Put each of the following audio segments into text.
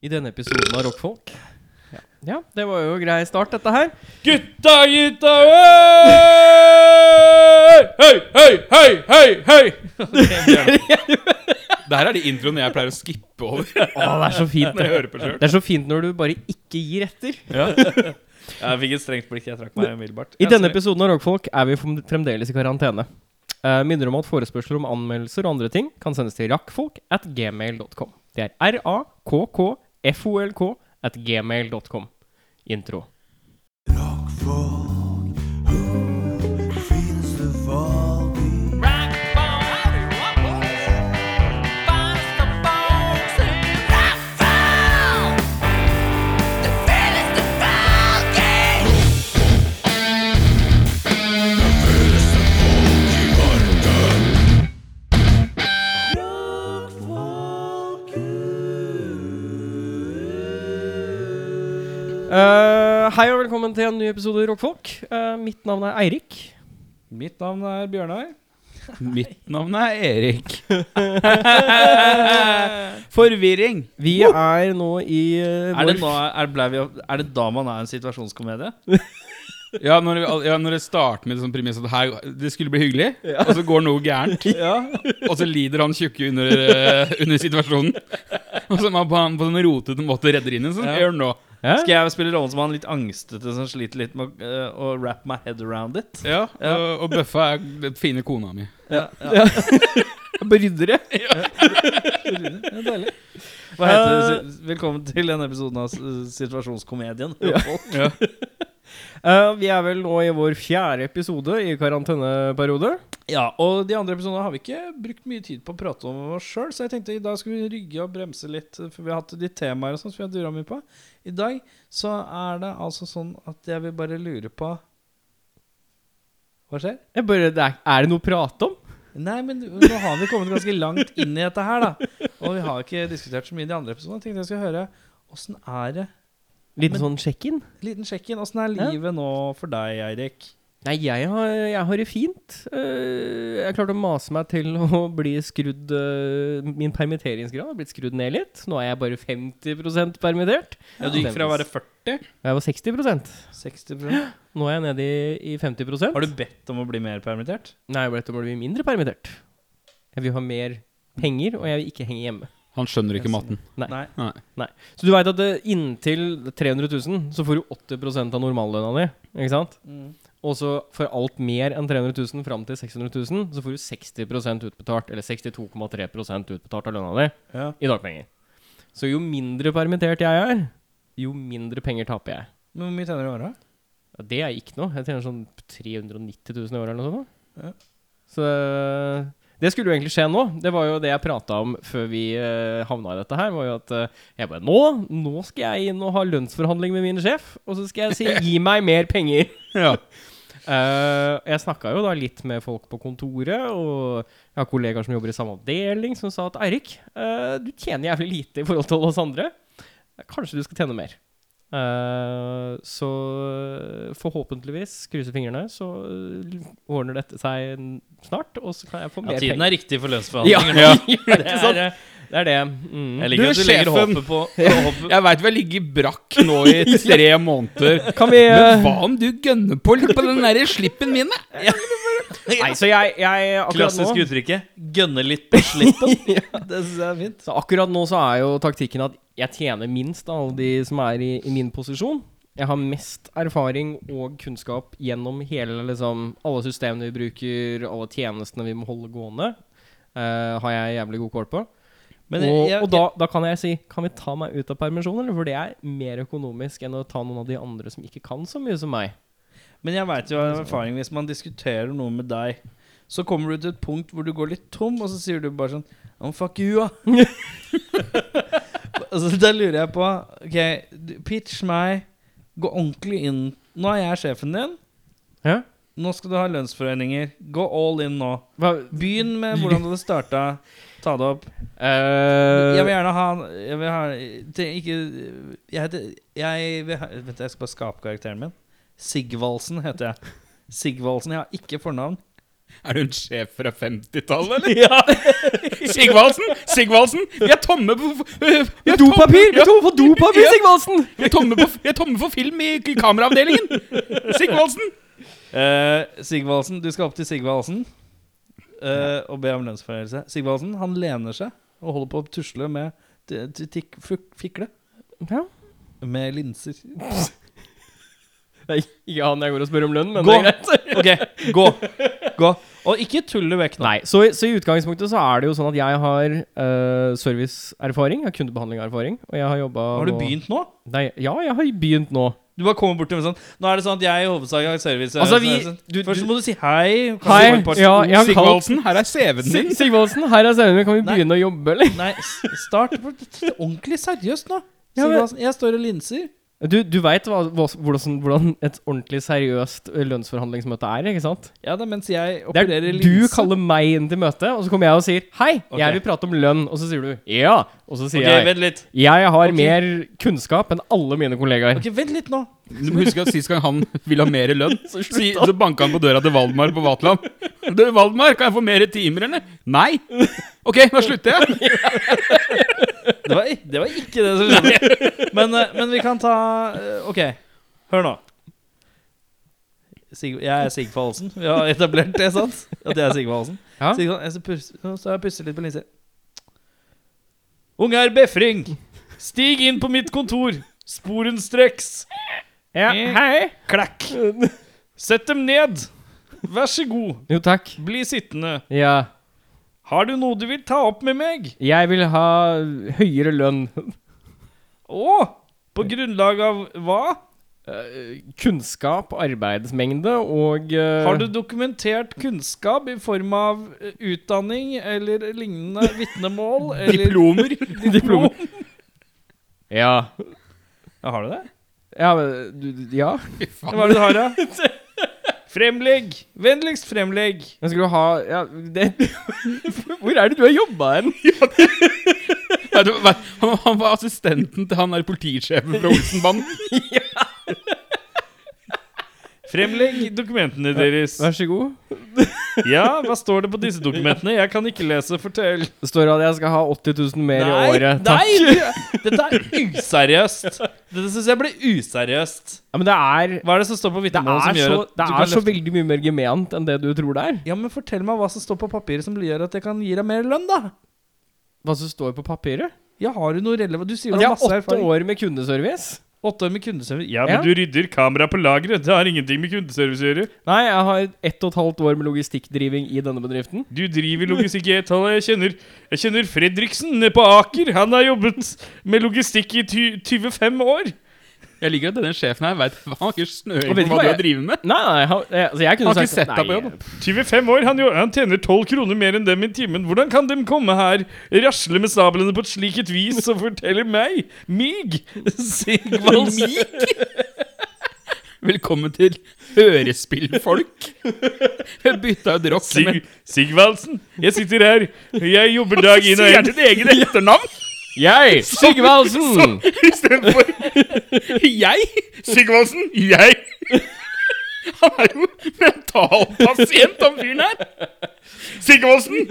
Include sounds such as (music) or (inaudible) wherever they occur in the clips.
i denne episoden av Rockfolk. Ja. ja, det var jo grei start, dette her. Gutta, gutta, hei! Hei, hei, hei, hei, hei! (laughs) Det her er de introene jeg pleier å skippe over (laughs) Å, det er så fint. når jeg Det hører på sjøl. Det er så fint når du bare ikke gir etter. Jeg fikk et strengt blikk. Jeg trakk meg umiddelbart. I Ja, denne sorry. episoden av Rockfolk er vi fom- fremdeles i karantene. Eh, minner om at forespørsler om anmeldelser og andre ting kan sendes til rakkfolk at gmail.com. Det er r-a-k-k-f-o-l-k at gmail.com. Intro. Eh, hei og velkommen til en ny episode Rockfolk. Eh, mitt navn er Eirik. Mitt navn er Bjørnar. Mitt navn er Erik. (laughs) Forvirring. Vi er nå i eh, Er det, vår nå, er, ble vi, er det da man er en situasjonskomedie? Ja, når, vi, al- ja, når det starter med sånn premiss at her, det skulle bli hyggelig, og så går noe gærent, og så lider han tjukke under, eh, under situasjonen, (laughs) og så man på, han på den rotete måten redder inn en sånn Ja. gjør nå. Hæ? Skal jeg spille rollen som han litt angstete som sliter litt med å, eh, å wrap my head around it? Ja, Ja. Og, og Bøffa er den fine kona mi. Ja, ja. (laughs) Bryddere. Hva heter det? Velkommen til denne episoden av eh, Situasjonskomedien. Ja. Eh, vi er vel nå i vår fjerde episode i karanteneperiode. Ja, og de andre episodene har vi ikke brukt mye tid på å prate om oss sjøl, så jeg tenkte i dag skal vi rygge og bremse litt, eh, for vi har hatt de temaer og sånt som vi har dura mye på. I dag så er det altså sånn at jeg vil bare lure på Hva skjer? Jeg bare, det er, er det noe å prate om? Nei, men nå har vi kommet ganske langt inn i dette her, da. Og vi har ikke diskutert så mye i de andre episodene. Jeg tenkte jeg skulle høre åssen er det Liten Men- sånn sjekk-in? Liten sjekk inn. Åssen er Ja. livet nå for deg, Eirik? Nei, jeg har, jeg har det fint. Eh, jeg klarte å mase meg til (laughs) å bli skrudd eh, Min permitteringsgrad har blitt skrudd ned litt. Nå er jeg bare 50 permittert. Ja, du gikk fra å være 40 Jeg var 60 60 Nå er jeg nede i, i 50 Har du bedt om å bli mer permittert? Nei, jeg ble til å bli mindre permittert. Jeg vil ha mer penger, og jeg vil ikke henge hjemme. Han skjønner ikke matten. Nei. Nei. Nei. Så du veit at eh, inntil 300 000 så får du 80 av normallønna di, ikke sant? Mm. Og så for alt mer enn 300 000 fram til 600 000, så får du 60 utbetalt, eller 62,3 utbetalt av lønna di Ja. i dagpenger. Så jo mindre permittert jeg er, jo mindre penger taper jeg. Men hvor mye tjener du i året? Ja, det er ikke noe. Jeg tjener sånn 390 000 i året eller noe sånt. da. Ja. Så eh, det skulle jo egentlig skje nå. Det var jo det jeg prata om før vi eh, havna i dette her. Var jo at eh, jeg bare Nå! Nå skal jeg inn og ha lønnsforhandling med min sjef, og så skal jeg si 'gi meg mer penger'. (laughs) Ja. Eh, jeg snakka jo da litt med folk på kontoret, og jeg har kollegaer som jobber i samme avdeling, som sa at Eirik, eh, du tjener jævlig lite i forhold til oss andre. Kanskje du skal tjene mer. Eh, så forhåpentligvis, krysser fingrene, så eh, ordner dette seg n- snart, og så kan jeg få mer Ja, tiden penger. er riktig for ja, lønnsforhandlinger. ja. Ja. (laughs) det er sant. Det er det. Mm. Jeg liker Du, at du legger sjefen. håpet på håpet. Jeg veit vi har ligget brakk nå i tre måneder. Kan vi Men eh, hva om du gønner på litt på den der slippen min? da? (laughs) Nei, så jeg, jeg akkurat nå Klassisk (laughs) uttrykket 'gønne litt på slippen'. (laughs) Det syns jeg er fint. Så akkurat nå så er jo taktikken at jeg tjener minst av alle de som er i, i min posisjon. Jeg har mest erfaring og kunnskap gjennom hele, liksom, alle systemene vi bruker, alle tjenestene vi må holde gående. eh, har jeg jævlig god kål på. Men og jeg, og da, da kan jeg si Kan vi ta meg ut av permisjon, eller? For det er mer økonomisk enn å ta noen av de andre som ikke kan så mye som meg. men jeg veit jo av erfaring hvis man diskuterer noe med deg, så kommer du til et punkt hvor du går litt tom, og så sier du bare sånn oh, 'Fuck you, da'. altså, da lurer jeg på OK, du- pitch meg. Gå ordentlig inn. Nå er jeg sjefen din. Ja? Nå skal du ha lønnsforhandlinger. Gå all in nå. Hva, Begynn med hvordan du hadde starta. Ta det opp. eh, Jeg vil gjerne ha Jeg vil ha det, er Ikke Jeg heter Jeg vil ha Vent, jeg skal bare skape karakteren min. Sigvaldsen heter jeg. Sigvaldsen. Jeg har ikke fornavn. Er du en sjef fra 50-tallet, eller? Ja. (laughs) Sigvaldsen! Sigvaldsen! Vi er tomme på vi er tomme- Dopapir! Vi Ja, er tomme for (laughs) dopapir, Ja. Sigvaldsen! vi, er tomme på, vi er tomme for film i k- kameraavdelingen! Sigvaldsen! Eh, Sigvaldsen, du skal opp til Sigvaldsen eh, og be om lønnsforhøyelse. Sigvaldsen han lener seg og holder på å tusle med t- t- tikk- fuk- fikle Ja. med linser. Nei, ikke han jeg går og spør om lønn, men Gå! det er greit. OK, (laughs) gå. gå. Og ikke tulle vekk nå. Nei, så, i- så i utgangspunktet så er det jo sånn at jeg har eh, serviceerfaring, jeg har kundebehandlingerfaring, og jeg har jobba Har du begynt nå? Nei, ja, jeg har begynt nå. Du bare kommer bort til meg sånn Nå er det sånn at jeg i hovedsak har service. Altså, vi- service- du- sånn, Først du- må du si hei. kanskje Hei, et par- ja, jeg har kalt Sigvaldsen, her er CV-en Sig din! Sigvaldsen, her er CV-en min, kan vi Nei. begynne å jobbe, eller? Nei, s- start på ordentlig seriøst nå. Ja, men- Sigvaldsen, jeg står og linser. Du, du veit hva, hva, hvordan, hvordan et ordentlig seriøst lønnsforhandlingsmøte er, ikke sant? Ja da, mens jeg Det opererer er, linser. du kaller meg inn til møtet, og så kommer jeg og sier 'Hei, jeg Ok. vil prate om lønn', og så sier du 'Ja', og så sier Ok, jeg vent litt. 'Jeg har Ok. mer kunnskap enn alle mine kollegaer'. Ok, Vent litt nå. Du må huske at Sist gang han ville ha mer lønn, Så slutta så, si- så banka han på døra til Valdmar på Vatland. Du, 'Valdmar, kan jeg få mer timer, eller?' Nei! Ok, da slutter jeg. (laughs) Det var, i- det var ikke det som skjedde. Men, eh, men vi kan ta eh, OK, hør nå. Sig, jeg er Sigve Halsen. Vi har etablert det, sant? At jeg er Sigve Halsen. Ja. Sigve, jeg så pus- nå står jeg og pusser litt på linser. Ungar Befring, stig inn på mitt kontor. Sporenstreks. Ja, hei. (laughs) Klakk. Sett dem ned. Vær så god, Jo, takk. bli sittende. Ja. Har du noe du vil ta opp med meg? Jeg vil ha høyere lønn. Å, på grunnlag av hva? Eh, Kunnskap, arbeidsmengde og eh, Har (laughs) du dokumentert kunnskap i form av eh, utdanning eller lignende (laughs) vitnemål? eller- Diplomer. diplom? Ja. Ja, har du det? Ja, men du, du- ja. Fy Hva er faen. det du (laughs) har, da? Fremlegg! Vennligst fremlegg. Men skal du ha ja, det, (laughs) Hvor er det du har jobba hen? Nei, du, nei, han, han var assistenten til han der politisjefen fra Olsenbanden. Fremlegg dokumentene deres. Vær så god. Ja, hva står det på disse dokumentene? Jeg kan ikke lese, fortell. Det står at jeg skal ha 80 000 mer i året. Takk. nei! du- Dette er useriøst. Dette syns jeg ble useriøst. Ja, men det er, Hva er det som står på det vitnemålet er, som gjør så, at det du er kan så løfte veldig mye mer gement enn det du tror det er. Ja, men fortell meg hva som står på papiret som gjør at jeg kan gi deg mer lønn, da. Hva som står på papiret? Ja, har du noe relevant Du sier At du jeg har har masse åtte erfaring. år med kundeservice? Åtte år med kundeservice. Ja, men Ja. du rydder kamera på lageret. Det har ingenting med kundeservice å gjøre. Nei, jeg har ett og et halvt år med logistikkdriving i denne bedriften. Du driver logistikk i ett Jeg kjenner, jeg kjenner Fredriksen på Aker. Han har jobbet med logistikk i 25 år. Jeg liker at denne sjefen her vet, han har ikke snøring Jeg vet ikke på hva hva du jeg- har drevet med. Nei, nei, han- eh, altså jeg kunne Han har sagt ikke sett deg på nei, jobb. 25 år? Han, jo- han tjener 12 kroner mer enn dem i timen. Hvordan kan dem komme her, rasle med sablene på et slikt vis og fortelle meg, mig, Sigvalds Velkommen til hørespillfolk. Jeg bytta ut rock med Sig, Sigvaldsen, jeg sitter her. Jeg jobber dag (laughs) inn og Sier ut. ditt eget etternavn Jeg, Sigvaldsen! istedenfor (laughs) jeg? Sigvaldsen, jeg. (laughs) Han er jo mentalpasient, han fyren her. Sigvaldsen.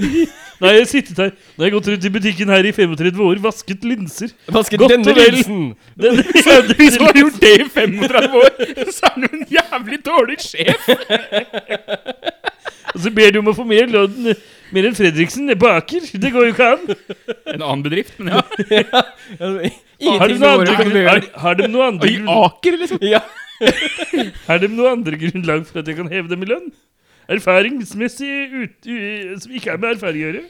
Nå har jeg sittet her. Nå har jeg gått rundt i butikken her i 35 år, vasket linser. Vasket Godt denne og vel. linsen! Den, (laughs) Hvis han har gjort det i 35 (laughs) år, så er han jo en jævlig dårlig sjef. (laughs) og så ber du om å få mer lønn. Mer enn Fredriksen nede på Aker. Det går jo ikke an. En annen bedrift, men ja. Har Ingenting de med noe året kan andre, du har, gjøre. har de noe andre, Og i grunn, Aker, liksom. Ja. har de noe andre grunnlag for at jeg kan heve dem i lønn? Erfaringsmessig ut, u, som ikke er med erfaring å gjøre?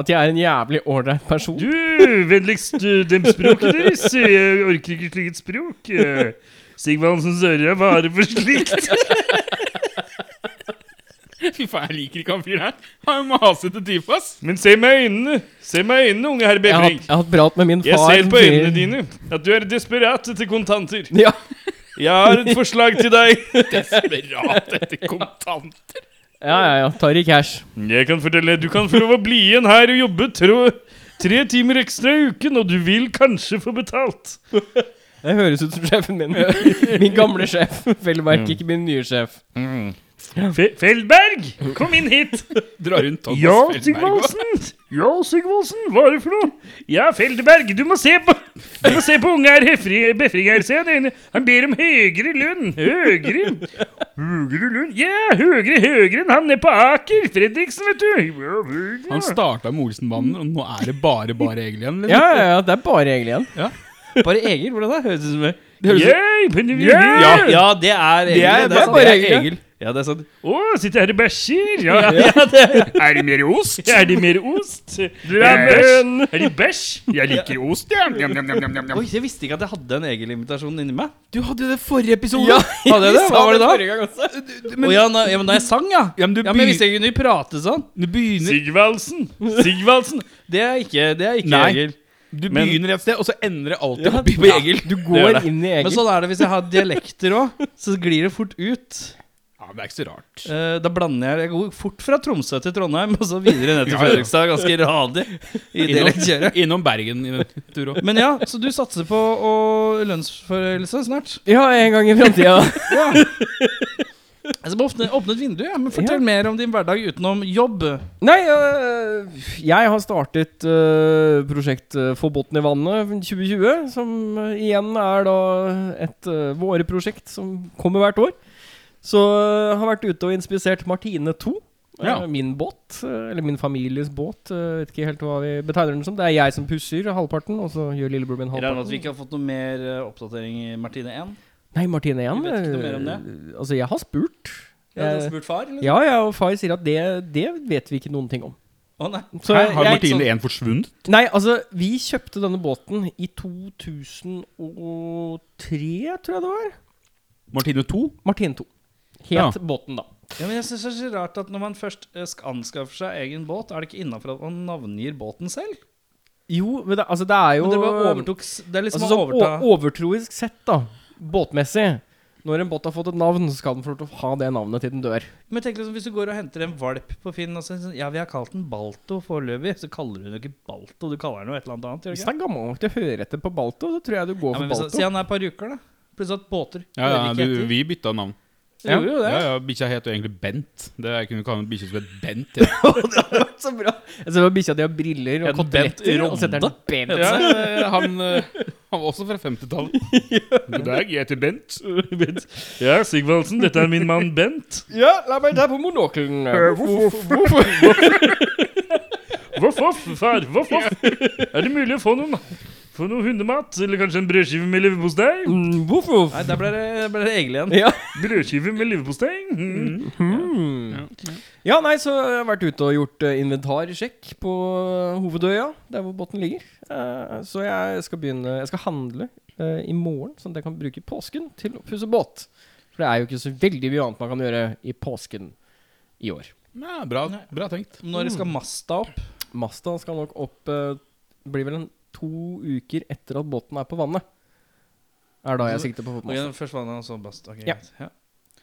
At jeg er en jævlig ålreit person. Du, vennligst eh, dem språket deres. Jeg orker ikke slikt språk. Eh, Sigvald Hansens øre er bare for slikt. Fy faen, jeg liker ikke han fyren her. Han er en masete type, ass. Men se meg i øynene. Se meg i øynene, unge herr Jeg har, Befring. jeg har hatt prat med min Jeg far. ser som på sier- øynene dine at du er desperat etter kontanter. Ja. Jeg har et forslag til deg. (laughs) Desperat etter kontant. ja, ja, ja. Tar i cash. Jeg kan fortelle Du kan få lov å bli igjen her og jobbe tro, tre timer ekstra i uken, og du vil kanskje få betalt. (laughs) Det høres ut som sjefen min. Min gamle sjef. Vel merke ikke min nye sjef. Fe- Feldberg, kom inn (laughs) hit! Drar rundt Thomas Ja, Feldberg. Sigvaldsen! Ja, Sigvaldsen, hva er det for noe? Ja, Feldberg, du må se på Du må se på unge her Befringer, se han ene. Han ber om høyere lønn. Høyere Høyere lønn? Ja, høyere, høyere enn han nede på Aker. Fredriksen, vet du. Ja, høyere. Han starta med Olsenbanden, og nå er det bare bare Egil igjen. Ja, ja, ja, det er bare Egil igjen. Bare Egil? Hvordan det høres ut som det? Det høres ut- Yeah, men, Ja, yeah. Ja, det er Egil. Det er, det er sant. bare Egil. Ja, det er sant. Å, sitter her og bæsjer. Ja. Er det mer ost? (laughs) Er det mer ost? Eh, Drammen. Er det bæsj? Jeg liker ost, jeg. Njam, njam, njam, njam, njam. Oi, jeg visste ikke at jeg hadde en Egil-invitasjon inni meg. Du hadde jo det forrige episode. (laughs) Ja, hadde jeg det? Hva var det da? Forrige gang også. Å ja, na, ja, men da jeg sang, ja. Ja, men du, Ja, men begy- Hvis jeg kunne prate sånn du begynner, Sigvaldsen. Sigvaldsen. Det er ikke, det er ikke Nei. Egil. du Men- begynner et sted, og så endrer alt Ja. opp i på Egil. Du går gjør det. inn i Men Egil. sånn er det hvis jeg har dialekter òg. Så glir det fort ut. Ja, men Det er ikke så rart. Eh, da blander jeg Jeg går fort fra Tromsø til Trondheim, og så videre ned til Ja, ja. Fredrikstad. Ganske radig i dialektkjøret. (laughs) Innom Bergen i den turen òg. Men ja, så du satser på å lønnsforhøyelse snart? Ja, en gang i framtida. (laughs) Ja. (laughs) Jeg skal bare åpne, åpne et vindu, ja. men fortell mer om din hverdag utenom jobb. Nei, øh, jeg har startet øh, prosjekt øh, Forbotn i vannet 2020, som øh, igjen er da et øh, våreprosjekt som kommer hvert år. Så øh, har vært ute og inspisert Martine 2. øh, Ja. Min båt, øh, eller min families båt. øh, vet ikke helt hva vi betegner den som. Det er jeg som pusser halvparten, og så gjør lillebror min Jeg regner med at halvparten. vi ikke har fått noe mer eh, oppdatering i Martine 1. Nei, Martine 1. Vi vet ikke noe mer om øh, Altså, jeg har spurt. Ja, du har Jeg- spurt far, eller? Ja, ja, og far sier at det, det vet vi ikke noen ting om. Å, nei. Så Har jeg- sånn. Martine 1 forsvunnet? Nei, altså, vi kjøpte denne båten i 2003, tror jeg det var. Martine 2? Martine 2. Het Ja. båten, da. Ja, men jeg synes det er så rart at når man først eh, skal anskaffe seg egen båt, er det ikke innafor at man navngir båten selv? Jo, men det, altså, det er jo Men det, bare overtok, s- det er liksom altså, å sånn overta o- Overtroisk sett, da. Båtmessig. Når en båt har fått et navn, så skal den få lov til å ha det navnet til den dør. Men tenk liksom, Hvis du går og henter en valp på Finn og sier sånn, Ja, vi har kalt den Balto foreløpig. Så kaller du den jo ikke Balto, du kaller den jo et eller annet annet. gjør du Hvis ikke? den er gammel nok til å høre etter på Balto, så tror jeg du går Ja, for men hvis, Balto. Si han er parykker, da. Plutselig at båter Ja, ja, hører ikke du, etter. vi bytta navn. Det gjorde jo det. Ja, ja, Bikkja het jo egentlig Bent. Det, jeg kunne kalle en bikkje som het Bent. Ja. så bra. Jeg ser på Altså, bikkja di har briller Ja, og Bent koteletter, og Ronde. så heter den Bent. Ja, eh, han, eh, han var også fra 50-tallet. God dag, jeg heter Bent. Bent. Ja, Sigvaldsen, dette er min mann Bent. Ja, la meg ta på monokelen. Voff, voff, far, voff, voff. Er det mulig å få noen, få noe hundemat? Eller kanskje en brødskive med leverpostei? Mm, Voff, voff. Nei, der ble det, ble det Egil igjen. Ja. Brødskive med leverpostei? Mm. Hmm. Ja, nei, så jeg har vært ute og gjort eh, inventarsjekk på eh, hovedøya, der hvor båten ligger. Eh, så jeg skal begynne Jeg skal handle eh, i morgen, sånn at jeg kan bruke påsken til å pusse båt. For det er jo ikke så veldig mye annet man kan gjøre i påsken i år. Ja, bra, bra tenkt. Når skal masta opp? Masta skal nok opp eh, Blir vel en to uker etter at båten er på vannet. Er da jeg sikter på å få på Ok, masta. først vannet, og så bast. Ok, Ja. greit. Ja.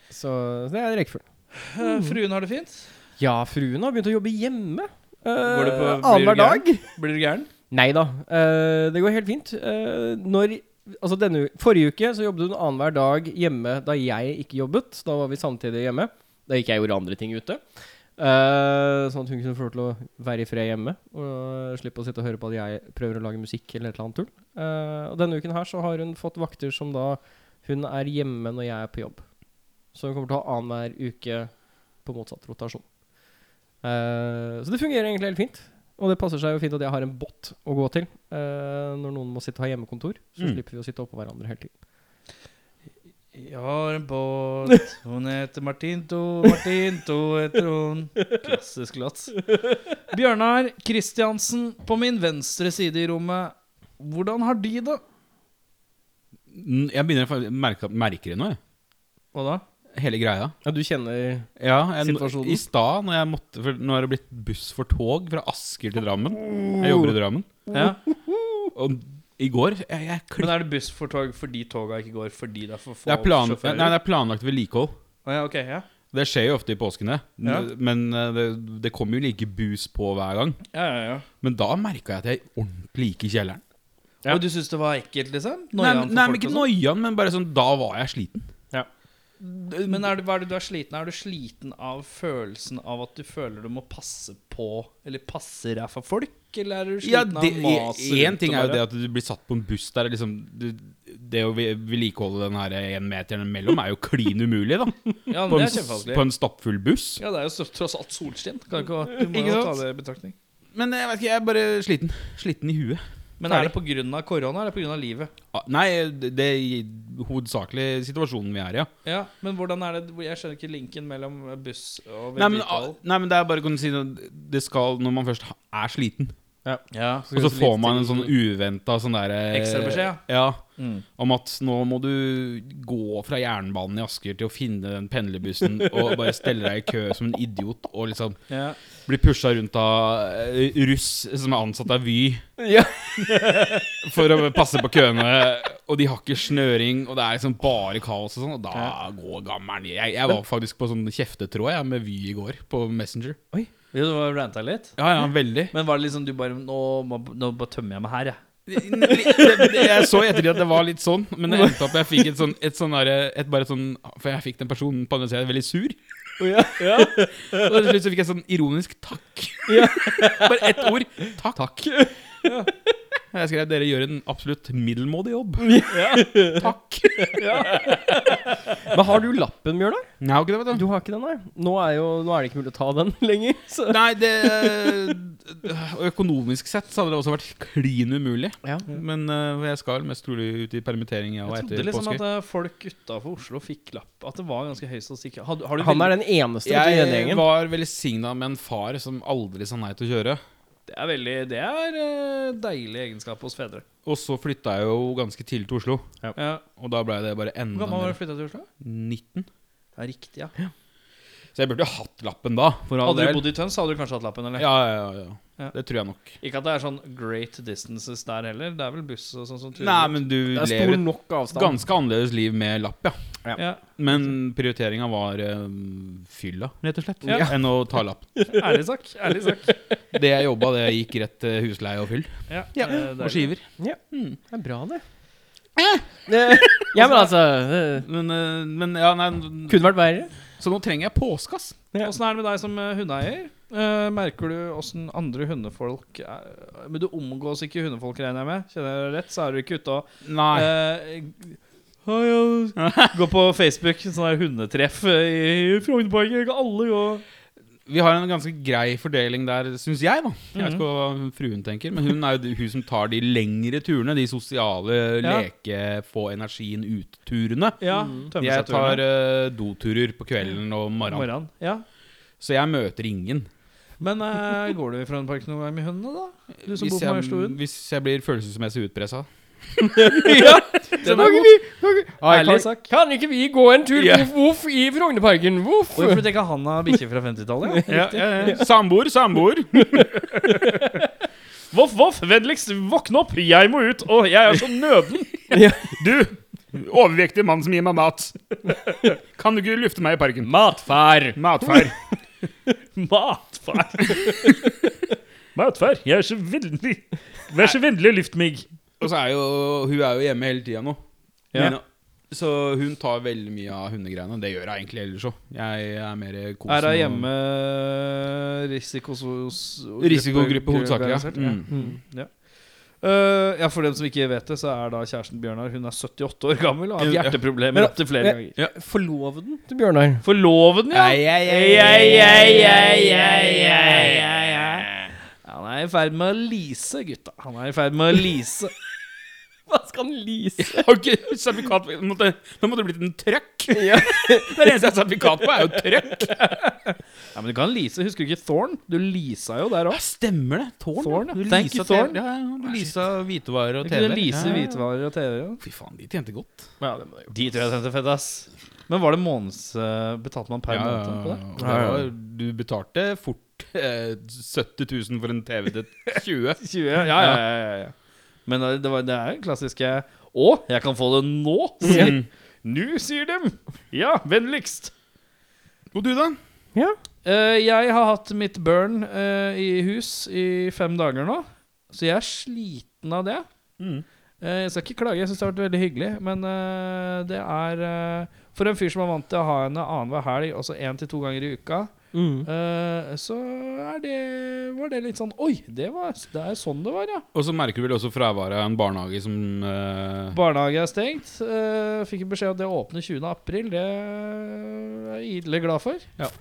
Så så det er rekkefølgen. Eh, Fruen har det fint? Ja, fruen har begynt å jobbe hjemme. Uh, Går det på- blir Annenhver du dag. Blir du gæren? Nei da. eh, det går helt fint. Eh, når Altså denne, u- forrige uke så jobbet hun annenhver dag hjemme da jeg ikke jobbet. Da var vi samtidig hjemme. Da gikk jeg og gjorde andre ting ute. Eh, sånn at hun kunne få lov til å være i fred hjemme og eh, slippe å sitte og høre på at jeg prøver å lage musikk eller et eller annet tull. Eh, og denne uken her så har hun fått vakter som da hun er hjemme når jeg er på jobb. Så hun kommer til å ha annenhver uke på motsatt rotasjon. Eh, så det fungerer egentlig helt fint. Og det passer seg jo fint at jeg har en bot å gå til eh, når noen må sitte og ha hjemmekontor. Så Mm. slipper vi å sitte oppå hverandre hele tiden. Jeg har en båt, hun heter Martinto, Martinto heter hun. Klassisk låt. Bjørnar Kristiansen, på min venstre side i rommet. Hvordan har de det? N- Jeg begynner å fa- merke, merker det nå, jeg. Hva da? Hele greia. Ja, du kjenner Ja, jeg, Situasjonen. I stad, når jeg måtte for Nå er det blitt buss for tog fra Asker til Drammen. Jeg jobber i Drammen. Ja. Og i går jeg, jeg Men klik- er det buss for tog fordi toga ikke går fordi det er for få det, er plan, sjåfører? nei, det er planlagt vedlikehold. Å ja, ok, ja. Det skjer jo ofte i påsken, det. Ja. Men eh, det, det kommer jo like bus på hver gang. ja, ja, ja. Men da merka jeg at jeg ordentlig gikk i kjelleren. Og du syns det var ekkelt, liksom? Nei, Noiaen men- for nei, folk men ikke og sånn? noiaen, men bare sånn Da var jeg sliten. Ja. Men er det, hva er det du er sliten av? Er du sliten av følelsen av at du føler du må passe på Eller passe deg for folk? Eller er du sliten Ja, det, av maset en ting er jo det bare? at du blir satt på en buss der liksom, du, Det å ve- vedlikeholde den her én meteren mellom er jo klin umulig, da. (laughs) ja, På men en, det er s- kjempevanskelig. på en stappfull buss. Ja, det er jo så- tross alt solskinn. (laughs) Kan ikke, du må Ikke jo ta sant? det i betraktning. Men jeg vet ikke, jeg er bare sliten. Sliten i huet. Men er det pga. korona, eller er det pga. livet? Ah, Nei, det det er hovedsakelig situasjonen vi er i, ja. Ja, Men hvordan er det Jeg skjønner ikke linken mellom buss og Nei, men, vedlikehold. nei, men det er bare å kunne si noe- det skal Når man først er sliten, Ja. og så får man en sånn uventa sånn derre Ekstra beskjed, ja. ja. Mm. Om at nå må du gå fra jernbanen i Asker til å finne den pendlerbussen (laughs) og bare stelle deg i kø som en idiot og liksom Ja. bli pusha rundt av eh, russ som er ansatt av Vy Ja. (laughs) for å passe på køene, og de har ikke snøring, og det er liksom bare kaos og sånn, og da går gammelen i. Jeg, jeg var faktisk på sånn kjeftetråd jeg, med Vy i går, på Messenger. Jo, du var ranta litt? Ja, ja, veldig. Men var det liksom du bare Nå, må- nå bare tømmer jeg meg her, jeg. (laughs) Jeg så i ettertid at det var litt sånn, men det endte opp jeg fikk et sånn, et sånn derre- et bare sånn For jeg fikk den personen på andre sida veldig sur. Og til slutt så fikk jeg sånn ironisk takk. (laughs) Bare ett ord. Takk. Jeg skrev dere gjør en absolutt middelmådig jobb. Takk. Men har du lappen, Bjørnar? Nei, har ikke det, sånn. vet (laughs) du. Du har ikke den, nei? Nå er, jo, nå er det ikke mulig å ta den (laughs) lenger. Så. Nei, det og Økonomisk sett så hadde det også vært klin umulig. Ja. Men eh, jeg skal vel mest trolig ut i permittering jeg, og Jeg etter trodde liksom at påske. eh, folk utafor Oslo fikk lapp. At det var ganske høy statistikk. Har, du- har du Han veldig- er den eneste vet du, i den Jeg gjengen. var velsigna med en far som aldri sa nei til å kjøre. det er veldig Det er eh, deilig egenskap hos fedre. Og så flytta jeg jo ganske tidlig til Oslo, Ja. og da blei det bare Hvor enda gammel var mer du flytta til Oslo? 19. Ja, riktig, ja. Så jeg burde jo hatt lappen da. For all Hadde du del. bodd i Tøns, hadde du kanskje hatt lappen, eller? Ja, ja, ja, ja. Ja. Det tror jeg nok. Ikke at det er sånn great distances der heller. Det er vel buss og sånn som turer Nei, rundt. men du Det er lever stor et nok avstand. ganske annerledes liv med lapp, ja. ja. Men prioriteringa var eh, fylla, rett og slett, Ja. enn å ta lapp. Ærlig sak. Ærlig sak. Det jeg jobba, det gikk rett til husleie og fyll. (laughs) Ja, Ja, det er Og deilig. skiver. Det er bra, det. Eh, (laughs) Ja, men altså det Men, eh, men ja, nei Kunne vært verre. Så nå trenger jeg påske, ass. Åssen er det med deg som eh, hundeeier? Eh, merker du åssen andre hundefolk er Men du omgås ikke hundefolk, regner jeg med? Kjenner jeg deg rett, så er du ikke ute og Nei. Eh, hei, (laughs) ja. Gå på Facebook, sånn der hundetreff eh, i Frognerparken. Kan alle gå Vi har en ganske grei fordeling der, syns jeg, da. Jeg Mhm. vet ikke hva fruen tenker, men hun er jo hun som tar de lengre turene. De sosiale Ja. leke, få energien ut-turene. Ja, Mm. tømme Jeg seg turene. tar eh, doturer på kvelden og morgenen. morgenen. Ja. Så jeg møter ingen. Men eh, går du i Frognerparken noen gang med hundene, da? Du som bor på jeg, Majorstuen? hvis jeg blir følelsesmessig utpressa. Den Kan ikke er god. vi, kan ikke, Ærlig kan, sak. kan ikke vi gå en tur Ja. voff, voff i Frognerparken? Voff! Hvorfor tenker jeg han har bikkje fra (laughs) 50-tallet? Ja, ja, ja. Samboer, samboer. Voff, voff, vennligst våkne opp. Jeg må ut, og jeg er så nøden. (laughs) Ja. Du, overvektig mann som gir (laughs) meg mat. Kan du ikke lufte meg i parken? Matfar. Matfar. Matfar. (laughs) Matfar, jeg er så vennlig. Vær så vennlig og luft meg. (laughs) Og så er jo hun er jo hjemme hele tida nå. Ja. Nina. Så hun tar veldig mye av hundegreiene. Det gjør hun egentlig ellers òg. Jeg er mer kosen. Er hun og- hjemme eh, risikos- Risikogruppe hovedsakelig, ja. organisert? Mm. Mm, ja. Eh, ja, For dem som ikke vet det, så er da kjæresten Bjørnar Hun er 78 år gammel og har hatt Ja. hjerteproblemer opptil flere ganger. Ja. Forloveden til Bjørnar. Forloven, ja! Ei, ei, ei, ei, ei, ei, ei, ei, ei, ei. Han er i ferd med å lease, gutta. Han er i ferd med å lease. Hva (laughs) skal han lease? Jeg har ikke sertifikat på måtte, Nå måtte det blitt en trøkk. Det eneste jeg har sertifikat på, er jo trøkk. Ja, men du kan lease. Husker du ikke Thorn? Du leasa jo der òg. Stemmer det. Tårn. Thorn, ja. ja. Du Thank leasa you, Thorn. TV. Ja, ja, du leasa hvitevarer og Du TV. kunne lease Ja, ja. hvitevarer og TV. Ja. Fy faen, de tjente godt. Ja, det må jeg gjøre. De tror jeg tjente fett, ass. Men var det måneds... eh, betalte man per Ja, ja, måned på det? ja. Og det var- Du betalte fort (laughs) eh, 70 000 for en TV til (laughs) 20. 20, ja, ja, ja, ja, ja. Men eh, det, var, det er jo klassiske Å, jeg kan få det nå! sier- Mm. Nå, sier dem! Ja, vennligst! Og du, da? Eh, jeg har hatt mitt burn Mm. eh, i hus i fem dager nå, så jeg er sliten av det. Eh, Jeg skal ikke klage, jeg syns det har vært veldig hyggelig. Men eh, det er eh, For en fyr som er vant til å ha henne annenhver helg, altså én til to ganger i uka, Mm. eh, så er det, var det litt sånn Oi, det, var, det er sånn det var, ja. Og så merker du vel også fraværet av en barnehage som eh, Barnehage er stengt. eh, fikk beskjed om at det åpner 20. april. Det er jeg idelig glad for. Ja.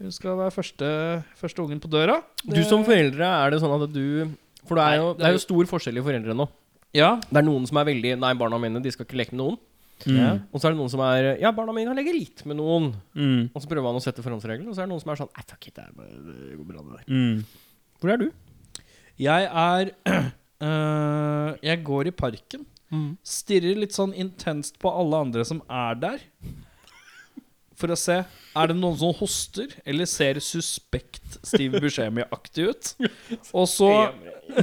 Hun skal være første, første ungen på døra. Du som foreldre, er det sånn at du For det er jo, Nei, det er det er jo stor forskjell i foreldre nå. Ja. Det er noen som er veldig Nei, barna mine, de skal ikke leke med noen. Ja. Og så er det noen som er Ja, barna mine leker litt med noen. mm, Og så prøver han å sette forhåndsregler, og så er det noen som er sånn Nei, fuck it, det er bare- det går bra, det der. mm. Hvor er du? Jeg er (clears throat) øh, Jeg går i parken. Mm. Stirrer litt sånn intenst på alle andre som er der. For å se Er det noen som hoster eller ser suspekt Steve Buscemi-aktig ut. Og så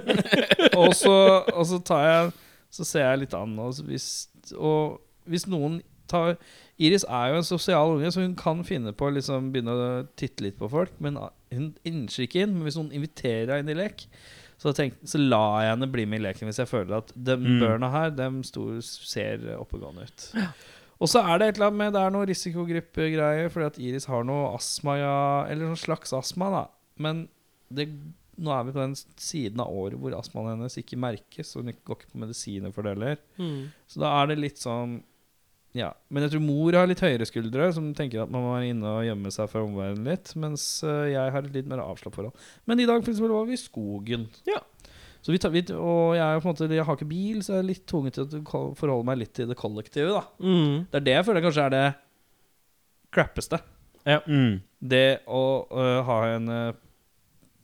(laughs) og, så og så tar jeg Så ser jeg litt an. Og så hvis, og hvis noen tar Iris er jo en sosial unge, så hun kan finne på å liksom begynne å titte litt på folk. Men hun innser ikke inn. Men hvis noen inviterer henne inn i lek, så, tenk, så lar jeg henne bli med i leken hvis jeg føler at de Mm. børna her, dem stor, ser oppegående ut. Og så er det et eller annet med Det er noe risikogruppegreier, fordi at Iris har noe astma, ja, eller noen slags astma, da. Men det, nå er vi på den siden av året hvor astmaen hennes ikke merkes, og hun ikke- går ikke på medisiner for det heller. Mm. Så da er det litt sånn Ja. Men jeg tror mor har litt høyere skuldre, som tenker at man må være inne og gjemme seg fra omverdenen litt. Mens øh, jeg har et litt mer avslappet forhold. Men i dag for eksempel, var vi i skogen. Ja. Så vi tar, vi, og jeg, er jo på en måte, jeg har ikke bil, så jeg er litt tvunget til å ko- forholde meg litt til det kollektive. da Mm. det er det jeg føler kanskje er det crappeste. Mm. Det å øh, ha en øh,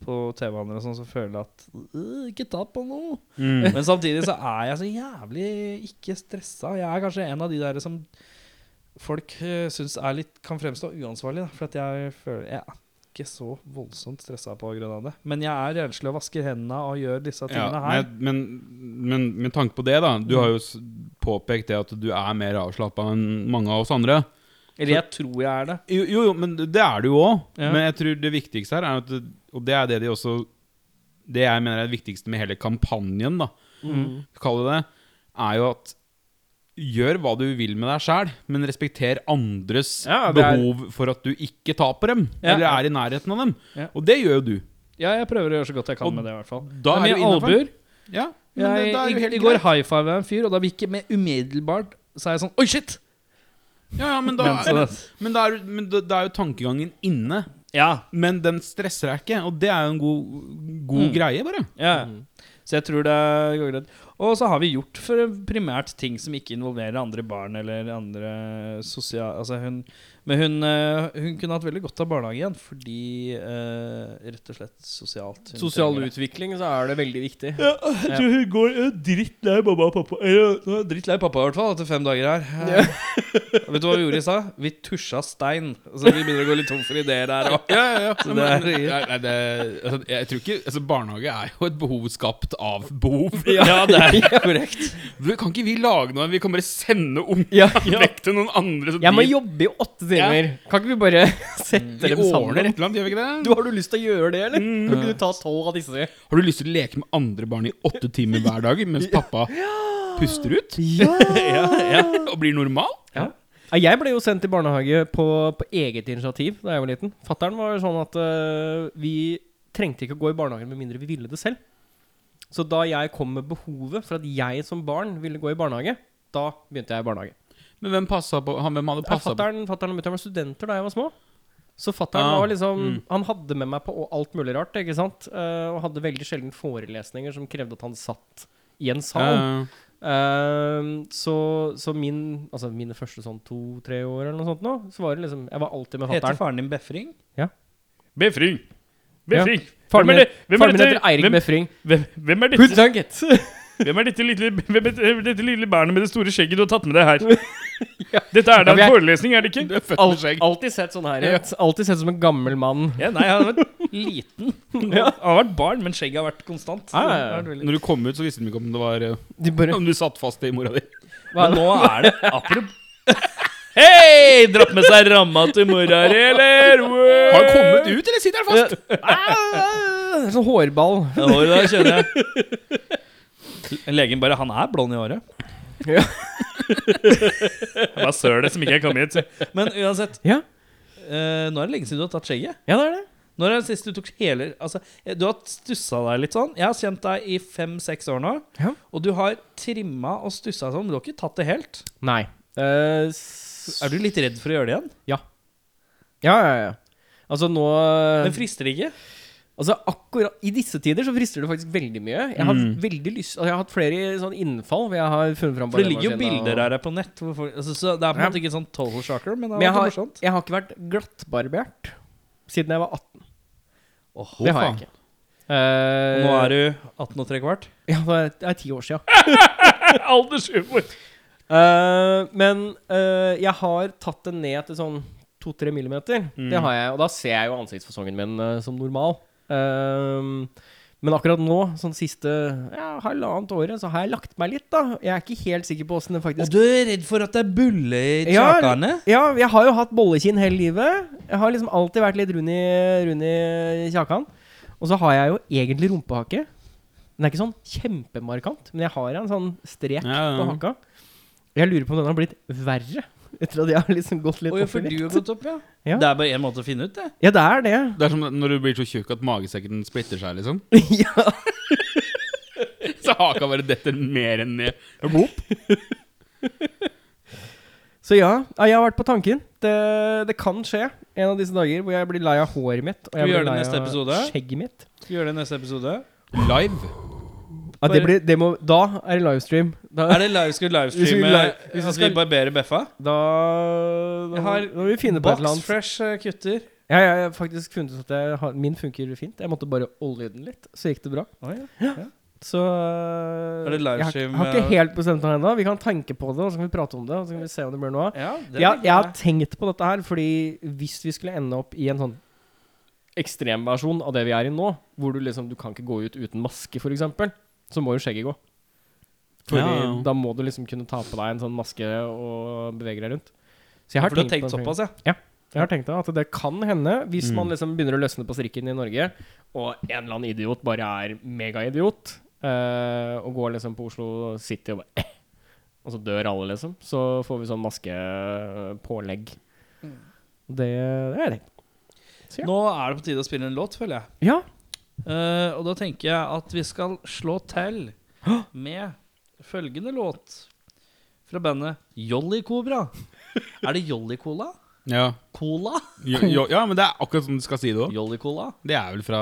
på TV-handler og sånn som føler at «Øh, Ikke ta på (laughs) noe. Mm. Men samtidig så er jeg så jævlig ikke stressa. Jeg er kanskje en av de der som folk øh, syns er litt kan fremstå uansvarlig. Da, for at jeg føler Jeg er ikke så voldsomt stressa på grunn av det. Men jeg er renslig og vasker hendene og gjør disse tingene Ja, her. men, men, men med tanke på det, da. Du har jo s- påpekt det at du er mer avslappa enn mange av oss andre. Eller jeg tror jeg er det. Jo, jo, jo, men det er du jo òg. Ja. Men jeg tror det viktigste her er at Og det er det de også Det jeg mener er det viktigste med hele kampanjen, da, Mm. kall det det, er jo at Gjør hva du vil med deg sjæl, men respekter andres Ja, det er- behov for at du ikke taper dem, Ja. eller er i nærheten av dem. Ja. Og det gjør jo du. Ja, jeg prøver å gjøre så godt jeg kan Og med det, i hvert fall. da er det du er mye innenfor. albuer. Ja, men Jeg, det, det er jo i, helt I går greit. high five jeg en fyr, og da gikk jeg med umiddelbart Så er jeg sånn Oi, shit! Ja, ja, (laughs) men da, Men så det- men da er, men det, det er jo tankegangen inne. ja, Men den stresser deg ikke, og det er jo en god, god Mm. greie, bare. ja. Så jeg tror det går greit. Og så har vi gjort for primært ting som ikke involverer andre barn eller andre sosial... Altså hun, men hun, eh, hun kunne hatt veldig godt av barnehage igjen, fordi eh, rett og slett sosialt. Hun Sosial trenger det. utvikling, så er det veldig viktig. Ja, jeg tror hun går eh, drittlei mamma og pappa. Eller, hun er drittlei pappa i hvert fall etter fem dager her. Eh, (laughs) Vet du hva vi gjorde i stad? Vi tusja stein. Så vi begynner å gå litt tom for ideer her òg. Ja, ja, ja. Så Men, det er- nei, nei, det, altså, jeg tror ikke altså, Barnehage er jo et behov skapt av behov. Ja, det (laughs) er korrekt. Du, kan ikke vi lage noe? Vi kan bare sende ungene Ja, (laughs) vekk til noen andre. Så Jeg må de, jobbe i åtte timer. Kan ikke vi bare (laughs) sette de dem ordner sammen? et eller annet, gjør vi ikke det? Mm. Du, har du lyst til å gjøre det, eller? Mm. Kan ikke du ta tolv av disse? Har du lyst til å leke med andre barn i åtte timer hver dag (laughs) mens pappa puster ut? (laughs) Ja. Og blir normal? Nei, Jeg ble jo sendt i barnehage på, på eget initiativ da jeg var liten. Fattern var jo sånn at øh, vi trengte ikke å gå i barnehagen med mindre vi ville det selv. Så da jeg kom med behovet for at jeg som barn ville gå i barnehage, da begynte jeg i barnehage. Men hvem, passa på, han, hvem hadde Ja, passa på? fatteren, fatteren og mutter'n var studenter da jeg var små. Så fattern Ah, var liksom mm. Han hadde med meg på og alt mulig rart. ikke sant? Eh, og hadde veldig sjelden forelesninger som krevde at han satt i en sal. Ja, Eh, så, så min Altså mine første sånn to-tre år eller noe sånt nå, så var det liksom Jeg var alltid med Heter fattern. faren din Befring? Befring. Befring. Faren Hvem min er det? Hvem er faren min dette? heter Eirik Hvem, Befring. hvem, hvem er dette? Puttang, gitt! Hvem er dette lille, hvem er dette- dette lille barnet med det store skjegget du har tatt med deg her? Dette er (laughs) Ja, da vi en er- forelesning, er (laughs) det ikke? Du er født med Alt- skjegg. Alltid sett sånn her ut. Alltid sett som en gammel mann. Ja, nei, han (laughs) har vært liten. Han har vært barn, men skjegget har vært konstant. Ja, ja, ja. Det har vært veldig- Når du kom ut, så visste de ikke om det var (laughs) eh, De bare Om du satt fast i mora di. hva, Men nå er (laughs) det apropos (laughs) Hei! Dratt med seg ramma til mora di, eller? Har han kommet ut, eller sitter han fast? Ah, Sånn hårball. Ja, det kjenner jeg. Legen bare 'Han er blond i håret'. (laughs) Hva søler det som ikke er kommet hit? Men uansett, Ja. eh, nå er det lenge siden du har tatt skjegget. Ja, det er det. Når er det sist du tok hele Altså, eh, du har stussa deg litt sånn. Jeg har kjent deg i fem-seks år nå. Ja. Og du har trimma og stussa sånn, men du har ikke tatt det helt. Nei. Eh, s- Er du litt redd for å gjøre det igjen? Ja, ja, ja. Altså nå Men frister det ikke? Altså akkurat I disse tider så frister det faktisk veldig mye. Jeg har veldig lyst Altså jeg har hatt flere sånn innfall hvor jeg har funnet fram For det ligger jo barbermaskinen og- bilder av deg på nett. Hvor folk, altså, så det er på en Ja. måte ikke sånn total shocker, men det Men jeg er har, morsomt. jeg har ikke vært glattbarbert siden jeg var 18. Åh, det har jeg faen. ikke. Eh, Nå er du 18 og tre kvart. (laughs) Ja, det er- det er ti år sia. Aldersumor. Eh, men eh, jeg har tatt det ned til sånn 2-3 millimeter. Det har jeg, og da ser jeg jo ansiktsfasongen min eh, som normal. Ehm, men akkurat nå, sånn siste ja, halvannet året, så har jeg lagt meg litt, da. Jeg er ikke helt sikker på åssen det Og faktisk du er redd for at det er bulle i Ja, kjakene? Ja, jeg har jo hatt bollekinn hele livet. Jeg har liksom alltid vært litt rund i, rund i kjakan. Og så har jeg jo egentlig rumpehake. Den er ikke sånn kjempemarkant, men jeg har en sånn strek Ja, ja. på haka. Jeg lurer på om den har blitt verre etter at jeg har liksom gått litt Å ja, opp for i du vekt. har gått opp, ja. Ja. Det er bare én måte å finne ut det. Ja, det er det. (laughs) Det er som når du blir så tjukk at magesekken splitter seg, liksom. (laughs) ja. Så haka bare detter mer enn ned. Så ja, ja, jeg har vært på tanken. Det, det kan skje en av disse dager hvor jeg blir lei av håret mitt. Og vi jeg gjøre blir det lei neste av episode? skjegget mitt. Skal vi gjøre det i neste episode? (laughs) Live. Ja, det Bare- blir, det må, da er det livestream. Da, Er det live, skal vi Hvis vi livestreame live- hvis vi Hvis vi skal skal- barbere Beffa? da, da, må- Jeg har da må vi finne på et eller annet. Boxfresh eh, kutter. Ja, jeg har faktisk funnet ut at jeg har, min funker fint. Jeg måtte bare olje den litt, så gikk det bra. Så Er det jeg har, livestream, har eh? ikke helt bestemt meg ennå. Vi kan tenke på det, og så kan vi prate om det. Og så kan vi se om det blir noe av. Ja, det Ja, liker jeg har jeg. tenkt på dette her, fordi hvis vi skulle ende opp i en sånn ekstremversjon av det vi er i nå, hvor du liksom du kan ikke gå ut uten maske, for eksempel, så må jo skjegget gå. Fordi Ja. da må du liksom kunne ta på deg en sånn maske og bevege deg rundt. Så jeg har For du har på tenkt det flere såpass, ja? jeg har tenkt da at det kan hende, hvis man liksom begynner å løsne på strikken i Norge, og en eller annen idiot bare er megaidiot, eh, og går liksom på Oslo City og bare eh, Og så dør alle, liksom. Så får vi sånn maskepålegg. Det, det er det. Ja. Nå er det på tide å spille en låt, føler jeg. Ja. Eh, og da tenker jeg at vi skal slå til med følgende låt fra bandet Jolly Cobra. Er det Jolly Cola? Ja. Cola? Jo, jo, ja, men det er akkurat som du skal si det òg. Jolly Cola. Det er vel fra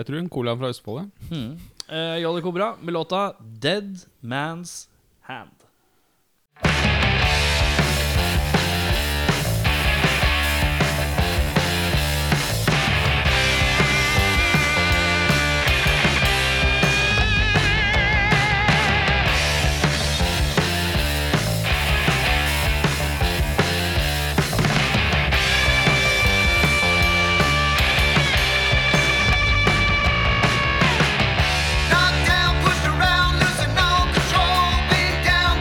Jeg tror en cola fra Østfold. ja. Hmm. Eh, Jolly Cobra med låta 'Dead Man's Hand'. Knocked down, pushed around, losing all control, beat down,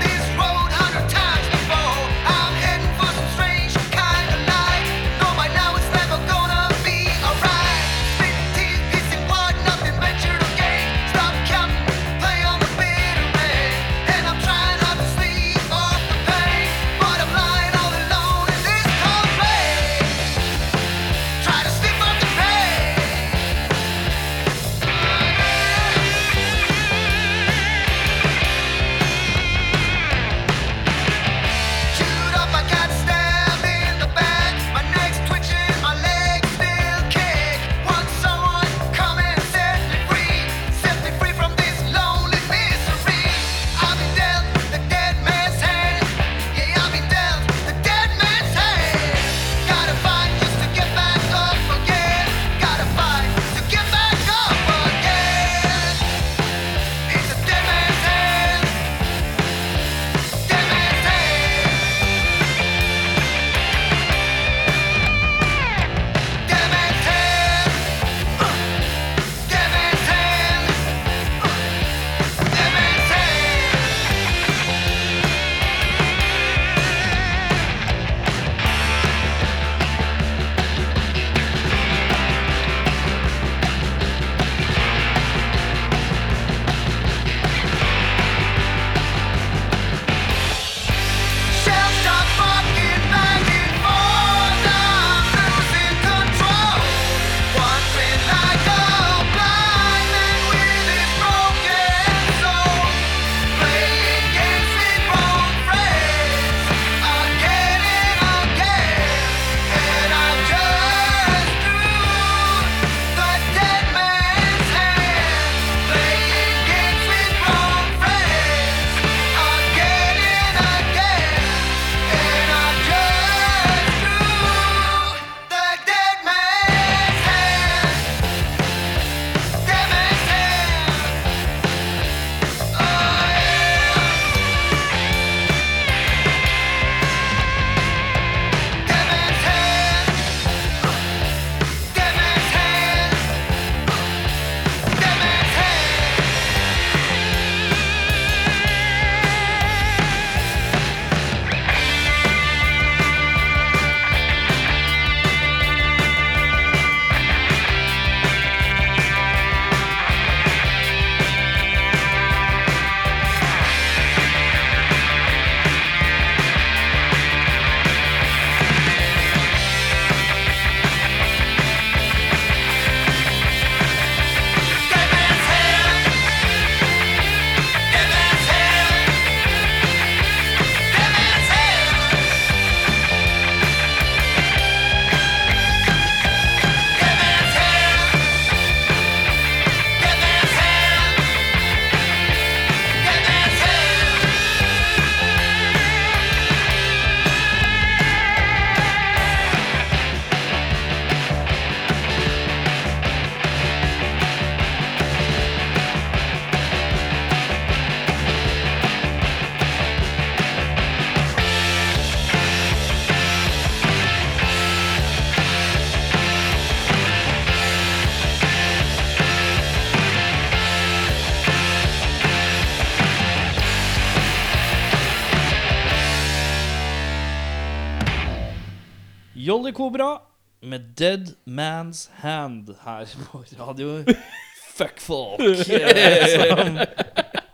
Jolly Cobra med Dead Man's Hand her (laughs) på radio (laughs) (laughs) Fuckfolk. eh, Som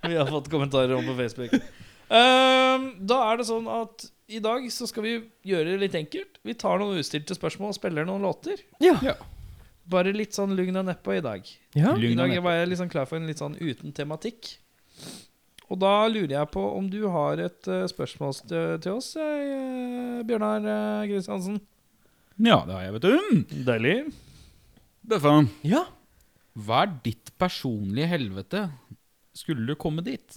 vi har fått kommentarer om på Facebook. Ehm, da er det sånn at i dag så skal vi gjøre det litt enkelt. Vi tar noen ustilte spørsmål og spiller noen låter. Ja. Ja. Bare litt sånn lugn og neppe i dag. Ja. Lugn I og dag neppe. var jeg liksom klar for en litt sånn uten tematikk. Og da lurer jeg på om du har et eh, spørsmål til, til oss, eh, Bjørnar eh, Kristiansen. Ja, det har jeg, vet du. Deilig. Bøffa, Mm. ja. hva er ditt personlige helvete? Skulle du komme dit?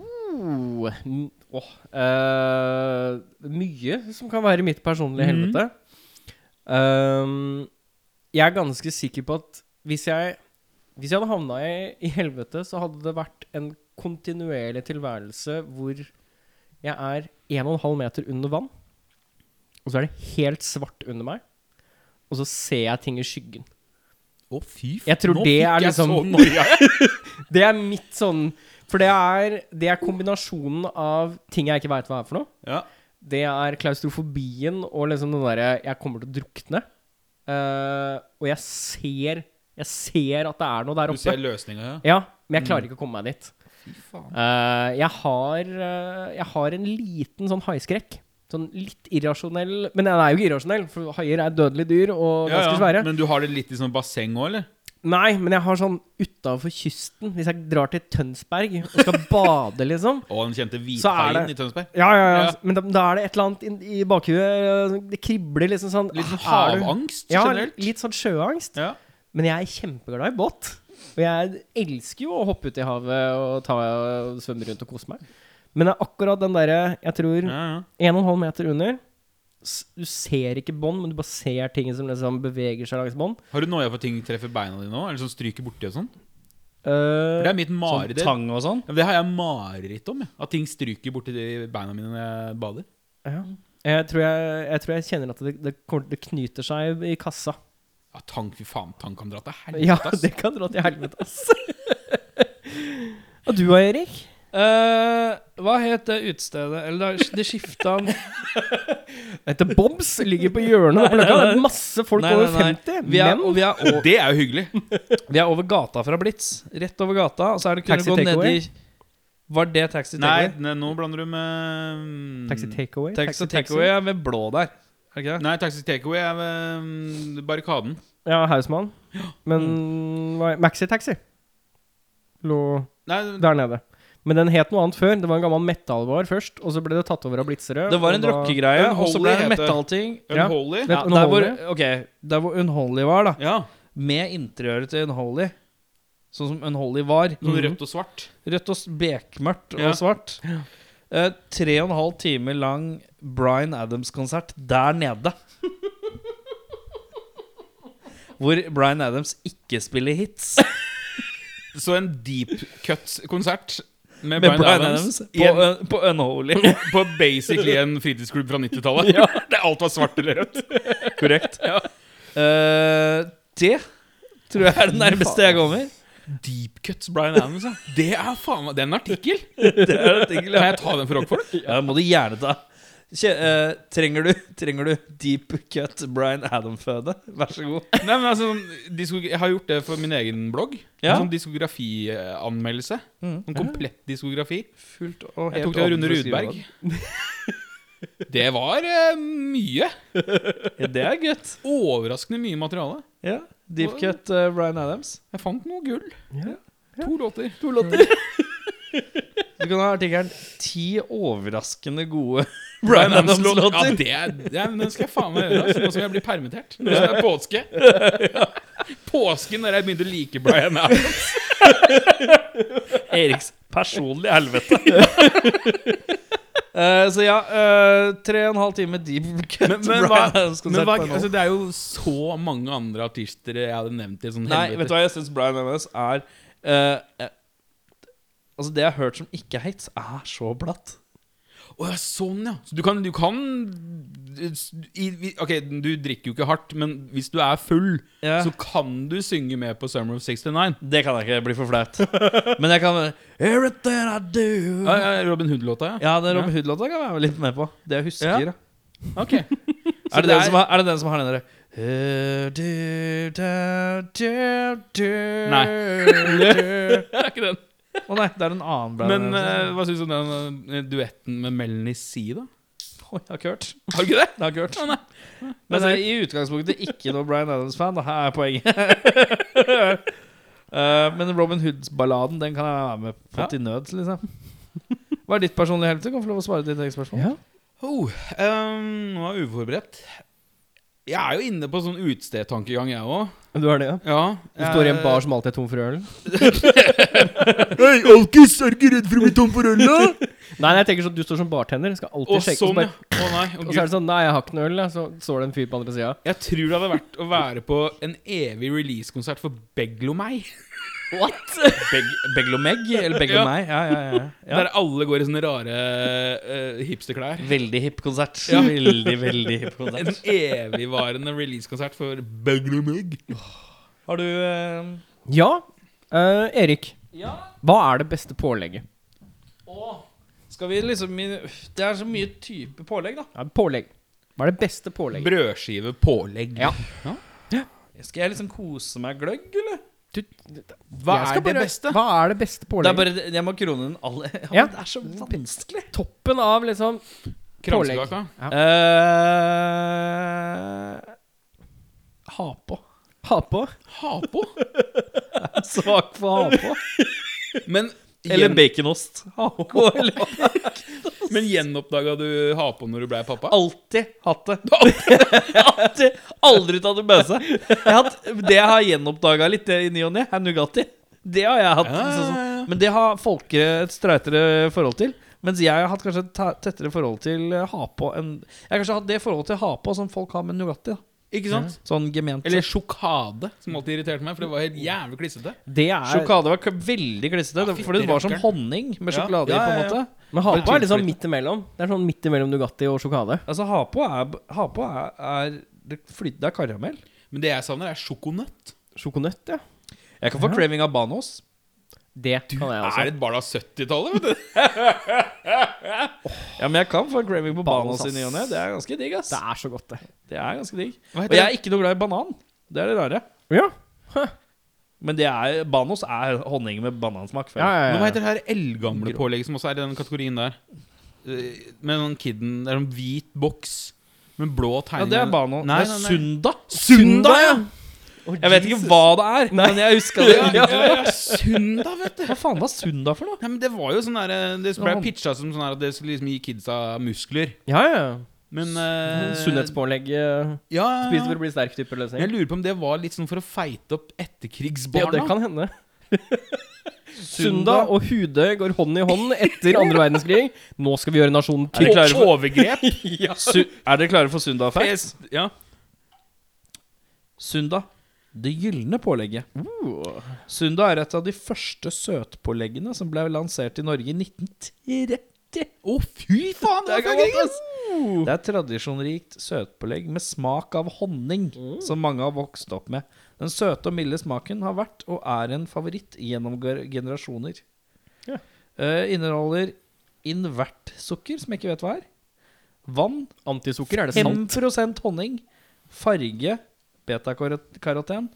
Oh, n- åh, eh, mye som kan være mitt personlige Mhm. helvete. Ehm, jeg er ganske sikker på at hvis jeg, hvis jeg hadde havna i, i helvete, så hadde det vært en kontinuerlig tilværelse hvor jeg er 1,5 meter under vann, og så er det helt svart under meg, og så ser jeg ting i skyggen. Å, fy Jeg tror nå det fikk er jeg liksom- så noia. Det er mitt sånn For det er, det er kombinasjonen av ting jeg ikke veit hva er for noe. Ja. Det er klaustrofobien og liksom den derre Jeg kommer til å drukne. Eh, og jeg ser Jeg ser at det er noe der Du oppe. ser Mm. løsninga, ja? Ja, men jeg klarer ikke å komme meg dit. Fy faen. Eh, jeg, har, eh, jeg har en liten sånn haiskrekk. Sånn litt irrasjonell Men den er jo ikke irrasjonell, for haier er dødelige dyr (laughs) og Ja, ganske ja. svære. Men du har det litt i sånn basseng òg, eller? Nei, men jeg har sånn utafor kysten. Hvis jeg drar til Tønsberg og skal (laughs) bade, liksom, Å, den kjente Så er hvithaien det- i Tønsberg? Ja, ja, ja. Ja. Men da, da er det et eller annet inn- i bakhuet. eh, Det kribler liksom sånn. Litt sånn ah, er du- havangst Ja, generelt? litt sånn sjøangst. Ja. Men jeg er kjempeglad i båt. Og jeg elsker jo å hoppe ut i havet og, ta, og svømme rundt og kose meg. Men det er akkurat den derre Jeg tror Ja, ja. 1,5 meter under. s- Du ser ikke bånd, men du bare ser ting som liksom beveger seg langs bånd. Har du noia for at ting treffer beina dine òg? Eller sånn stryker borti og sånn? For Eh, Det er mitt Sånn mareritt. tang og sånn. Ja, men det har jeg mareritt om. jeg. At ting stryker borti de beina mine når jeg bader. ja. Mm. jeg, tror jeg, jeg tror jeg kjenner at det, det, kommer- det knyter seg i kassa. Ja, tang, fy faen, tang kan dra til helvete, Ja, (laughs) ass. det kan dra til helvete, ass. Og du da, Erik? Eh, hva het det utestedet Eller det- det skifta Etter Bobs ligger på hjørnet. på Løkka. Det er masse folk Nei, nei, over nei. 50. Vi er, og men vi er, o- Det er jo hyggelig. vi er over gata fra Blitz. Rett over gata. Og så er det kunne Taxi gå ned takeaway? i Var det Taxi Nei, Takeaway? ne- nå blander du med mm, Taxi takeaway? Taxi Takeaway er ved blå der. Er det ikke det? Nei, Taxi Takeaway er ved mm, Barrikaden. Ja, Hausmann. Men Mm. hva er- Maxi-taxi lå Nei, der nede. Men den het noe annet før. Det var en gammel metallbar først, og så ble det tatt over av Blitzerød. Det var og en da- rockegreie, og så Unholy ble det en heter det. metallting. Ja. Unholy. Vet- Ja, der hvor, Unholy? ok, der hvor Unholy var, da. Ja. Med interiøret til Unholy. Sånn som Unholy var. Sånn Mhm. rødt og svart. Rødt og s- bekmørkt Ja. og svart. Eh, tre og en halv time lang Bryan Adams-konsert der nede. Hvor Bryan Adams ikke spiller hits. Så en deep cut-konsert med, Med Bryan Bryan Adams. Adams i på, en- Un- på Unholy. (laughs) På basically en fritidsklubb fra 90-tallet. (laughs) Det- Alt var svart eller rødt. (laughs) Korrekt. Eh, det tror jeg er det nærmeste jeg kommer. Deep cuts Bryan Adams, ja. Det er faen meg Det er en artikkel! Det er det ting, Kan jeg ta den for rockfolk? Ja, det må du gjerne ta. Kje, eh, trenger, du, trenger du deep cut Bryan Adam-føde? Vær så god. Nei, men altså, sånn, diskogra- jeg har gjort det for min egen blogg. Ja. Mm. En sånn diskografianmeldelse. En komplett diskografi. Fullt og Jeg tok det av Rune Rudberg. (laughs) Det var eh, mye. Ja, det er gutt. Overraskende mye materiale. Ja. Deep cut eh, Bryan Adams. Jeg fant noe gull. Ja. To låter. Mm. To låter. Du kan ha artikkelen 'Ti overraskende gode Bryan Ja, Adams-låter'. det, er, det er, men den skal jeg faen meg gjøre. Altså. Nå som jeg blir permittert. Nå som det er påske. (laughs) Påsken når jeg begynte å like Bryan Adams. (laughs) Eriks personlige helvete. (laughs) Eh, så ja, eh, tre og en halv time deep cut Men- men Bryan hva- Men Adams-konsert. hva, på en altså, det er jo så mange andre artister jeg hadde nevnt i sånn Nei, vet du hva, jeg syns Bryan Adams er eh, eh, Altså, det jeg har hørt som ikke er hits, er så blatt. Å ja, sånn, ja. Så du kan, du kan i, i- Ok, du drikker jo ikke hardt, men hvis du er full, Ja. så kan du synge med på Summer of 69. Det kan jeg ikke, det blir for flaut. (laughs) Men jeg kan Everything I do Mm. Ja, ja, Robin Hood-låta, ja. (laughs) Ja, den Robin Hood-låta kan jeg være litt med på. Det jeg husker. Ja. Ja. Ok. Er det det, den er- som har, er det den som har den derre (laughs) Nei. Det er ikke den. Å nei, det er en annen band. Men eh, hva syns du om den eh, duetten med Melanie C, da? Oi, jeg har ikke hørt. (laughs) Har du ikke det? Jeg har ikke hørt. Å, nei. Men eh, jeg er i utgangspunktet ikke noe Bryan Adams-fan. da. Her er poenget. (laughs) Eh, men Robin Hood-balladen Den kan jeg være med på Ja. til nøds. liksom Hva er ditt personlige helvete? Kan få lov å svare ditt eget spørsmål. Ja. Oh, ehm, nå er jeg uforberedt. Jeg er jo inne på sånn utestedtankegang, jeg òg. Du er det, ja? Ja, Du står i en bar som alltid er tom for øl? Hei, alkis, er du ikke redd for å bli tom for øl, da? Nei, nei, jeg tenker sånn, du står som bartender. Skal alltid Og sjekke og sånn, ja. så bare- Å nei. å Og så er Gud. det sånn Nei, jeg har ikke noe øl. da. Så står det en fyr på andre sida. Jeg tror det hadde vært å være på en evig release-konsert for Beglo meg. Beg, Beglomeg? Eller Ja. Beglomeg? Ja. Ja, ja, ja, Der alle går i sånne rare eh, hipsterklær. Veldig hipp konsert. Veldig, veldig hipp En konsert. evigvarende release-konsert for Beglo meg. Har du eh, Ja, eh, Erik. Hva er det beste pålegget? Skal vi liksom Det er så mye type pålegg, da. Ja, pålegg. Hva er det beste pålegget? Brødskive, pålegg. Ja. Skal jeg liksom kose meg gløgg, eller? Du, Hva jeg er skal det bare- beste? Hva er det beste Det er pålegget? bare, jeg må krone den alle (laughs) Ja. ja, men Det er så vanskelig. Toppen av liksom pålegg. Kransekaka. Eh, ha på. Ha på. Ha (laughs) på. Svak for ha på. (laughs) Men Eller baconost. Ha på. Men gjenoppdaga du ha på når du blei pappa? Alltid hatt det. (laughs) Alltid. Aldri tatt en bøse. Jeg har hatt, det jeg har gjenoppdaga litt det i ny og ne, er Nugatti. Det har jeg Ja, hatt. ja, sånn som- ja. Men det har folket et streitere forhold til. Mens jeg har hatt kanskje et te- tettere forhold til eh, ha på enn Jeg har kanskje hatt det forholdet til ha på som folk har med Nugatti. da. Ikke sant? Sånn gement. Eller sjokade, som alltid irriterte meg, for det var helt jævlig klissete. Det er Sjokade var k- veldig klissete, det- for det var som honning med Ja. sjokolade i. Ja, ja, på en ja. måte Men ha på er liksom midt imellom. Det er sånn midt imellom Nugatti og sjokade. Altså Ha på er, b- ha på er, er det, flyt, det er karamell. Men det jeg savner, er sjokonøtt. Sjokonøtt, ja. Jeg kan få craving av Banos. Det kan jeg Er også. det et barn av 70-tallet? vet du? Ja, men jeg kan få craving på Banos, Banos, i ny og ne. Det er ganske digg. ass Det er så godt, det. Det er ganske digg. Hva Og jeg er ikke noe glad i banan. Det er det rare. Ja. Men det er, Banos er honning med banansmak. føler Ja, jeg. ja, Men ja. Hva heter det her eldgamle pålegget som også er i den kategorien der? Eh, Med den kidden Det er en hvit boks med blå Ja, tegninger. det er Banos. Nei, det nei, er nei. (laughs) Sunda. Sunda, ja! Jeg vet ikke hva det er, men jeg huska det. Ja, ja, ja, Sunda, vet du. Hva faen var Sunda for noe? Nei, men det var jo sånn der, eh, Det ble Ja. pitcha som sånn her at det skulle liksom gi kidsa muskler. Ja, ja. Men eh, Sunnhetspålegg. eh, Ja, ja, ja. Spise for å bli sterk type Men løsning. Jeg lurer på om det var litt sånn for å feite opp Ja, etterkrigsbarna. det kan hende. Sunda og Hudøy går hånd i hånd etter andre verdenskrig. Nå skal vi gjøre nasjonen Er dere trygg. klare for- (laughs) overgrep. Su er dere klare for Sunda-effekt? Fest. Ja. Sunda. Det gylne pålegget. Uh, Sunda er et av de første søtpåleggene som ble lansert i Norge i 1930. Å, fy faen! Det er gammelt, ass! Det er tradisjonrikt søtpålegg med smak av honning, som mange har vokst opp med. Den søte og milde smaken har vært og er en favoritt gjennom ge- generasjoner. Ja. Eh, inneholder invertsukker, som jeg ikke vet hva er. Vann, Antisukker, er det sant? 5 honning, farge, betakaroten,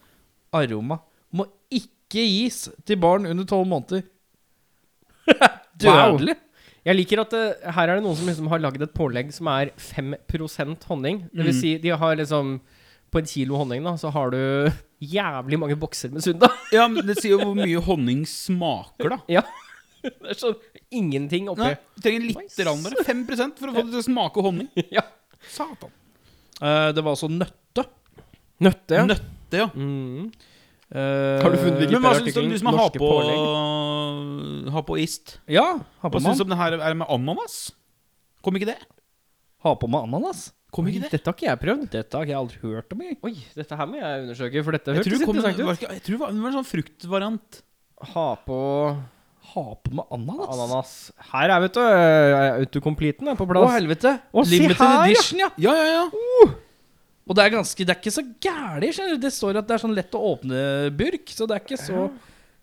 aroma. Må ikke gis til barn under 12 måneder. Wow. Dødelig! Jeg liker at eh, her er det noen som liksom har lagd et pålegg som er 5 honning. Det vil si, de har liksom På en kilo honning da, så har du (laughs) jævlig mange bokser med Sunda. (laughs) Ja, men Det sier jo hvor mye honning smaker, da. Ja. Det er sånn ingenting oppi. Nei, du trenger litt rann bare. 5 for å få det til å smake (laughs) honning. (laughs) Ja. Satan. Eh, det var også nøtte. Nøtte. ja. Nøtte, ja. Mm. Eh, Har du funnet Wikipedia? Men hva syns du om du som har Norske på, har på ist? Ja, ha på Hva meg syns du om det her er det med ananas? Kom ikke det? Ha på meg ananas? Kom Oi, ikke det? Dette har ikke jeg prøvd. Dette har ikke jeg aldri hørt om. Jeg. Oi, dette her må jeg undersøke, for dette Jeg tror hørtes det kom, var, interessant ut. ikke- jeg tror det var det var en sånn fruktvariant. Ha på Ha på meg ananas? ananas. Her er, vet du, eh, autocompleten er på Å, plass. helvete! Å, se Limited her, ja. edition, ja. Ja, ja, ja. Og det er ganske Det er ikke så gærent, skjønner du. Det står at det er sånn lett å åpne burk, så det er ikke så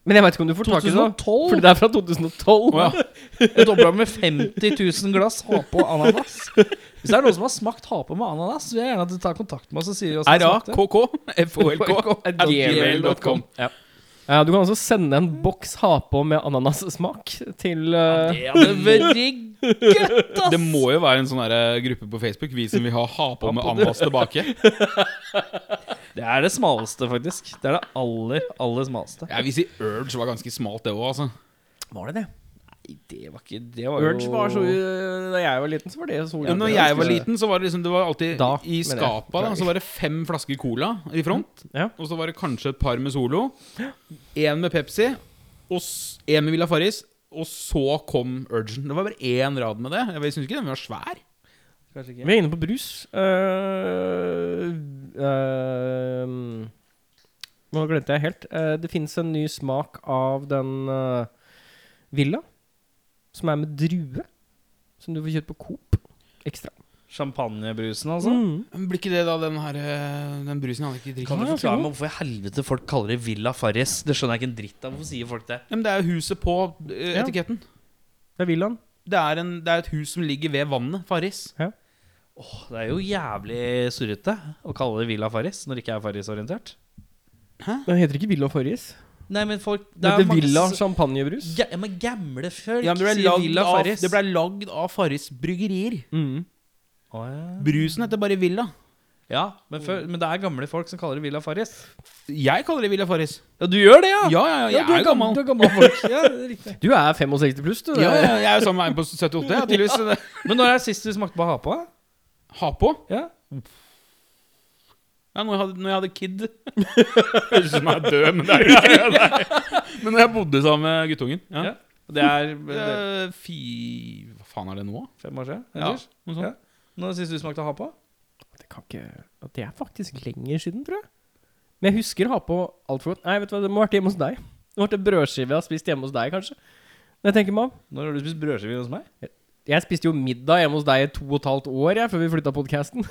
Men jeg veit ikke om du får tak i det. da, 2012. Fordi det er fra 2012. Å, ja. Jeg dobla med 50 000 glass ha på ananas. Hvis det er noen som har smakt ha på med ananas, vil jeg gjerne at du tar kontakt med oss og sier oss det smakte. (laughs) (laughs) rakk.folk.gmail.com. Ja. Eh, Du kan også sende en boks ha på med ananas-smak til eh, Det hadde vært gøtt, ass! Det må jo være en sånn der gruppe på Facebook, vi som vil ha ha på med ananas tilbake. Det er det smaleste, faktisk. Det er det aller, aller smaleste. Jeg vil si Urge var ganske smalt, det òg, altså. Var det det? Nei, det var ikke Det var jo Urge var så eh, Da jeg var liten, så var det så Ja, når jeg var liten, så var det liksom Det var alltid Da, mener i jeg. skapa da, Beklager. Så var det fem flasker cola i front. ja. Og så var det kanskje et par med Solo. Én med Pepsi, og s- én med Villa Farris. Og så kom Urgen. Det var bare én rad med det. Jeg syns ikke den var svær. Kanskje ikke. Vi er inne på brus. Eh, eh, nå glemte jeg helt. Eh, det fins en ny smak av den eh, Villa, som er med drue. Som du får kjøpt på Coop. Ekstra. Champagnebrusen, Mm. altså. Men Blir ikke det da den her eh, Den brusen han ikke drikker? Kan du Ja, så forklare god. meg hvorfor i helvete folk kaller det Villa Farris? Det skjønner jeg ikke en dritt av. Hvorfor sier folk det? Ja, men det er jo huset på eh, Ja. etiketten. Det er Villaen. Det er, en, det er et hus som ligger ved vannet. Farris. Åh, det er jo jævlig surrete å kalle det Villa Farris når det ikke er Farris-orientert. Den heter ikke Villa Farris. Nei, men folk Det heter mange Villa s- champagnebrus. Ga- Ja, men gamle folk Ja, men det, ble sier lagd Villa av, Farris. det ble lagd av Farris bryggerier. Mm. Å, ja. Brusen heter bare Villa. ja, men, før, men det er gamle folk som kaller det Villa Farris. Jeg kaller det Villa Farris. Ja, du gjør det, ja! Ja, ja, ja, jeg du er jo gammel. Du er gammel folk. Ja, det er riktig. Du er 65 pluss, du. Ja, ja, jeg er jo sammen med en på 78, jeg, tydeligvis. Så det- (laughs) Men når er det sist du smakte på hapa? Ha på. Ja. Ja, når jeg hadde, når jeg hadde kid. (laughs) Høres ut som jeg er død, men det er jo ikke det. (laughs) Men når jeg bodde sammen med guttungen. Ja. Ja. Det (laughs) er Det det er er Fy Hva faen er det nå? fem år siden? Ja, Eller? noe sånt. Ja. Når er det sist du smakte hapa? Det, kan ikke, det er faktisk lenger siden, tror jeg. Men jeg husker å ha på alt for godt. Nei, vet du hva, det må ha vært hjemme hos deg. Det må ha vært en brødskive jeg har spist hjemme hos deg, kanskje. Når jeg tenker meg om. Når har du spist brødskive hos meg? Jeg spiste jo middag hjemme hos deg i to og et halvt år jeg, før vi flytta (laughs) podkasten.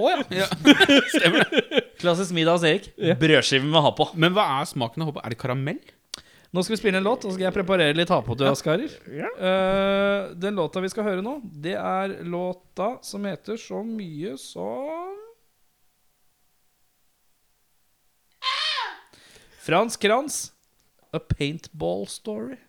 Å ja. (laughs) Klassisk middag hos Erik. Brødskive med hapa. Men hva er smaken av hoppe? Er det karamell? Nå skal vi spille en låt, og så skal jeg preparere litt hapa til Askarer. Eh, den låta vi skal høre nå, det er låta som heter så mye som Frans Kranz, 'A Paintball Story'.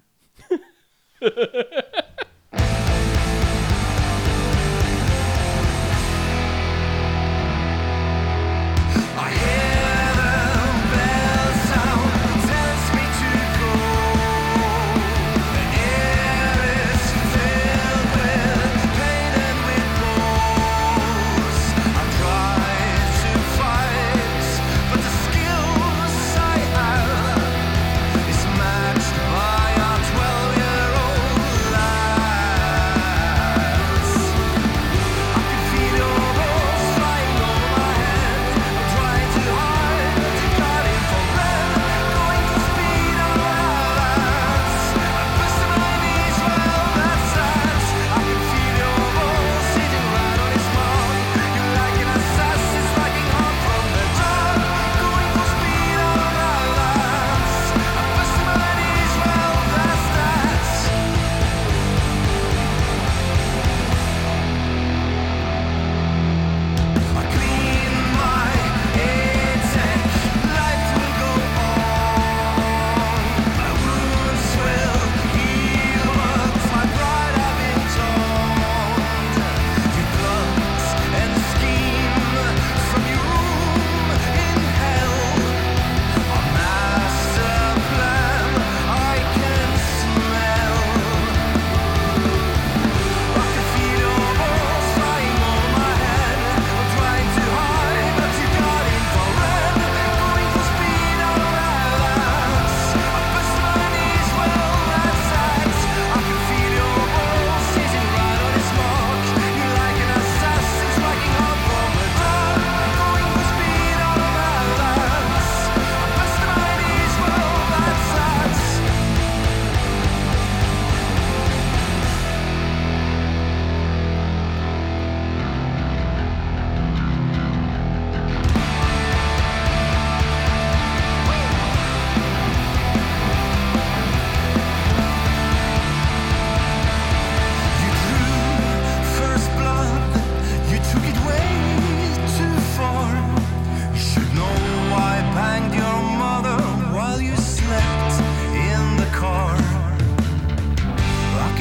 Matched by a 12 year old lad.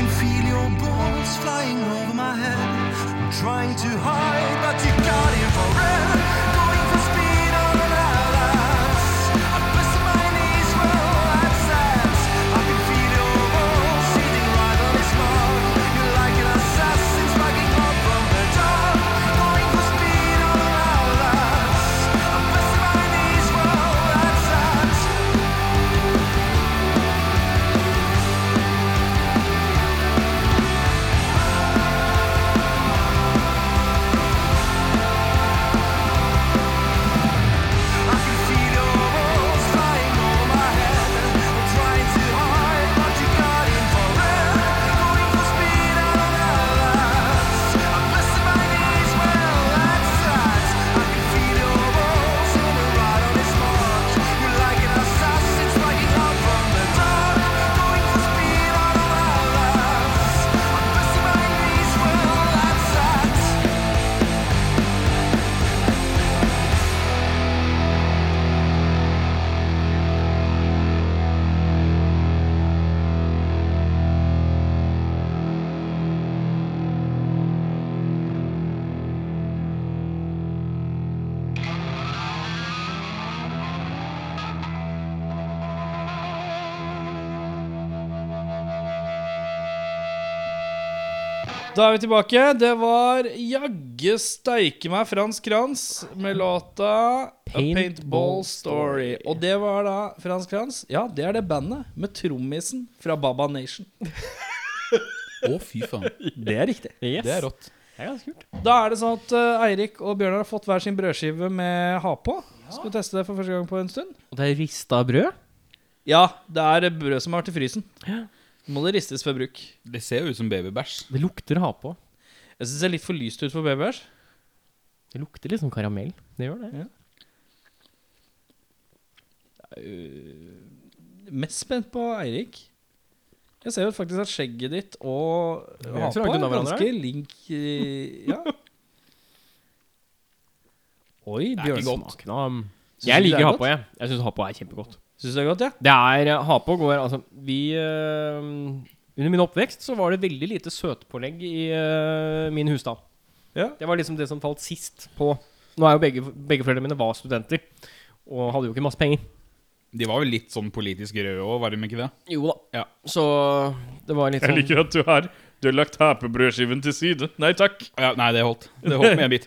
It's flying over my head. I'm trying to hide, but you got infrared. Going for speed on an atlas. I'm pressing my knees for access. I can feel your walls, sitting right on his mouth. You're like an assassin striking out from the dark. Going for speed on an atlas. I'm pressing my knees for access. I can feel your walls flying over my head. I'm trying to hide, but you got infrared. Going for speed out of balance. I'm pressing my knees well outside. I can feel your walls over right on this mark. You're like an assassin striking out from the dark. Going for speed out of balance. I'm pressing my knees well outside. Da er vi tilbake. Det var jagge steike meg Frans Kranz med låta A Paintball Paintball Story. Og det var da Frans Kranz. Ja, det er det bandet med trommisen fra Baba Nation. Å, fy faen. Det er riktig. Yes. Det er rått. Det er ganske kult. Da er det sånn at eh, Eirik og Bjørnar har fått hver sin brødskive med ha på. Skal vi teste det for første gang på en stund? Og det er rista brød. Ja, det er brød som har vært i frysen. Nå må det ristes før bruk. Det ser jo ut som babybæsj. Det lukter ha på. Jeg syns det ser litt for lyst ut for babyer. Det lukter liksom karamell. Det gjør det. Mest spent på Eirik. Jeg ser jo faktisk at skjegget ditt og er ikke så hapa langt er unna hverandre. ganske link eh, (laughs) Ja. Oi, Bjørnsmak. Smaken av um, Synes Jeg du det er liker godt? Hapo, jeg. Jeg syns Hapo er kjempegodt. Syns du det er godt, ja? Det er Hapo går Altså, vi eh, Under min oppvekst så var det veldig lite søtpålegg i eh, min husstand. Ja. Det var liksom det som falt sist på Nå er jo begge, begge foreldrene mine var studenter og hadde jo ikke masse penger. De var jo litt sånn politisk røde òg, var de ikke det? Jo da. Ja. Så det var litt Jeg sånn liker at du har, du har lagt hapebrødskiven til side. Nei takk. Ja, nei, det holdt. Det holdt med en bit.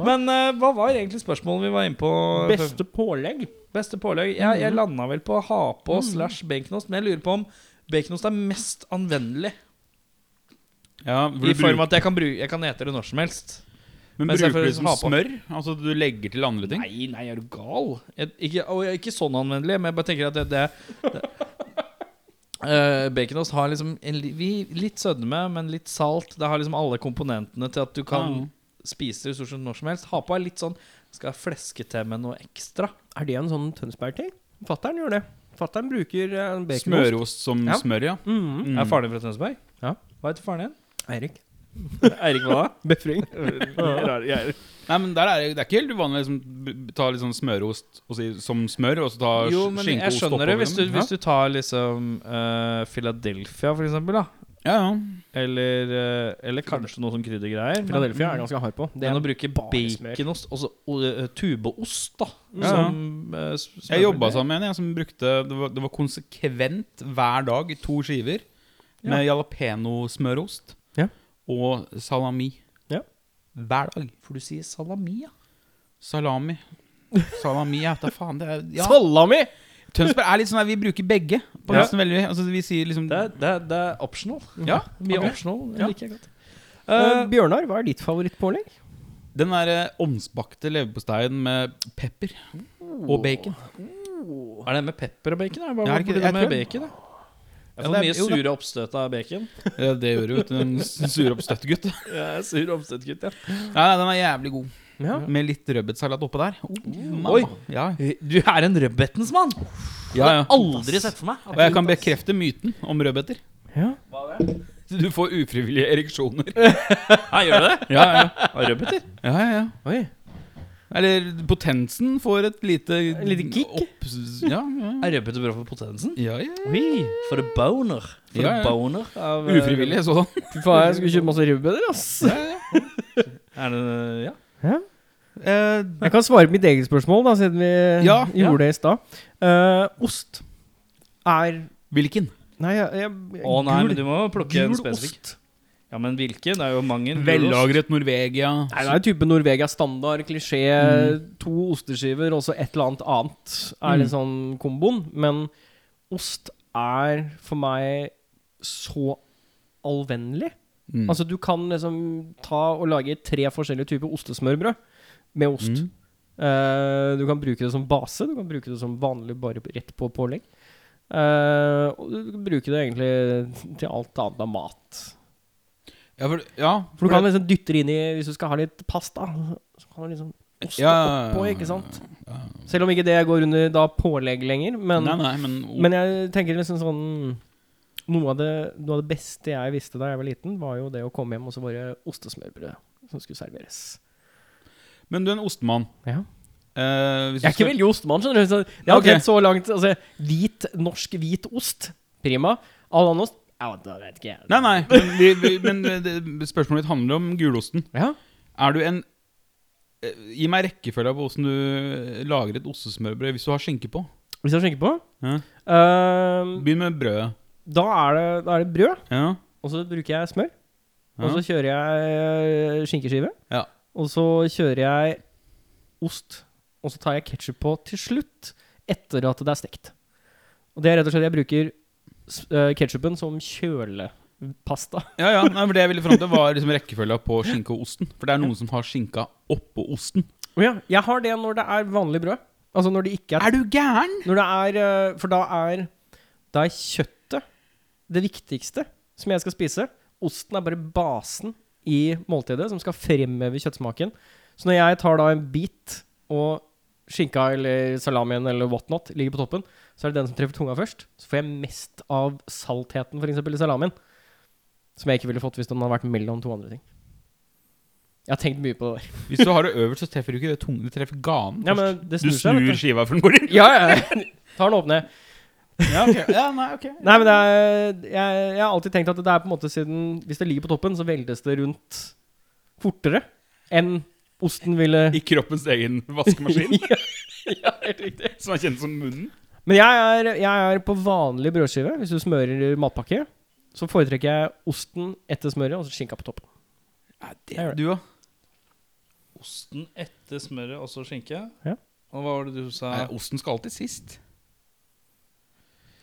Men eh, hva var egentlig spørsmålet vi var inne på? Beste pålegg? Beste pålegg? Mhm. Mm. Jeg, jeg landa vel på ha på slash baconost, men jeg lurer på om baconost er mest anvendelig. Ja, for I du form bruker, av at jeg kan, bruke, jeg kan ete det når som helst. men mens jeg bruker du det som har på. smør? Altså du legger til andre ting? Nei, nei, er du gal? Jeg, ikke, og jeg, ikke sånn anvendelig, men jeg bare tenker at det, det, det Eh, Baconost har liksom en, li- vi, litt sødme, men litt salt. Det har liksom alle komponentene til at du kan Ja. spise det stort sett når som helst. Ha på er litt sånn Skal jeg fleske til med noe ekstra? Er det en sånn Tønsberg-ting? Fattern gjør det. Fattern bruker eh, baconost. Smørost som Ja. smør, ja. Mhm. Mm. Er faren din fra Tønsberg? Ja. Hva heter faren din? Eirik. Eirik hva da? (laughs) Befring. Rar- jeg- Nei, men der er det, det er ikke helt uvanlig å liksom, b- ta litt sånn smørost og si, som smør, og så ta Jo, men jeg skinkeost skjønner det. Hvis du, liksom. hvis du tar liksom eh, Philadelphia, for eksempel, da. ja, ja. Eller, eh, eller kanskje noe sånn kryddergreier. men- Philadelphia er ganske hard på. Det er å bruke bare smør. baconost, og så o- ø, tubeost, da. Ja, ja. Som eh, s- smørbrød. Jeg jobba sammen med en jeg som brukte det var, det var konsekvent hver dag to skiver med jalapeño-smørost Ja. og salami. Ja. Hver dag. For du sier salami, ja. Salami. (laughs) Salami, ja, da faen. Det er, ja. Salami! Tønsberg er litt sånn at vi bruker begge. På Ja. nesten veldig mye. Altså, vi sier liksom Det er, det er, det er optional. Ja, Mye ok. optional det Ja. liker jeg godt. Eh, Eh, Bjørnar, hva er ditt favorittpålegg? Den der eh, ovnsbakte leverposteien med pepper Mm. og bacon. er det med pepper og bacon? eller? Hva Ja, er var det det ikke- jeg med tror- bacon? da? Jeg det får er- mye jo, det- sure oppstøt av bacon. Ja, det gjør du, vet du. En s- suroppstøtt gutt. Nei, Jeg er sur oppstøtgutt, ja. nei, den er jævlig god. Ja. Med litt rødbetsalat oppå der. Oh, mamma. Oi. Ja, Du er en rødbetens mann! ja, ja. Aldri sett for meg. Og jeg kan bekrefte myten om rødbeter. Ja. Du får ufrivillige ereksjoner. Nei, gjør du det? Ja, ja, Av rødbeter? ja, ja, ja. Oi. Eller potensen får et lite lite kick? opps- ja, ja. Jeg røpet det bra for potensen. ja, ja. Oi. For a boner. For Ja, a ja. boner av, eh, Ufrivillig sådan. Fy faen, jeg skulle kjøpt masse rødbeter, ass. Er det, ja. Eh, Jeg kan svare på mitt eget spørsmål, da, siden vi Ja, gjorde det i stad. Eh, ost er hvilken? Nei, jeg, jeg, Å nei, gul- men du må plukke en gul spesifikk. ost. Ja, men hvilken? Det er jo mange. en gul ost. Vellagret Norvegia. Nei, det er type Norvegia standard, klisjé, to osteskiver og så et eller annet annet er Mm. litt sånn komboen. Men ost er for meg så allvennlig. Mm. Altså, du kan liksom ta og lage tre forskjellige typer ostesmørbrød med ost. Mm. Eh, du kan bruke det som base, du kan bruke det som vanlig bare rett på pålegg. Eh, og du kan bruke det egentlig til alt annet av mat. Ja, for, ja, For du kan liksom dytte det inn i Hvis du skal ha litt pasta, så kan du liksom oste Ja, ja, ja, oppå, ja, ikke sant? ja, ja. Selv om ikke det går under da pålegg lenger. Men, Nei, nei, men, men jeg tenker liksom sånn noe av, det, noe av det beste jeg visste da jeg var liten, var jo det å komme hjem og så bare ostesmørbrød som skulle serveres. men du er en ostemann. Ja. Eh, hvis Jeg er du ikke skal- veldig ostemann, skjønner du. Så jeg har Ok. sett så langt altså, Hvit, norsk hvit ost. Prima. All annen ost Ja, da vet ikke jeg. Nei, nei, men, vi, vi, men eh, det, spørsmålet ditt handler om gulosten. Ja. Er du en eh, Gi meg rekkefølga på åssen du lager et ostesmørbrød hvis du har skinke på. Hvis jeg tenker på Ja. Ehm, Begynn med brødet. da, er det, da er det brød. Ja. Og så bruker jeg smør. Ja. Og så kjører jeg eh, skinkeskive. Ja. Og så kjører jeg ost. Og så tar jeg ketsjup på til slutt, etter at det er stekt. Og det er rett og slett Jeg bruker ketsjupen som kjølepasta. Ja, ja, nei, for Det jeg ville fram til, var liksom rekkefølga på skinke og osten. For det er noen som har skinka oppå osten. Å ja. Jeg har det når det er vanlig brød. Altså når det ikke er, Er du gæren?! Når det er eh, For da er, da er kjøttet det viktigste som jeg skal spise. Osten er bare basen i måltidet som skal fremheve kjøttsmaken. Så når jeg tar da en bit, og skinka eller salamien eller whatnot ligger på toppen, så er det den som treffer tunga først. Så får jeg mest av saltheten, f.eks. i salamien. Som jeg ikke ville fått hvis den hadde vært mellom to andre ting. Jeg har tenkt mye på det der. Hvis du har det øverst, så treffer du ikke det tunge, det treffer ganen. Ja, først. men det du snur seg. snur vet skiva før den går inn. du. Ja, ja, ja. Tar den opp ned. Ja, ok. ja, nei, ok Nei, men det er, jeg, jeg har alltid tenkt at det er på en måte siden Hvis det ligger på toppen, så veldes det rundt fortere enn osten ville I kroppens egen (laughs) vaskemaskin, Ja, helt riktig. som er kjent som munnen. Men jeg er, jeg er på vanlig brødskive. Hvis du smører matpakke, så foretrekker jeg osten etter smøret og så skinka på toppen. det du, da? Osten etter smøret, og så skinke. Ja. Og hva var det du sa? Nei, osten skal alltid sist.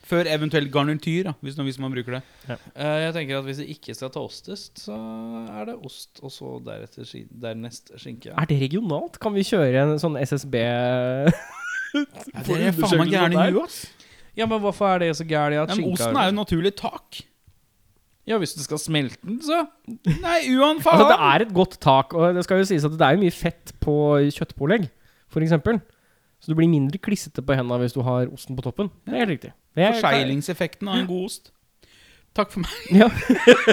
Før eventuelt garnityr, da, hvis, hvis man bruker det. Eh, jeg tenker at Hvis jeg ikke skal ta ostest, så er det ost, og så deretter skin dernest skinke. Er det regionalt? Kan vi kjøre en sånn SSB Ja, dere er faen meg gærne i huet, ass. Ja, men Hvorfor er det så gærent at Ja, men skinka osten er jo naturlig tak. Ja, Hvis du skal smelte den, så. Nei, uan (laughs) faen! Altså, det er et godt tak, og det skal jo sies at det er jo mye fett på kjøttpålegg, f.eks. Så du blir mindre klissete på hendene hvis du har osten på toppen. Det er helt riktig. Det er- Forseglingseffekten av en god ost. Takk for meg. Ja.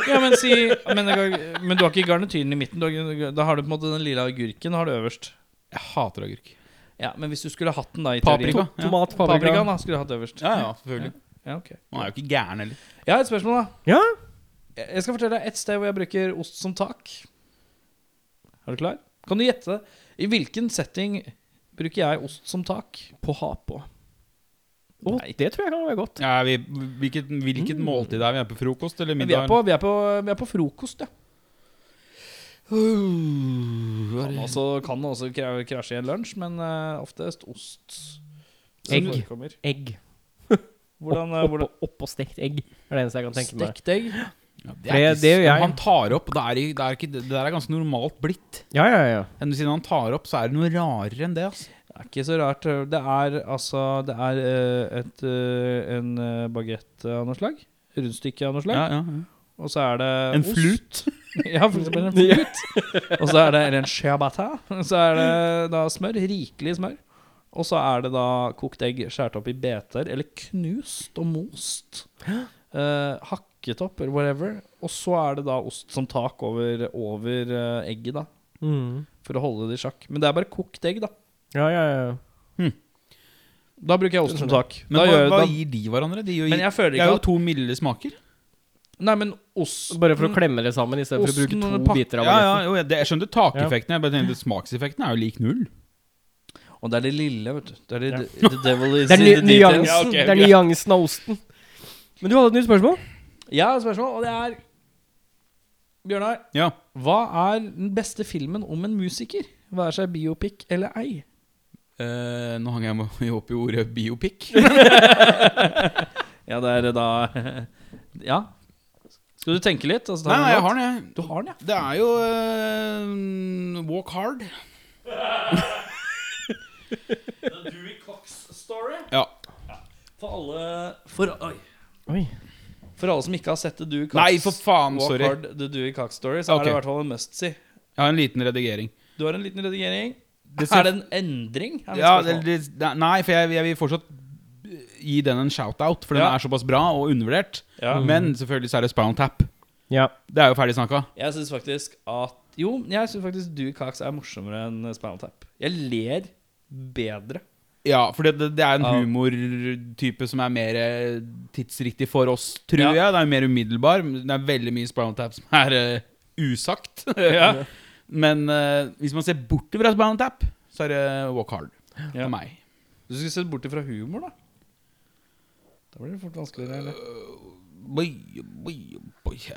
Ja, Men si Men, det kan- men du har ikke garnityren i midten. Du har, da har du på en måte den lilla agurken har du øverst. Jeg hater agurk. Ja, Men hvis du skulle hatt den, da i Paprika. teorien Ja. Tomat, Paprikaen paprika. da, skulle du hatt øverst. Ja, ja, selvfølgelig. Ja, ok Man er jo ikke gæren heller. Jeg har et spørsmål, da. Ja? Jeg jeg skal fortelle deg et sted hvor jeg bruker ost som tak. Er du klar? Kan du gjette det? I hvilken setting bruker jeg ost som tak? På ha på. Å, Nei. det tror jeg kan være godt. Ja, vi, hvilket hvilket måltid er vi? Er på frokost eller Men Vi middag? er på, vi er på, vi er på frokost, ja. på Kan også, kan også kra- krasje i en lunsj, men eh, oftest ost. som Egg. forekommer. Egg. Hvordan, eh, Opp- hvordan opp- Oppå stekt egg er det eneste jeg kan tenke meg. Stekt egg. Det- det gjør jeg. Han tar opp, det er, i- det, er ikke, det der er ganske normalt blitt. Ja, ja, ja. Men Siden han tar opp, så er det noe rarere enn det. Altså. Det er ikke så rart. Det er altså Det er eh, et, eh, en bagett av noe slag. Rundstykke av noe slag. Og så er det En ost. flut. (laughs) Ja, for eksempel en flut. Og så er det eller en ciabatta. Så er det da smør. Rikelig smør. Og så er det da kokt egg skåret opp i beter, eller knust og most. Eh, hakket opp, eller whatever. Og så er det da ost som tak over, over eh, egget, da. Mm. for å holde det i sjakk. Men det er bare kokt egg, da. Ja, ja, ja. Da bruker jeg ost som tak. Men da hva, gjør jeg- hva da- gir de hverandre? De gir, Men jeg føler det er ikke jo to milde smaker. Nei, men ost Mm. Bare for å klemme det sammen istedenfor å bruke Osten to og pak- biter av Ja, ja, bagetten. jo, jeg, det, jeg skjønte takeffekten. Jeg bare tenkte Smakseffekten er jo lik null. Og det er det lille, vet du. Det er det, Ja. the- the (laughs) devil is Det er in the ny- nyansen, details. Ja, ok, det er greit. nyansen av osten. Men du hadde et nytt spørsmål? Jeg har et spørsmål, og det er Bjørnar, Ja. hva er den beste filmen om en musiker? Være seg biopic eller ei? Eh, nå hang jeg meg (laughs) opp i ordet (laughs) biopic. Ja, det er da (laughs) Ja. Skal du tenke litt? og så Nei, tar vi nei, jeg en har den, jeg. låt? Du har den, ja. Det er jo eh, Walk Hard. Ja. For alle For, oi. Oi. for alle som ikke har sett The Dewey Cox Nei, for faen, Walk sorry. Hard, The Dewey Cox Story, så Ok. er det i hvert fall en must-see. Jeg har en liten redigering. Du har en liten redigering. Det ser- Er det en endring? Er mitt Ja, spørsmål. det, det, nei, for jeg, jeg vil fortsatt gi den en shout-out, for den Ja. er såpass bra og undervurdert. Ja. Men selvfølgelig så er det Spound Tap. Ja. Det er jo ferdig snakka. Jeg syns faktisk at Jo, jeg syns faktisk Dewey Cox er morsommere enn Spinal Tap. Jeg ler bedre. Ja, for det, det, det er en Ja. humortype som er mer eh, tidsriktig for oss, tror Ja. jeg. Det er mer umiddelbar. men Det er veldig mye Spound Tap som er eh, usagt. (laughs) Men eh, hvis man ser bort fra Spound Tap, så er det Walk Hard Ja. for meg. Du skulle sett bort ifra humor, da. Da blir det fort vanskeligere. Eller? Boy, boy, boy. Ja.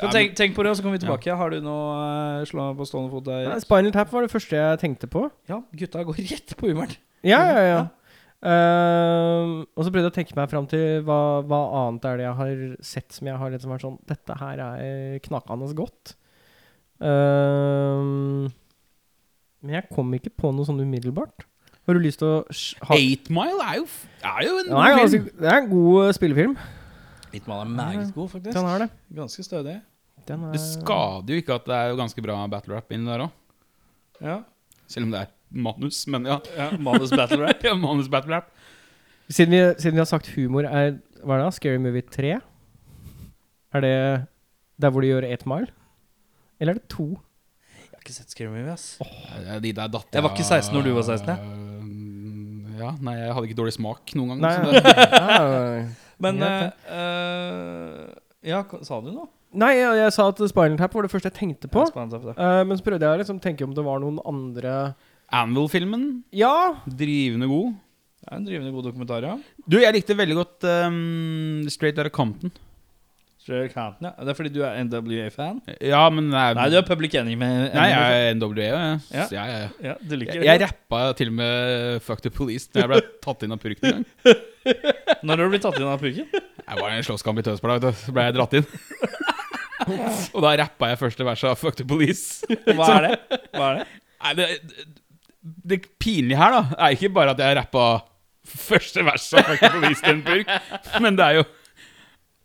Så tenk, tenk på det, og så kommer vi tilbake. Har du noe eh, slå meg på stående fot der? Nei, Spinal Tap var det første jeg tenkte på. Ja, gutta går rett på humoren. Ja, ja, ja. Ehm, og så prøvde jeg å tenke meg fram til hva, hva annet er det jeg har sett som jeg har liksom vært sånn Dette her er knakende godt. Ehm, men jeg kom ikke på noe sånn umiddelbart. Har du lyst til å sj- ha (laughs) Eight Mile er jo, f- er jo en Den er god ganske- film. det er en god eh, spillefilm. Hitman er meget god, faktisk. Den er det. Ganske stødig. Den er, Det skader jo ikke at det er jo ganske bra battle rap inni der òg. Ja. Selv om det er manus, men ja. (laughs) ja. Manus battle rap. ja manus battle rap. siden, vi, siden vi har sagt humor, er Hva er det? da? Scary Movie 3? Er det der hvor de gjør Eight Mile? Eller er det to? (laughs) Jeg har ikke sett Scary Movie, ass. Ja, Eh, De der datt Jeg var ikke 16 når du var 16, jeg. jeg. Ja, nei, jeg hadde ikke dårlig smak noen gang. Nei. Ah, så det- (laughs) ja. Men Ja, eh, eh, Ja, k- sa du noe? Nei, jeg, jeg sa at Spinal Tap var det første jeg tenkte på. Ja, Spinal Tap, da. Eh, men så prøvde jeg å liksom tenke om det var noen andre Anvil-filmen, Ja! drivende god. Det er en drivende god dokumentar, ja. Du, jeg likte veldig godt ehm, Straight Outta Compton. Straight Compton, ja. Det er fordi du er NWA-fan? Ja, men det er, Nei, du er public enemy. enemy. Mm. Nei, jeg er NWA. Jeg, Ja. ja, ja, ja. ja, du liker jeg, det. jeg rappa til og med Fuck the Police da jeg ble tatt inn av purken en gang. Når du blir tatt inn av purken? Jeg var i en slåsskamp i Tønsberg, vet du, så ble jeg dratt inn. (laughs) Og da rappa jeg første verset av Fuck the Police. Hva er (laughs) det? Hva er det? Nei, det, det pinlige her, da, er ikke bare at jeg rappa første verset av Fuck the Police til en purk, men det er jo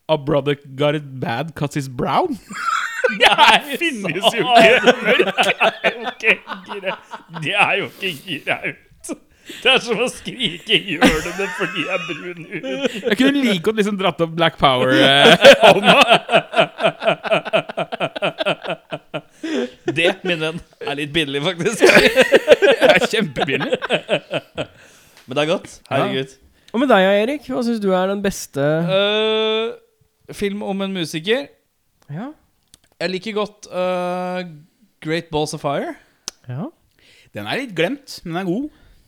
A brother got it bad cause he's brown. Det finnes jo ikke mørke. Det er jo ikke graut. Det er som å skrike i hjørnene fordi jeg er brun hud. Jeg kunne like godt liksom dratt opp Black eh. Power-hånda. Det, min venn, er litt billig, (laughs) faktisk. det er kjempepinlig. Men det er godt. Herregud. Og med deg, Erik, hva syns du er den beste Eh, film om en musiker. Ja. Jeg liker godt eh, Great Balls of Fire. ja. Den er litt glemt, men den er god.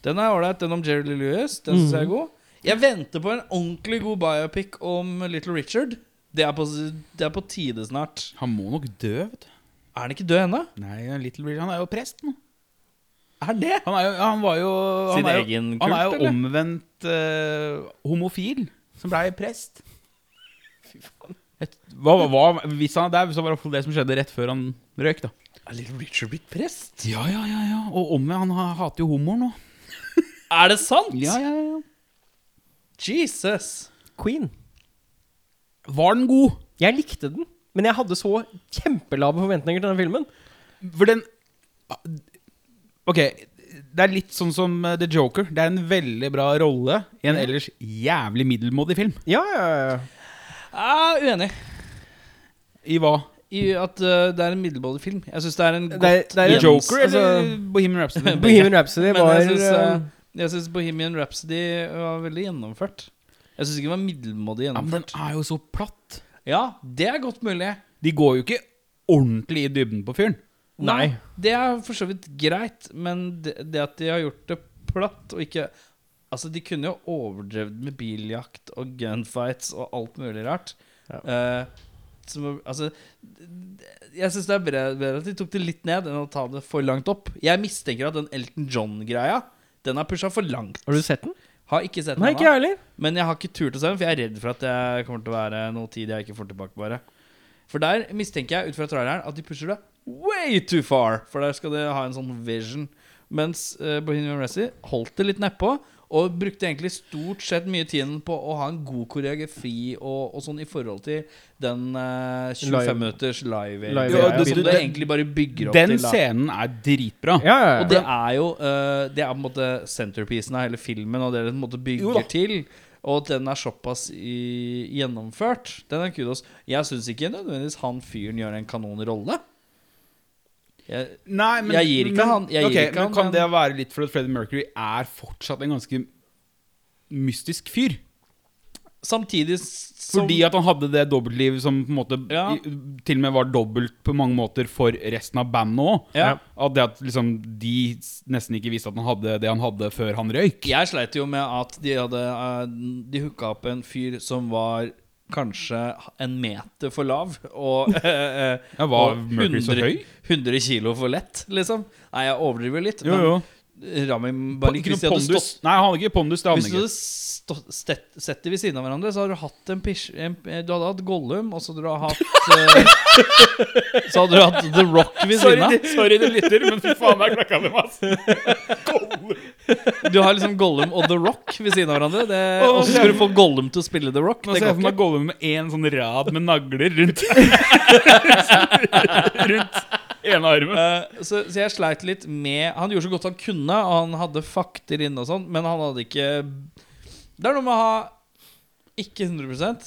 Den er ålreit. Den om Jerry Lee Lewis. Den syns jeg er god. Jeg venter på en ordentlig god biopic om Little Richard. Det er på, det er på tide snart. Han må nok dø, vet du. Er han ikke død ennå? Nei, Little Richard, han er jo prest nå. Er han det? Han, er jo, han var jo Sin han er jo, egen Han er kult, jo eller? omvendt eh, homofil, som blei prest. Et, hva, hva, hvis han er dau, så var det i hvert fall det som skjedde rett før han røyk. da Er Little Richard blitt prest? Ja, ja, ja, ja. Og Omme han ha- hater jo homoer nå. Er det sant? ja, ja. Jesus. Queen. Var den god? Jeg likte den, men jeg hadde så kjempelave forventninger til den filmen. For den Ok, det er litt sånn som eh, The Joker. Det er en veldig bra rolle i en ellers jævlig middelmådig film. Ja, ja, ja. Jeg er uenig. I hva? Ah, i at eh, det er en middelmådig film. Jeg syns det er en godt Det er- det er en- gjennom- Joker eller altså- Bohemian (laughs) Rhapsody? Bohemian Rhapsody Men var jeg synes, eh, eh, Jeg syns Bohemian Rhapsody var veldig gjennomført. Jeg syns ikke den var middelmådig Ja, men den gjennomført. er jo så platt. Ja, det er godt mulig. De går jo ikke ordentlig i dybden på fyren. Nei. Det er for så vidt greit, men det, det at de har gjort det platt og ikke Altså, de kunne jo overdrevet med biljakt og gunfights og alt mulig rart. Eh, som, altså d- d- Jeg syns det er bedre, bedre at de tok det litt ned enn å ta det for langt opp. Jeg mistenker at den Elton John-greia, den er pusha for langt. Har du sett den? Har ikke sett den Nei, ennå. ikke jeg heller. Men jeg har ikke turt å se den, for jeg er redd for at jeg kommer til å være noe tid jeg ikke får tilbake. bare For der mistenker jeg ut fra traileren at de pusher det way too far. For der skal de ha en sånn vision. Mens eh, Bohemian Rhapsody holdt det litt nedpå. Og brukte egentlig stort sett mye tiden på å ha en god koreografi og, og sånn i forhold til den eh, 25 Live. minutters live, Live- greia Ja, du- som du- det den- egentlig bare bygger opp Den til. da. scenen er dritbra. Ja, ja, ja. Og det er jo eh, Det er på en måte centerpiecen av hele filmen, og det den på en måte Jo da. bygger til. Og at den er såpass i, gjennomført, den er kudos. Jeg syns ikke nødvendigvis han fyren gjør en kanon rolle. Jeg- Nei, men Jeg gir ikke men, han- jeg gir ok, ikke men han, Kan men- det være litt fordi Freddie Mercury er fortsatt en ganske mystisk fyr? Samtidig s- som Fordi at han hadde det dobbeltlivet som på en måte Ja. i, til og med var dobbelt på mange måter for resten av bandet òg. Ja. At det at liksom de s- nesten ikke visste at han hadde det han hadde før han røyk. Jeg sleit jo med at de hadde eh, De hooka opp en fyr som var kanskje en meter for lav. Og (laughs) eh, eh, Ja, var og Mercury så 100 høy? 100 kilo for lett, liksom. Nei, jeg overdriver litt. Jo, jo. Men Ramin Pa- Barik, Ikke hvis noe de hadde pondus. stått Nei, han hadde ikke pondus. Det hadde Hvis han ikke. du hadde stå- stett- sett dem ved siden av hverandre, så hadde du hatt en pisj... En, du hadde hatt Gollum, og så hadde du hatt eh, Så hadde du hatt The Rock ved siden av. sorry, du lytter, men fy faen, det er klokka mi, ass. Du har liksom Gollum og The Rock ved siden av hverandre. Det, Åh, og så skal du få Gollum til å spille The Rock. (laughs) Nå Det ser jeg går for meg ikke. Gollum med én sånn rad med nagler (laughs) rundt Rundt ene armen. Eh, så, så jeg sleit litt med Han gjorde så godt han kunne, og han hadde fakter inne og sånn, men han hadde ikke Det er noe med å ha ikke 100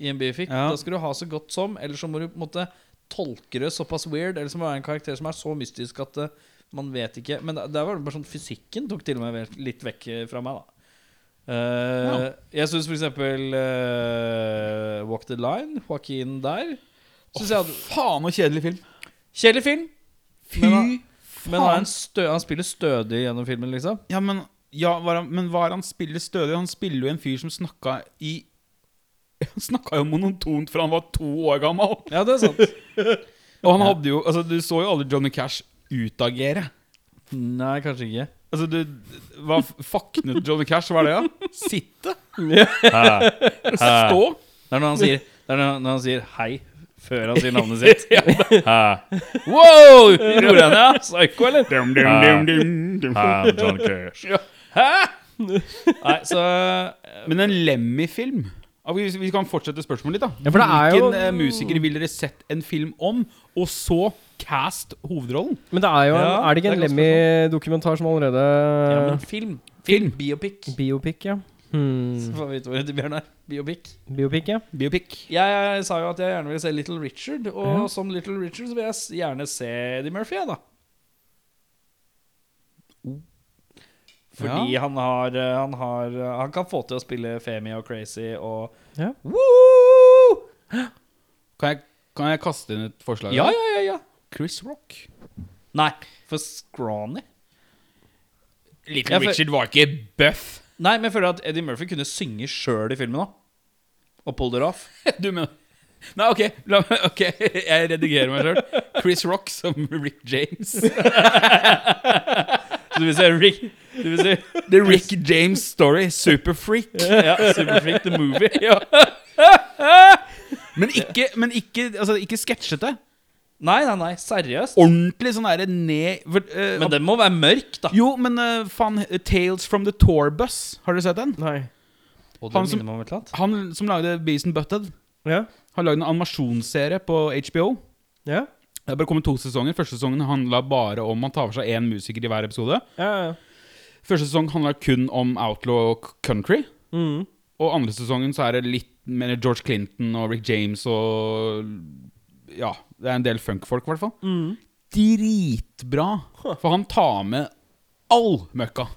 i en biofikk. Ja. Da skal du ha så godt som, eller så må du på en måte tolke det såpass weird, eller så må det være en karakter som er så mystisk at eh, man vet ikke Men der, der var det bare sånn fysikken tok til og med vel- litt vekk eh, fra meg, da. Eh, Jeg syns for eksempel eh, Walk the Line, Joaquin der synes jeg hadde, Faen, så kjedelig film. Kjedelig film. Fy Men han- faen. Men han, er en stø han spiller stødig gjennom filmen, liksom. Ja, men, ja, var han, men var han spiller stødig? Han spiller jo en fyr som snakka i (laughs) Han snakka jo monotont fra han var to år gammel. Ja, det er sant. Og han hadde jo Altså, du så jo aldri Johnny Cash utagere. Nei, kanskje ikke. Altså, du Hva faknet Johnny Cash? Hva er det, da? Sitte? Stå? Det er når han sier, det er når når han sier hei før han sier navnet sitt. (laughs) Ah. Wow! Gjorde han det? ja? Ah. Psycho, eller? Dum, dum, dum, dum, dum. I'm John Cash. Nei, så Men en Lemmy-film Ja, vi, vi kan fortsette spørsmålet litt, da. Ja, for det er jo- Hvilken eh, musiker ville dere sett en film om, og så cast hovedrollen? Men det er jo en, Ja, Er det ikke det en er godt Lemmy-dokumentar som allerede ja, men film. Film. Biopic. Biopic, ja. Så Hmm. får vi vite ordet til Bjørn er. Biopic. Biopic, ja. Biopic. Jeg sa jo at jeg gjerne vil se Little Richard, og som Little Richard så vil jeg s- gjerne se Eddie Murphy, jeg, da. Oh. Fordi han har eh, Han har eh, Han kan få til å spille Femi og Crazy og Ja. Woo! Kan jeg, kan jeg kaste inn et forslag? Ja, da? ja, ja, ja. Chris Rock. Nei, for scrawny. Little Ja, for- Richard var ikke bøff. Nei, men jeg føler at Eddie Murphy kunne synge sjøl i filmen òg. Og pull it off. (laughs) Du mener Nei, ok, la, meg- ok, jeg redigerer meg sjøl. Chris Rock som Rick James. Så du vil se Rick Du vil se The Rick James Story. Superfreak. ja, Superfreak the Movie. Ja. Men ikke, men ikke, altså, ikke sketsjete. Nei, nei, nei, seriøst. Ordentlig sånn derre ned for, eh, Men den må være mørk, da. Jo, men eh, faen, Tales from the Tour Bus, har dere sett den? Nei. Og han det som- minner meg om et eller annet. Han som lagde Beavis and Butthead, Ja. har lagd en animasjonsserie på HBO. Ja. Det er bare kommet to sesonger. Første sesongen handla bare om Han tar for seg én musiker i hver episode. ja. ja. Første sesong handla kun om outlaw og country. Mm. Og andre sesongen så er det litt mer George Clinton og Rick James og Ja, Det er en del funkfolk, i hvert fall. Mm. Dritbra! For han tar med all (laughs) møkka.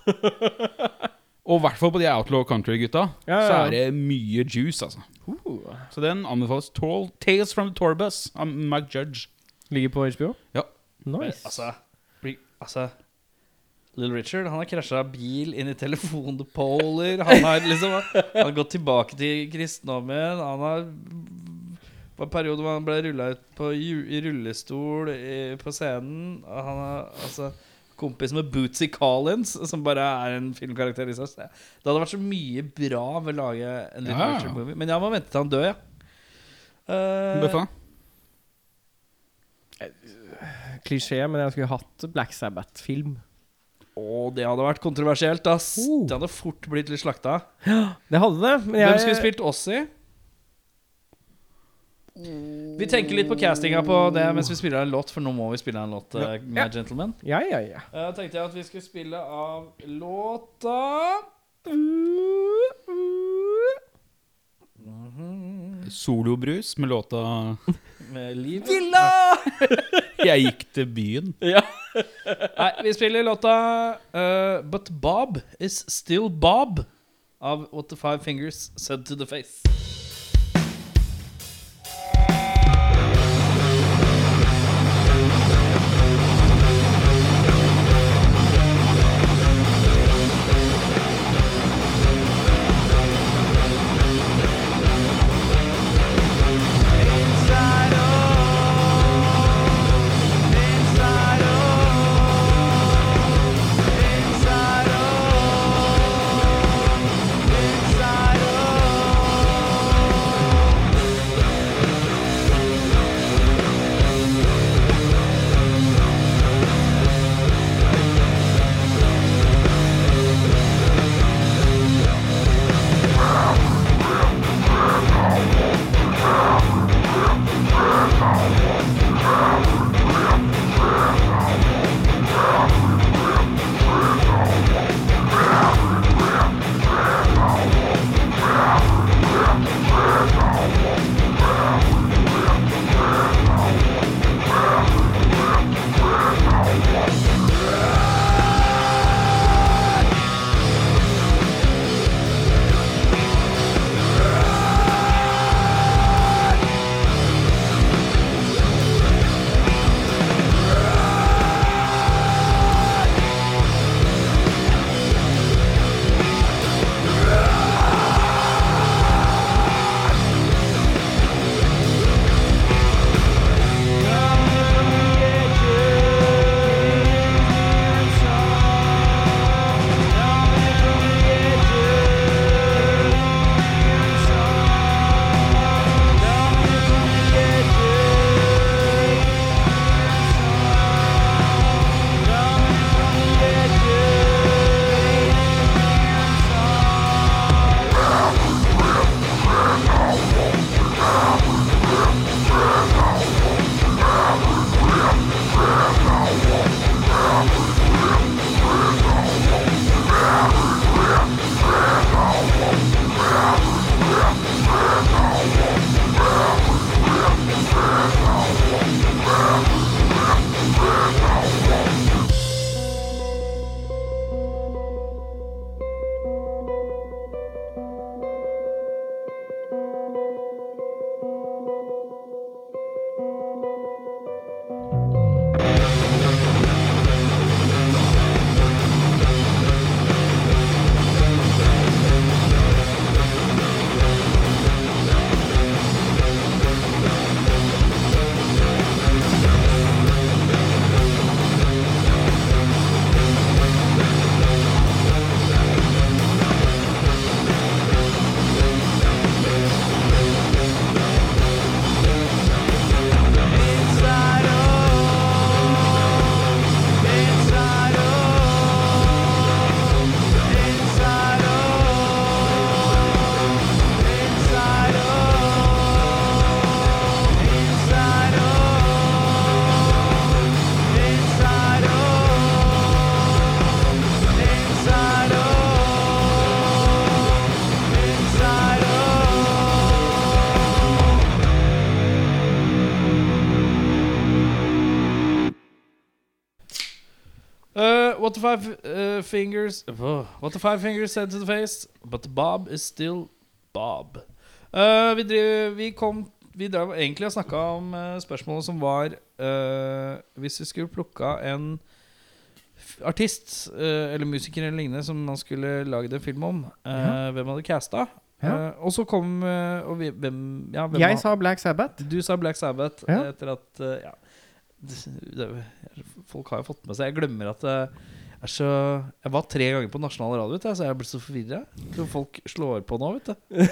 Og i hvert fall på de outlaw country-gutta, Ja, ja. så er det mye juice, altså. Så den anbefales. Tall Tales from the Tour Bus av Mike Judge. Ligger på HBO. Ja. Eh, Nice. Altså, bli- altså Little Richard han har krasja bil inn i telefonpoler. Han har liksom Han har gått tilbake til kristendommen. Han har det var en periode hvor han ble rulla ut på, ju- i rullestol i, på scenen. Og Han har altså kompis med Bootsy Collins, som bare er en filmkarakter i seg selv. Det hadde vært så mye bra ved å lage en Little Ja. Richard-movie. Men jeg må vente til han dør, ja. Eh, Bøffa. Klisjé, men jeg skulle hatt Black Sabbath-film. Å, Eh, det hadde vært kontroversielt, ass. Oh. Det hadde fort blitt litt slakta. Det hadde det, men jeg Hvem skulle spilt Ossi? Vi tenker litt på castinga på det mens vi spiller en låt, for nå må vi spille en låt. eh, My Ja. gentleman Ja, ja, ja. Eh, tenkte jeg at vi skulle spille av låta Solobrus med låta (laughs) Med livet Jeg gikk til byen. Nei, vi spiller låta eh, But Bob Is Still Bob av What The Five Fingers Said To The Face. Inside what the five uh, fingers Åh, What the five fingers said to the face But Bob is still Bob Eh, vi, driver, vi kom Vi drev egentlig og snakket om eh, Spørsmålet som var eh, Hvis vi skulle plukka en f- Artist eh, Eller musiker eller lignende Som man skulle lage en film om eh, Hvem hadde casta Ja. Eh, Og så kom eh, og vi, hvem, ja, hvem Jeg av- sa Black Sabbath. du sa Black Sabbath Ja. etter at eh, ja, det, det, Folk har jo fått med seg Jeg glemmer at det er så Jeg var tre ganger på nasjonal radio, vet du, så jeg ble så forvirra. Så folk slår på nå, vet du.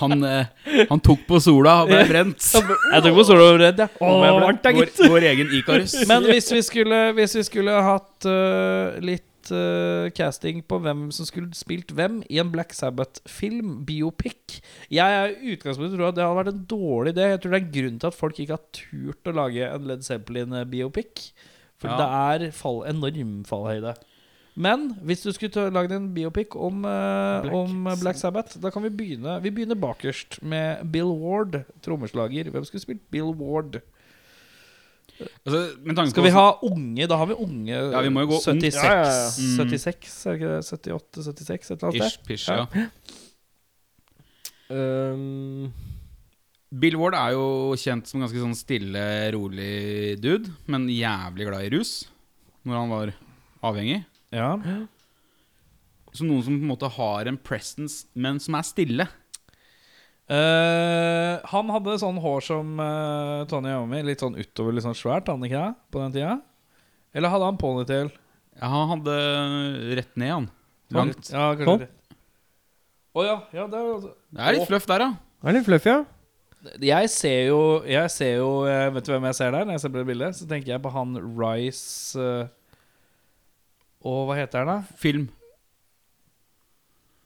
Han, eh, han tok på sola og ble (laughs) brent. Jeg tok på sola og redd, jeg. Åh, Om jeg ble. varmt da, Vår, gitt. vår egen Ikarus. (laughs) Men hvis vi skulle, hvis vi skulle hatt eh, litt eh, casting på hvem som skulle spilt hvem i en Black Sabbath-film, biopic Jeg er i utgangspunktet tror at det hadde vært en dårlig idé. Jeg tror det er en grunn til at folk ikke har turt å lage en Led Zeppelin-biopic. For Ja. det er fall, enorm fallhøyde. Men hvis du skulle ta- lagd en biopic om, eh, Black om eh, Black Sabbath Da kan vi begynne Vi begynner bakerst med Bill Ward, trommeslager. Hvem skulle spilt Bill Ward? Altså, med tanke på Skal vi ha unge? Da har vi unge Ja, vi må jo gå ungt. 76, Ja, ja, ja. Mm. 76, er det ikke det? 78, 76, et eller annet sånn Ish, pish, ja. Ehm, Um, Bill Ward er jo kjent som ganske sånn stille, rolig dude, men jævlig glad i rus når han var avhengig. der. Ja. Så noen som på en måte har en presence, men som er stille. Eh, han hadde sånn hår som eh, Tony Iommi, litt sånn utover, litt sånn svært, hadde han ikke det? På den tida? Eller hadde han ponytail? Ja, han hadde rett ned, han. Langt. Ja, kanskje Sånn. det. Å ja. ja det er, Det er litt fluff der, ja. er litt fluffy, ja. Jeg ser jo, jeg ser jo eh, Vet du hvem jeg ser der? Når jeg ser på det bildet, så tenker jeg på han Rice eh, Og hva heter han, da? Film.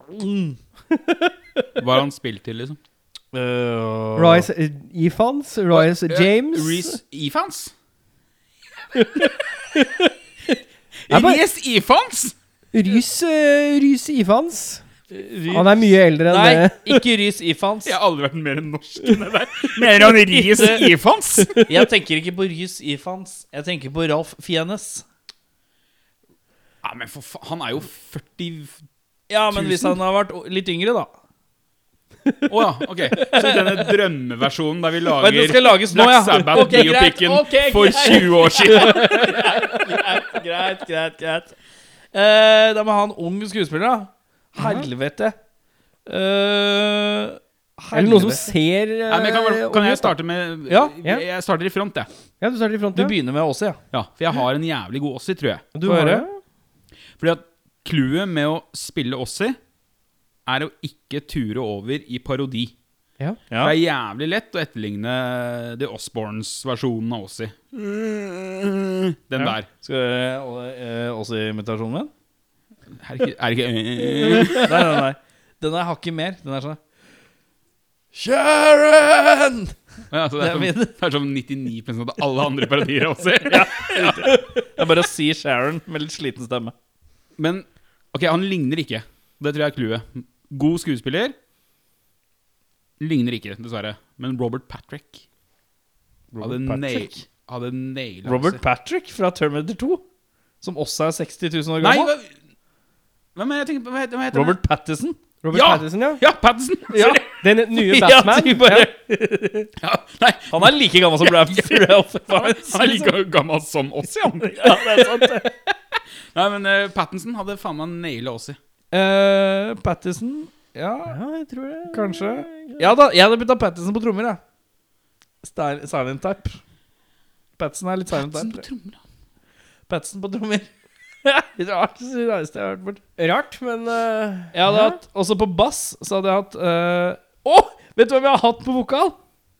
Mm. Hva har han spilt til, liksom? Rice eh, Ifans. Rice James. Eh, Reece Ifans? (laughs) Jeg bare- Reece Ifans? Rys, eh, Rys Ifans. Han er mye eldre enn Nei, det. ikke Rys (laughs) Ifans. Jeg har aldri vært mer norsk enn det der. Mer enn Reece Ifans? (laughs) Jeg tenker ikke på Rys Ifans. Jeg tenker på Ralf Fiennes. Ja, men for faen, han er jo 40 Ja, men Tusen. hvis han har vært o- litt yngre, da. Å ja, ok. Så denne drømmeversjonen der vi Oi, den lager skal lages nå, Black ja. Ok, greit, Sabbath-biopicen ok, for greit. 20 år (laughs) siden. Greit, greit, greit. Eh, da må jeg ha en ung skuespiller, da. Helvete. Eh, Er det noen som helvete. ser eh, Nei, men kan, vel- kan ung jeg ut, da? starte med Ja, ja. Jeg starter i front, jeg. Ja, du starter i front, Du ja. begynner med Åse, ja. Ja, for jeg har en jævlig god Ossi, tror jeg. Du Få har høre. det. Fordi at clouet med å spille Ossi er å ikke ture over i parodi. Ja. For Det er jævlig lett å etterligne The Osborns-versjonen av Ossi. Den der. Skal du høre Åse-imitasjonen min? Er det ikke, er det ikke Nei, nei, nei. Den er hakket mer. Den er sånn Sharon! ja, så det, er Det er min. som, det er som 99 av alle andre parodier av Ossi. Det er bare å si Sharon med litt sliten stemme. Men ok, han ligner ikke. Det tror jeg er clouet. God skuespiller. Ligner ikke, dessverre. Men Robert Patrick hadde nail- hadde naila Robert Patrick fra Terminator 2, som også er 60 000 år Nei, gammel. hva, hvem er det jeg tenker på? Hva heter, hva heter Robert Pattison. Robert Ja! Pattinson, ja. han? (laughs) Ja, Pattinson! Sorry. Den nye (laughs) Ja, Batman. du bare- Ja, nei, Han er like gammel som Ralph (laughs) Ralph Fiennes. han er like gammel som oss, (laughs) ja. Ja, det er sant. Nei, men eh, Pattinson hadde faen meg naila Ossi. Eh, Pattison Ja, Ja, jeg tror det. kanskje. Ja da, jeg hadde bytta Pattison på trommer, jeg. Styl- Silent type. Pattison er litt silent Pattinson på type. trommer, da. Pattison på trommer. (laughs) Rart, det rareste jeg har hørt bort. Rart, men eh, Jeg hadde ja. hatt, også på bass så hadde jeg hatt eh, Å! vet du hvem jeg har hatt på vokal?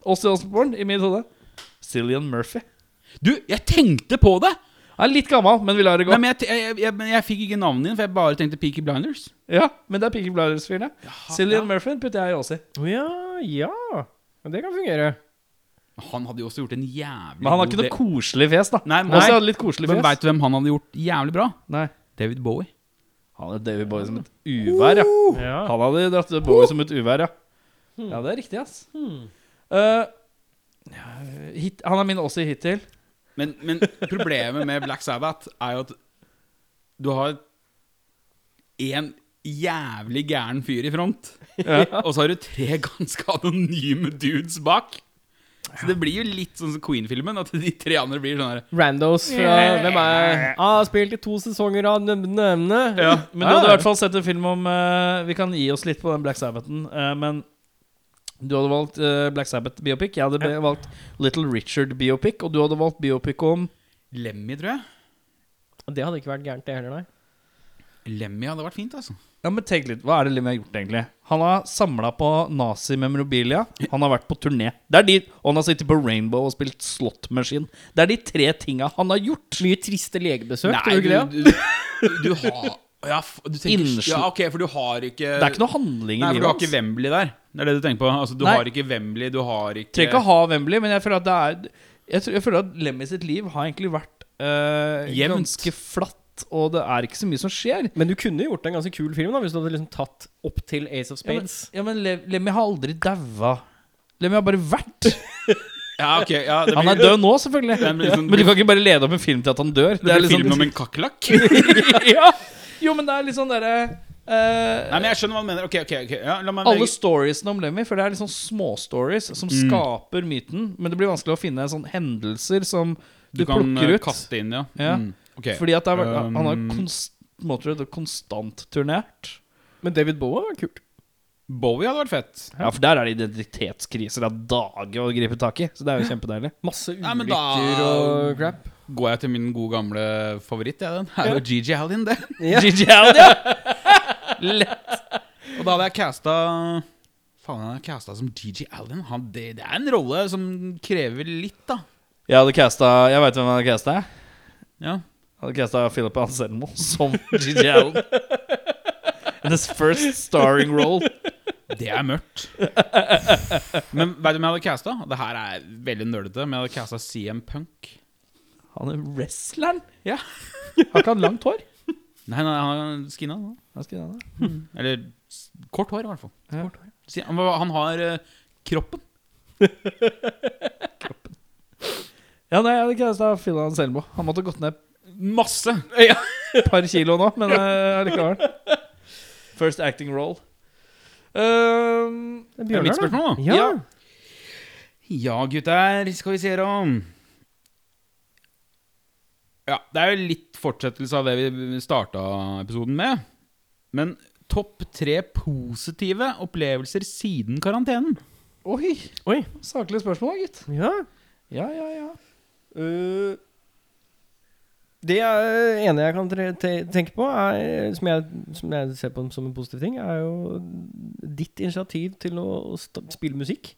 Også i Osborne, i mitt hode. Cillian Murphy. Du, jeg tenkte på det! Han er litt gammel, men vi lar det gå. Nei, men jeg, te- jeg, jeg, men jeg fikk ikke navnet din, for jeg bare tenkte Peaky Blinders. ja, men det er Peaky Blinders-fyren, ja. Cillian Murphy putter jeg i Åsi. Å ja, ja. Men Det kan fungere. Han hadde jo også gjort en jævlig Men han har ikke god noe del- koselig fjes, da. Nei, nei. Åsi hadde litt koselig Men fjes. veit du hvem han hadde gjort jævlig bra? Nei. David Bowie. Han er David Bowie som et uvær, ja. Uh. Ja. Han hadde dratt Bowie som et uvær, ja. Hmm. Ja, det er riktig, ass. Eh, hit, han er min Åsi hittil. Men, men problemet med Black Sabbath er jo at du har én jævlig gæren fyr i front, og så har du tre ganske anonyme dudes bak. Så det blir jo litt sånn som Queen-filmen, at de tre andre blir sånn her Randos fra Hvem er ah, Spilt i to sesonger av Ah. Nømne. ja. Men du hadde i hvert fall sett en film om eh, Vi kan gi oss litt på den Black Sabbathen, eh, men du hadde valgt eh, Black Sabbath biopic. Jeg hadde be- valgt Little Richard biopic, og du hadde valgt biopic om Lemmy, tror jeg. Det hadde ikke vært gærent, det heller, nei. Lemmy hadde vært fint, altså. Ja, men tenk litt, Hva er det Lim har gjort, egentlig? Han har samla på nazi-memorabilia. Han har vært på turné. Det er de, Og han har sittet på Rainbow og spilt slot machine. Det er de tre tinga han har gjort. Mye triste legebesøk, tror Nei, du ikke det? du, du, du har ja, f- du tenker, Innsl- ja, ok, for du har ikke Det er ikke noe handling i Nei, for du livet har ikke hans. Wembley der. Det er det du tenker på. Altså, du Nei. har ikke Wembley, du har ikke Trenger ikke å ha Wembley, men jeg føler at det er Jeg, tror, jeg føler at Lemmy sitt liv har egentlig vært eh, Jevnt. ganske flatt, og det er ikke så mye som skjer. Men du kunne gjort en ganske kul film da hvis du hadde liksom tatt opp til Ace of Ja, men, Spades. ja, men Le Lemmy har aldri daua. Lemmy har bare vært. Ja, ok, ja, det blir, Han er død nå, selvfølgelig. Det blir liksom- men du kan ikke bare lede opp en film til at han dør. Det er blir liksom- film om en kakerlakk. (laughs) ja. Jo, men det er litt sånn derre eh, Nei, men jeg skjønner hva du mener. Ok, ok, ok ja, la meg Alle storiesene om Lemmy, for det er litt sånn småstories som Mm. skaper myten. Men det blir vanskelig å finne sånne hendelser som du, Du kan plukker eh, ut. kaste inn, ja. Ja. Mm. Ok. Fordi at det er, Um, han har konst, på en måte, det er konstant turnert. Men David Bowie var kult. Bowie hadde vært fett. Ja, for der er det identitetskriser av dage å gripe tak i. Så det (laughs) er jo kjempedeilig. Masse Nei, ulykker men da- og crap. Går jeg til min gode gamle favoritt, jeg, den. Er jo GG Hallin, (laughs) det. Ja. GG Allen, ja! Lett. Og da hadde jeg casta Faen, han er casta som GG Allen. Han, det, det er en rolle som krever litt, da. Jeg hadde casta Jeg veit hvem jeg hadde casta. Jeg Ja. hadde casta Philip Anselmo som GG Allen. In his first starring role. Det er mørkt. (laughs) Men vet du hvem jeg hadde casta? Det her er veldig nerdete, men jeg hadde casta CM Punk. Han er wrestleren. Ja. Har ikke han langt hår? Nei, nei, han er skinna. nå. Mm. Hva skal jeg ha da? Eller s- kort hår, i hvert fall. Ja. Kort hår. Si- Han, var- han har eh, kroppen. Ja, nei, jeg hadde casta Philip Anselmo. Han måtte gått ned Masse! et par kilo nå, men eh, (laughs) allikevel. First acting role. Ehm, Det er Det er mitt Bjørnar, da. spørsmål, da. Ja. Ja. Ja, gutter, skal vi se da Ja, det er jo litt fortsettelse av det vi starta episoden med. Men topp tre positive opplevelser siden karantenen. oi! Oi. Saklig spørsmål, gitt. Ja. Ja, ja, ja. Øh, det er- eh, ene jeg kan tre- te tenke på, er, som, jeg, som jeg ser på som en positiv ting, er jo ditt initiativ til å sta- spille musikk.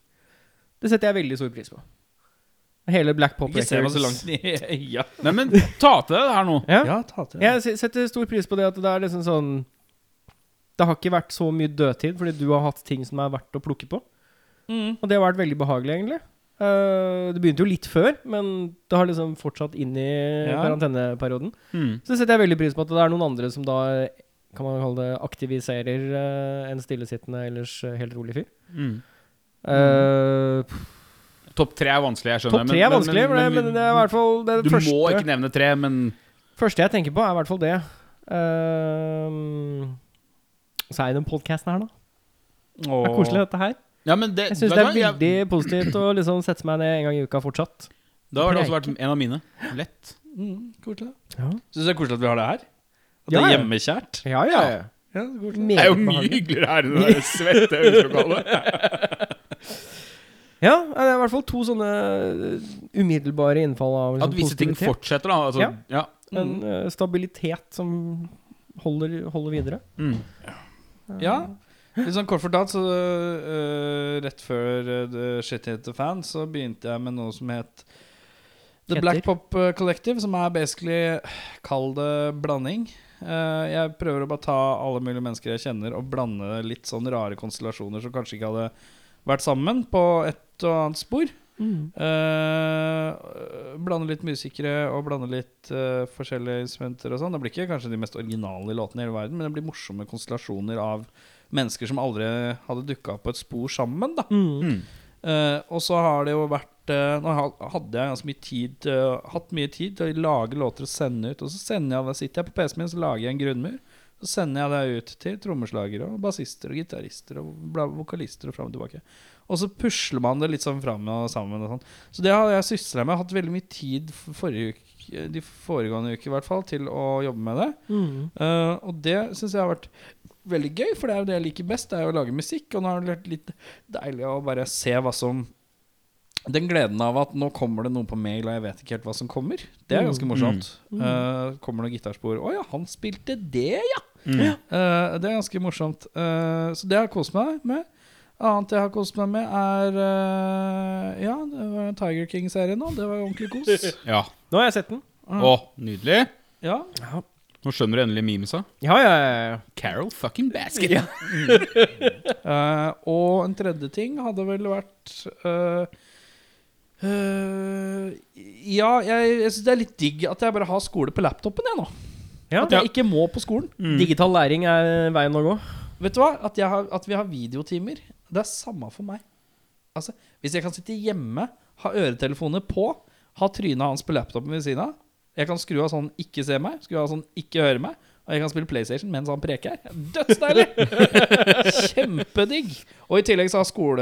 Det setter jeg veldig stor pris på. Hele Black Pop Ikke se meg så Records. langt ned. (laughs) ja. Nei, men ta til deg det her nå. Ja. ja, ta til. Jeg se- setter stor pris på det at det er liksom sånn Det har ikke vært så mye dødtid, fordi du har hatt ting som er verdt å plukke på. Mm. Og det har vært veldig behagelig, egentlig. Eh, det begynte jo litt før, men det har liksom fortsatt inn i Ja. karanteneperioden. Mm. Så setter jeg veldig pris på at det er noen andre som da kan man kalle det aktiviserer eh, en stillesittende ellers eh, helt rolig fyr. Mm. Eh, Topp tre er vanskelig, jeg skjønner. topp tre er vanskelig, men, men, det er i hvert fall det du første, må ikke nevne tre, men første jeg tenker på, er i hvert fall det. Ehm, så er det den podkasten her, da. Det er koselig, dette her. Ja, men det, Jeg syns det vet er du hva? veldig positivt å liksom sette meg ned en gang i uka fortsatt. Da har det også vært en av mine. Lett. Mm, koselig. Ja, Syns du det er koselig at vi har det her? At det Ja, er ja. hjemmekjært? ja. ja. Ja, det er koselig. Meget Det er jo mye behagelig. hyggeligere her enn det der svette øvelokalet. Ja, det er i hvert fall to sånne eh, umiddelbare innfall av liksom, At visse ting positivitet. fortsetter, da. Altså, Ja. ja. En eh, stabilitet som holder, holder videre. Mm. Ja. Litt sånn kort fortalt, så øh, rett før øh, The Shit Hit The Fan, så begynte jeg med noe som het The Heter? Black Pop øh, Collective, som er basically Kall det blanding. Eh, jeg prøver å bare ta alle mulige mennesker jeg kjenner, og blande litt sånn rare konstellasjoner som kanskje ikke hadde vært sammen, på et og annet spor. Mm. Eh, blande litt musikere og blande litt eh, forskjellige instrumenter og sånn. Det blir ikke kanskje de mest originale låtene i hele verden, men det blir morsomme konstellasjoner av mennesker som aldri hadde dukka opp på et spor sammen, da. Mm. Eh, og så har det jo vært eh, Nå ha- hadde jeg ganske mye tid til- hatt mye tid til å lage låter og sende ut. Og så sender jeg det, sitter jeg på PC-en min så lager jeg en grunnmur. Så sender jeg det ut til trommeslagere og bassister og gitarister og bla, vokalister og fram og tilbake. Og så pusler man det litt sånn fram og sammen. Og sånn. så det har jeg sysla med. Jeg har hatt veldig mye tid for- forrige uke, de foregående uker i hvert fall til å jobbe med det. Mm. Eh, og det syns jeg har vært veldig gøy, for det er jo det jeg liker best, det er jo å lage musikk. Og nå har det vært litt deilig å bare se hva som Den gleden av at nå kommer det noe på mail, og jeg vet ikke helt hva som kommer. Det er ganske morsomt. Eh, kommer det noen gitarspor? Å ja, han spilte det, ja! Eh, det er ganske morsomt. Eh, så det har jeg kost meg med. Annet jeg har kost meg med, er eh, Ja, det var Tiger King-serien nå. Det var jo ordentlig (laughs) kos. Ja. Nå har jeg sett den. Å, nydelig. Ja. Nå skjønner du endelig memesa. Ja, ja, ja. Carol fucking Basket. Eh, og en tredje ting hadde vel vært eh, eh, Ja, jeg, jeg syns det er litt digg at jeg bare har skole på laptopen, jeg nå. ja. At jeg ikke må på skolen. Digital læring er veien å gå. Vet du hva? At, jeg har, at vi har videotimer. Det er samme for meg. Altså, Hvis jeg kan sitte hjemme, ha øretelefoner på, ha trynet hans på laptopen ved siden av Jeg kan skru av sånn 'ikke se meg', skru av sånn 'ikke høre meg', og jeg kan spille PlayStation mens han preker. Dødsdeilig! (laughs) Kjempedigg. Og i tillegg så har skole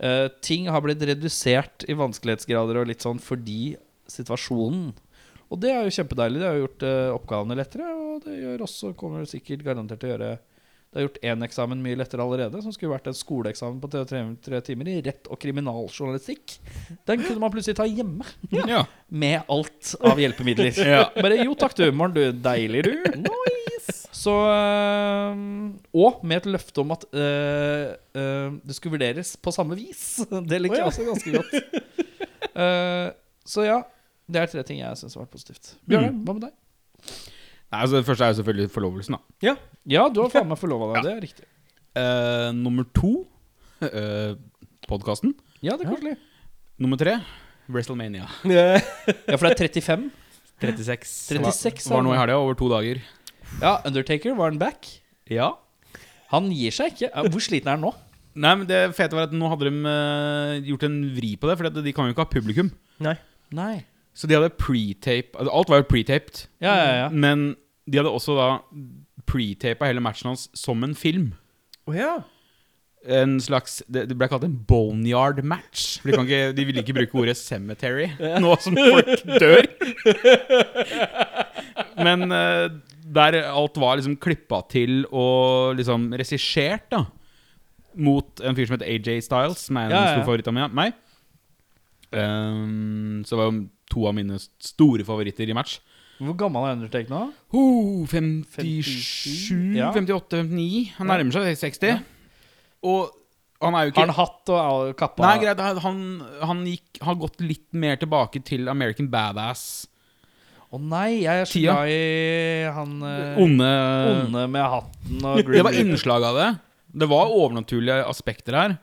eh, Ting har blitt redusert i vanskelighetsgrader og litt sånn fordi situasjonen. Og det er jo kjempedeilig. Det har jo gjort eh, oppgavene lettere, og det gjør også, kommer det sikkert garantert til å gjøre det har gjort én eksamen mye lettere allerede, som skulle vært en skoleeksamen på tre, tre, tre timer i rett og kriminaljournalistikk. Den kunne man plutselig ta hjemme, (laughs) Ja. med alt av hjelpemidler. (laughs) Ja. Bare jo takk, du, Maren, du. Deilig, du. Nice. Så øhm, Og med et løfte om at øh, øh, det skulle vurderes på samme vis. (laughs) Det liker jeg også ganske godt. Eh, så ja. Det er tre ting jeg syns har vært positivt. Bjørn, hva med deg? Nei, altså, det første er jo selvfølgelig forlovelsen, da. Ja, du har faen meg forlova deg. Det er riktig. Eh, nummer to uh, podkasten. Ja, det er koselig. Nummer tre WrestleMania. Ja, for det er 35. 36. 36 var, var nå i helga, over to dager. Ja, Undertaker var han back. Ja. Han gir seg ikke. Ja, Hvor sliten er han nå? Nei, men det fete var at nå hadde de eh, gjort en vri på det, for at de kan jo ikke ha publikum. Nei. Nei. Så de hadde pre-tape altså, Alt var jo pre-taped, Ja, ja, (laughs) ja. men de hadde også da pre-tapa hele matchen hans som en film. Å ja. En slags Det, det ble kalt en boneyard match. For de, kan ikke, de ville ikke bruke ordet (laughs) cemetery nå som folk dør. Men eh, der alt var liksom klippa til og liksom regissert, da. Mot en fyr som heter AJ Styles, som er en Ja, ja, ja. stor favoritt av meg- meg. Um, så var jo to av mine store favoritter i match. Hvor gammel er Undertaker nå? Oh, 57, 57 ja. 58, 59 Han nærmer seg 60. Og han er jo ikke Har han hatt og kappa? Nei, greit, han- han, han gikk, har gått litt mer tilbake til American Badass. Å nei, jeg er så Tia. glad i han eh, Onde onde med hatten og Det var Reaper. innslag av det. Det var overnaturlige aspekter her.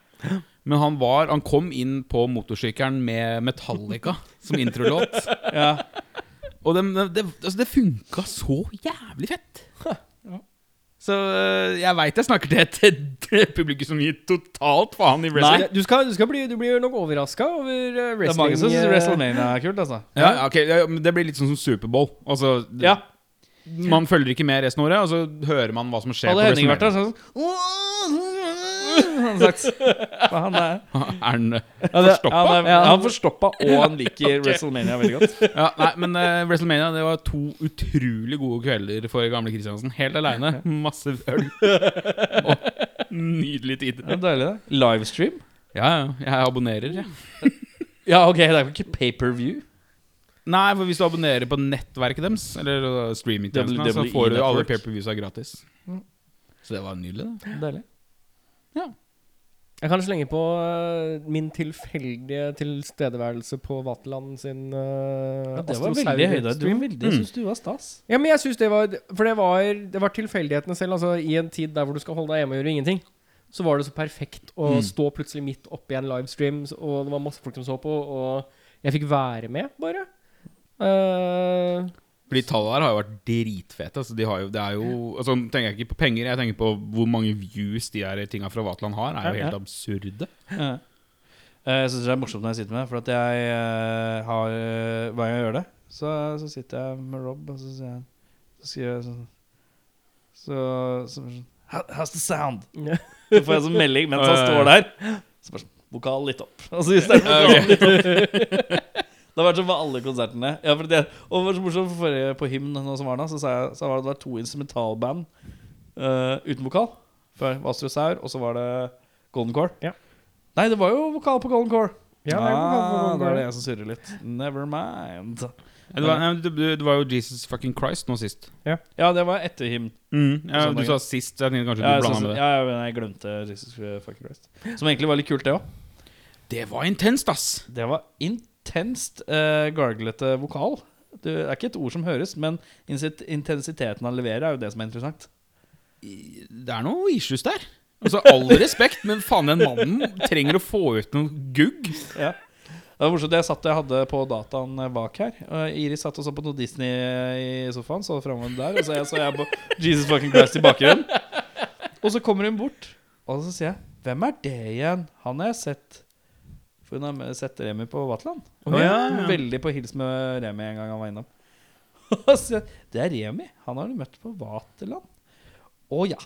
Men han, var, han kom inn på motorsykkelen med Metallica som introlåt. (laughs) Ja. Og det, det, altså det funka så jævlig fett. Så øh, jeg veit jeg snakker til et et publikum som gir totalt faen i wrestling. Du, skal, du, skal bli, du blir nok overraska over eh, Det er wrestling. mange som syns eh, WrestleMania er kult, altså. Ja, ok, ja, men Det blir litt sånn som Superbowl. Altså, det- Ja. Man følger ikke med resten av året, og så hører man hva som skjer. Hadde på Henning vært WrestleMania. der, så hadde han sagt For Han er, (laughs) Er den (laughs) ja, det, forstoppa? han er, Ja. han er forstoppa, og (laughs) han liker WrestleMania veldig godt. Ja, nei, men eh, WrestleMania det var to utrolig gode kvelder for gamle Kristiansen. Helt aleine. (laughs) Masse øl. Og nydelig tid. Det er deilig, det. Livestream? Ja, ja. Jeg abonnerer, jeg. Ja, ok, det er jo ikke paperview. Nei, for hvis du abonnerer på nettverket deres, eller uh, streamingtjenesten, så WWE får du alle Network. paperviewsa gratis. Så det var nydelig, det. Deilig. Jeg kan slenge på eh, min tilfeldige tilstedeværelse på Vatland sin eh, Ja, altså, det var Astro veldig Saudi høyde. Du stream. var veldig, jeg syns du var stas. Ja, men jeg synes det var For det var, det var tilfeldighetene selv. Altså I en tid der hvor du skal holde deg hjemme og gjøre ingenting, så var det så perfekt Mm. å stå plutselig midt oppi en livestream, s- og det var masse folk som så på, og jeg fikk være med, bare. Eh, For de tallene her har jo vært dritfete. Altså, de har jo, det er jo altså, nå tenker jeg ikke på penger, jeg tenker på hvor mange views de her tinga fra Vatland har. er jo helt absurde. Ja. Eh, Jeg syns det er morsomt når jeg sitter med det, for at jeg eh, har eh, Hver gang jeg gjør det, så, så sitter jeg med Rob, og så sier jeg Så sier jeg sånn Så, så bare sånn, "How- How's the sound? Ja. Så får jeg sånn melding mens han Ja, ja, står der. Så bare sånn Vokal litt opp. Altså istedenfor Ja, vokal litt opp. (laughs) Det har vært sånn på alle konsertene. Ja, for det, og det var så morsomt for forrige på Hymn, nå som var da, så, sa jeg, så var det, det var to instrumentalband eh, uten vokal. Før Vastrosaur, og så var det Golden Core. Ja. Nei, det var jo vokal på Golden Core. Ja, det er ah, vokal på Golden da er Core. det jeg som surrer litt. Never mind. Ja, Det var, nei, det, det var jo Jesus fucking Christ nå sist. Ja, det var etter Hymn. Mm, ja, du sa sist, så jeg tenkte kanskje du Ja, jeg, blanda synes- med det. ja, ja, men jeg glemte Jesus Fucking Christ. Som egentlig var litt kult, det òg. Det var intenst, ass! Det var intenst eh, garglete vokal. Det er ikke et ord som høres, men insit- intensiteten han leverer, er jo det som er interessant. Det er noe issues der. Altså, All respekt, men faen, den mannen trenger å få ut noe gugg. Ja. Det var morsomt. Jeg satt jeg hadde på dataen bak her. Og Iris satt og så på noe Disney i sofaen. Så framover der. Og så jeg, så jeg på Jesus fucking Christ i bakgrunnen. Og så kommer hun bort, og så sier jeg 'Hvem er det igjen?' Han har jeg sett. For hun har med- sett Remi på Vatland. Og hun Ja, var ja. Veldig på hils med Remi en gang han var innom. (laughs) Og så sier jeg 'Det er Remi. Han har du møtt på Vaterland'. Å ja.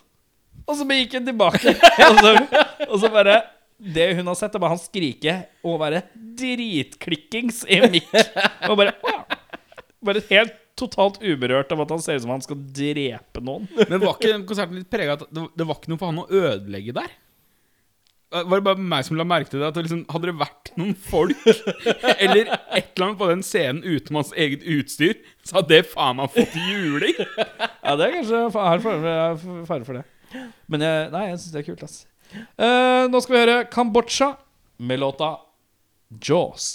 Og så gikk hun tilbake. (laughs) og, så, og så bare Det hun har sett, er bare han skrike og være dritklikkings i mikk. Og bare, (laughs) «Å, ja». bare helt totalt uberørt av at han ser ut som han skal drepe noen. Men var ikke den konserten litt prega av at det, det var ikke noe for han å ødelegge der? Eh, Var det bare meg som la merke til det? At det liksom, hadde det vært noen folk eller et eller annet på den scenen uten hans eget utstyr, så hadde det faen meg fått juling! Ja, det er kanskje fa- er fare for, er fare for det. Men jeg, nei, jeg syns det er kult, ass. Eh, nå skal vi høre Kambodsja med låta Jaws.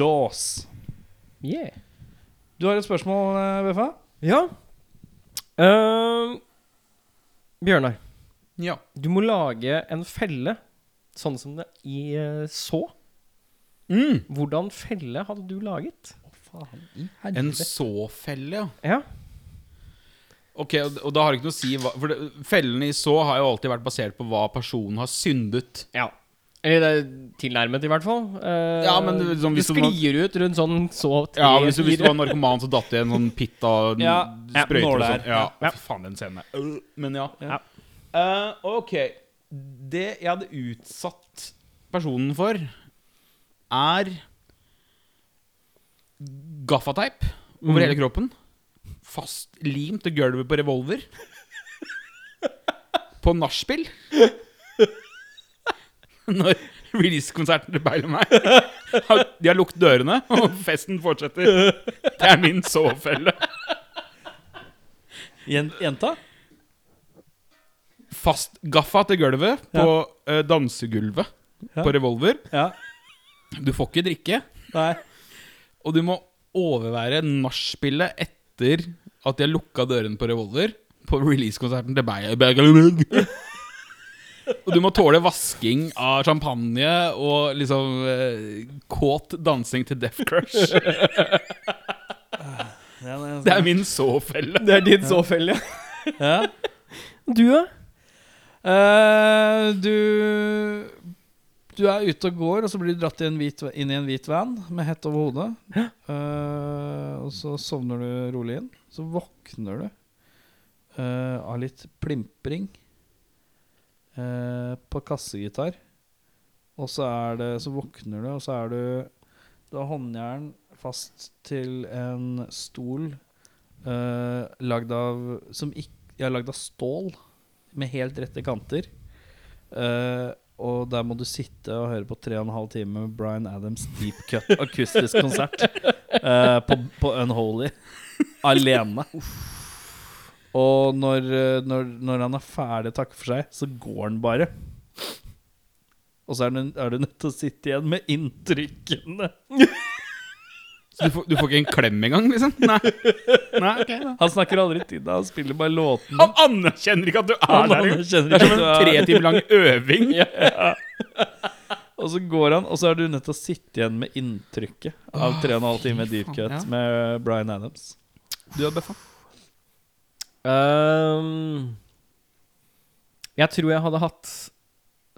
Ås. Yeah. Du har et spørsmål, eh, Beffa? Ja. Ehm, Bjørnar, Ja. du må lage en felle sånn som det i eh, så. Mm. Hvordan felle hadde du laget? En såfelle, ja. Ja. Ok, og og da har det ikke noe å si hva For det, fellene i så har jo alltid vært basert på hva personen har syndet. ja. Eller det er tilnærmet, i hvert fall. Eh, Ja, men det- sånn det hvis du må- sklir ut rundt sånn så tre, Ja, hvis du, hvis du fire. var narkoman, så datt det i en sånn pitt av n- Ja, ja, sprøyter og nåler. sånn. Ja, Ja. fy faen, den scenen der. Øh, Men ja. Eh, ok. Det jeg hadde utsatt personen for, er gaffateip over hele kroppen. Fast limt til gulvet på revolver. på nachspiel. Når release-konserten til Beil og meg har- De har lukket dørene, og festen fortsetter. Det er min sovefelle. Jen- Jenta? Fast gaffa til gulvet på eh, dansegulvet Ja. på revolver. Ja. Du får ikke drikke, Nei. og du må overvære nachspielet etter at de har lukka dørene på revolver på releasekonserten til Beil- Bergelberg. (laughs) Og du må tåle vasking av champagne og liksom eh, kåt dansing til Death Crush. Ja, nei, altså, Det er min såfelle. (laughs) Det er ditt såfelle. ja. Du, da? Eh, du Du er ute og går, og så blir du dratt i en hvit, inn i en hvit van med hett over hodet. Eh, og så sovner du rolig inn. Så våkner du eh, av litt plimpring eh, på kassegitar. Og så er det Så våkner du, og så er du Du har håndjern fast til en stol eh, lagd av Som ikke er lagd av stål med helt rette kanter. Eh, og der må du sitte og høre på tre og en halv time med Bryan Adams deep cut akustisk konsert eh, på, på Unholy alene. Og når, eh, når, når han er ferdig å takke for seg, så går han bare. Og så er du, er du nødt til å sitte igjen med inntrykkene. Så du får, du får ikke en klem engang, liksom? Nei. Nei ok, da. Han snakker aldri til deg, han spiller bare låtene. Han anerkjenner ikke at du er Han der. engang. anerkjenner Det er ikke som en at du er- tre timer lang øving. Og så går han, og så er du nødt til å sitte igjen med inntrykket av tre og en halv time deep cut ja. med eh, Bryan Adams. Du har bøffa. Ehm, jeg tror jeg hadde hatt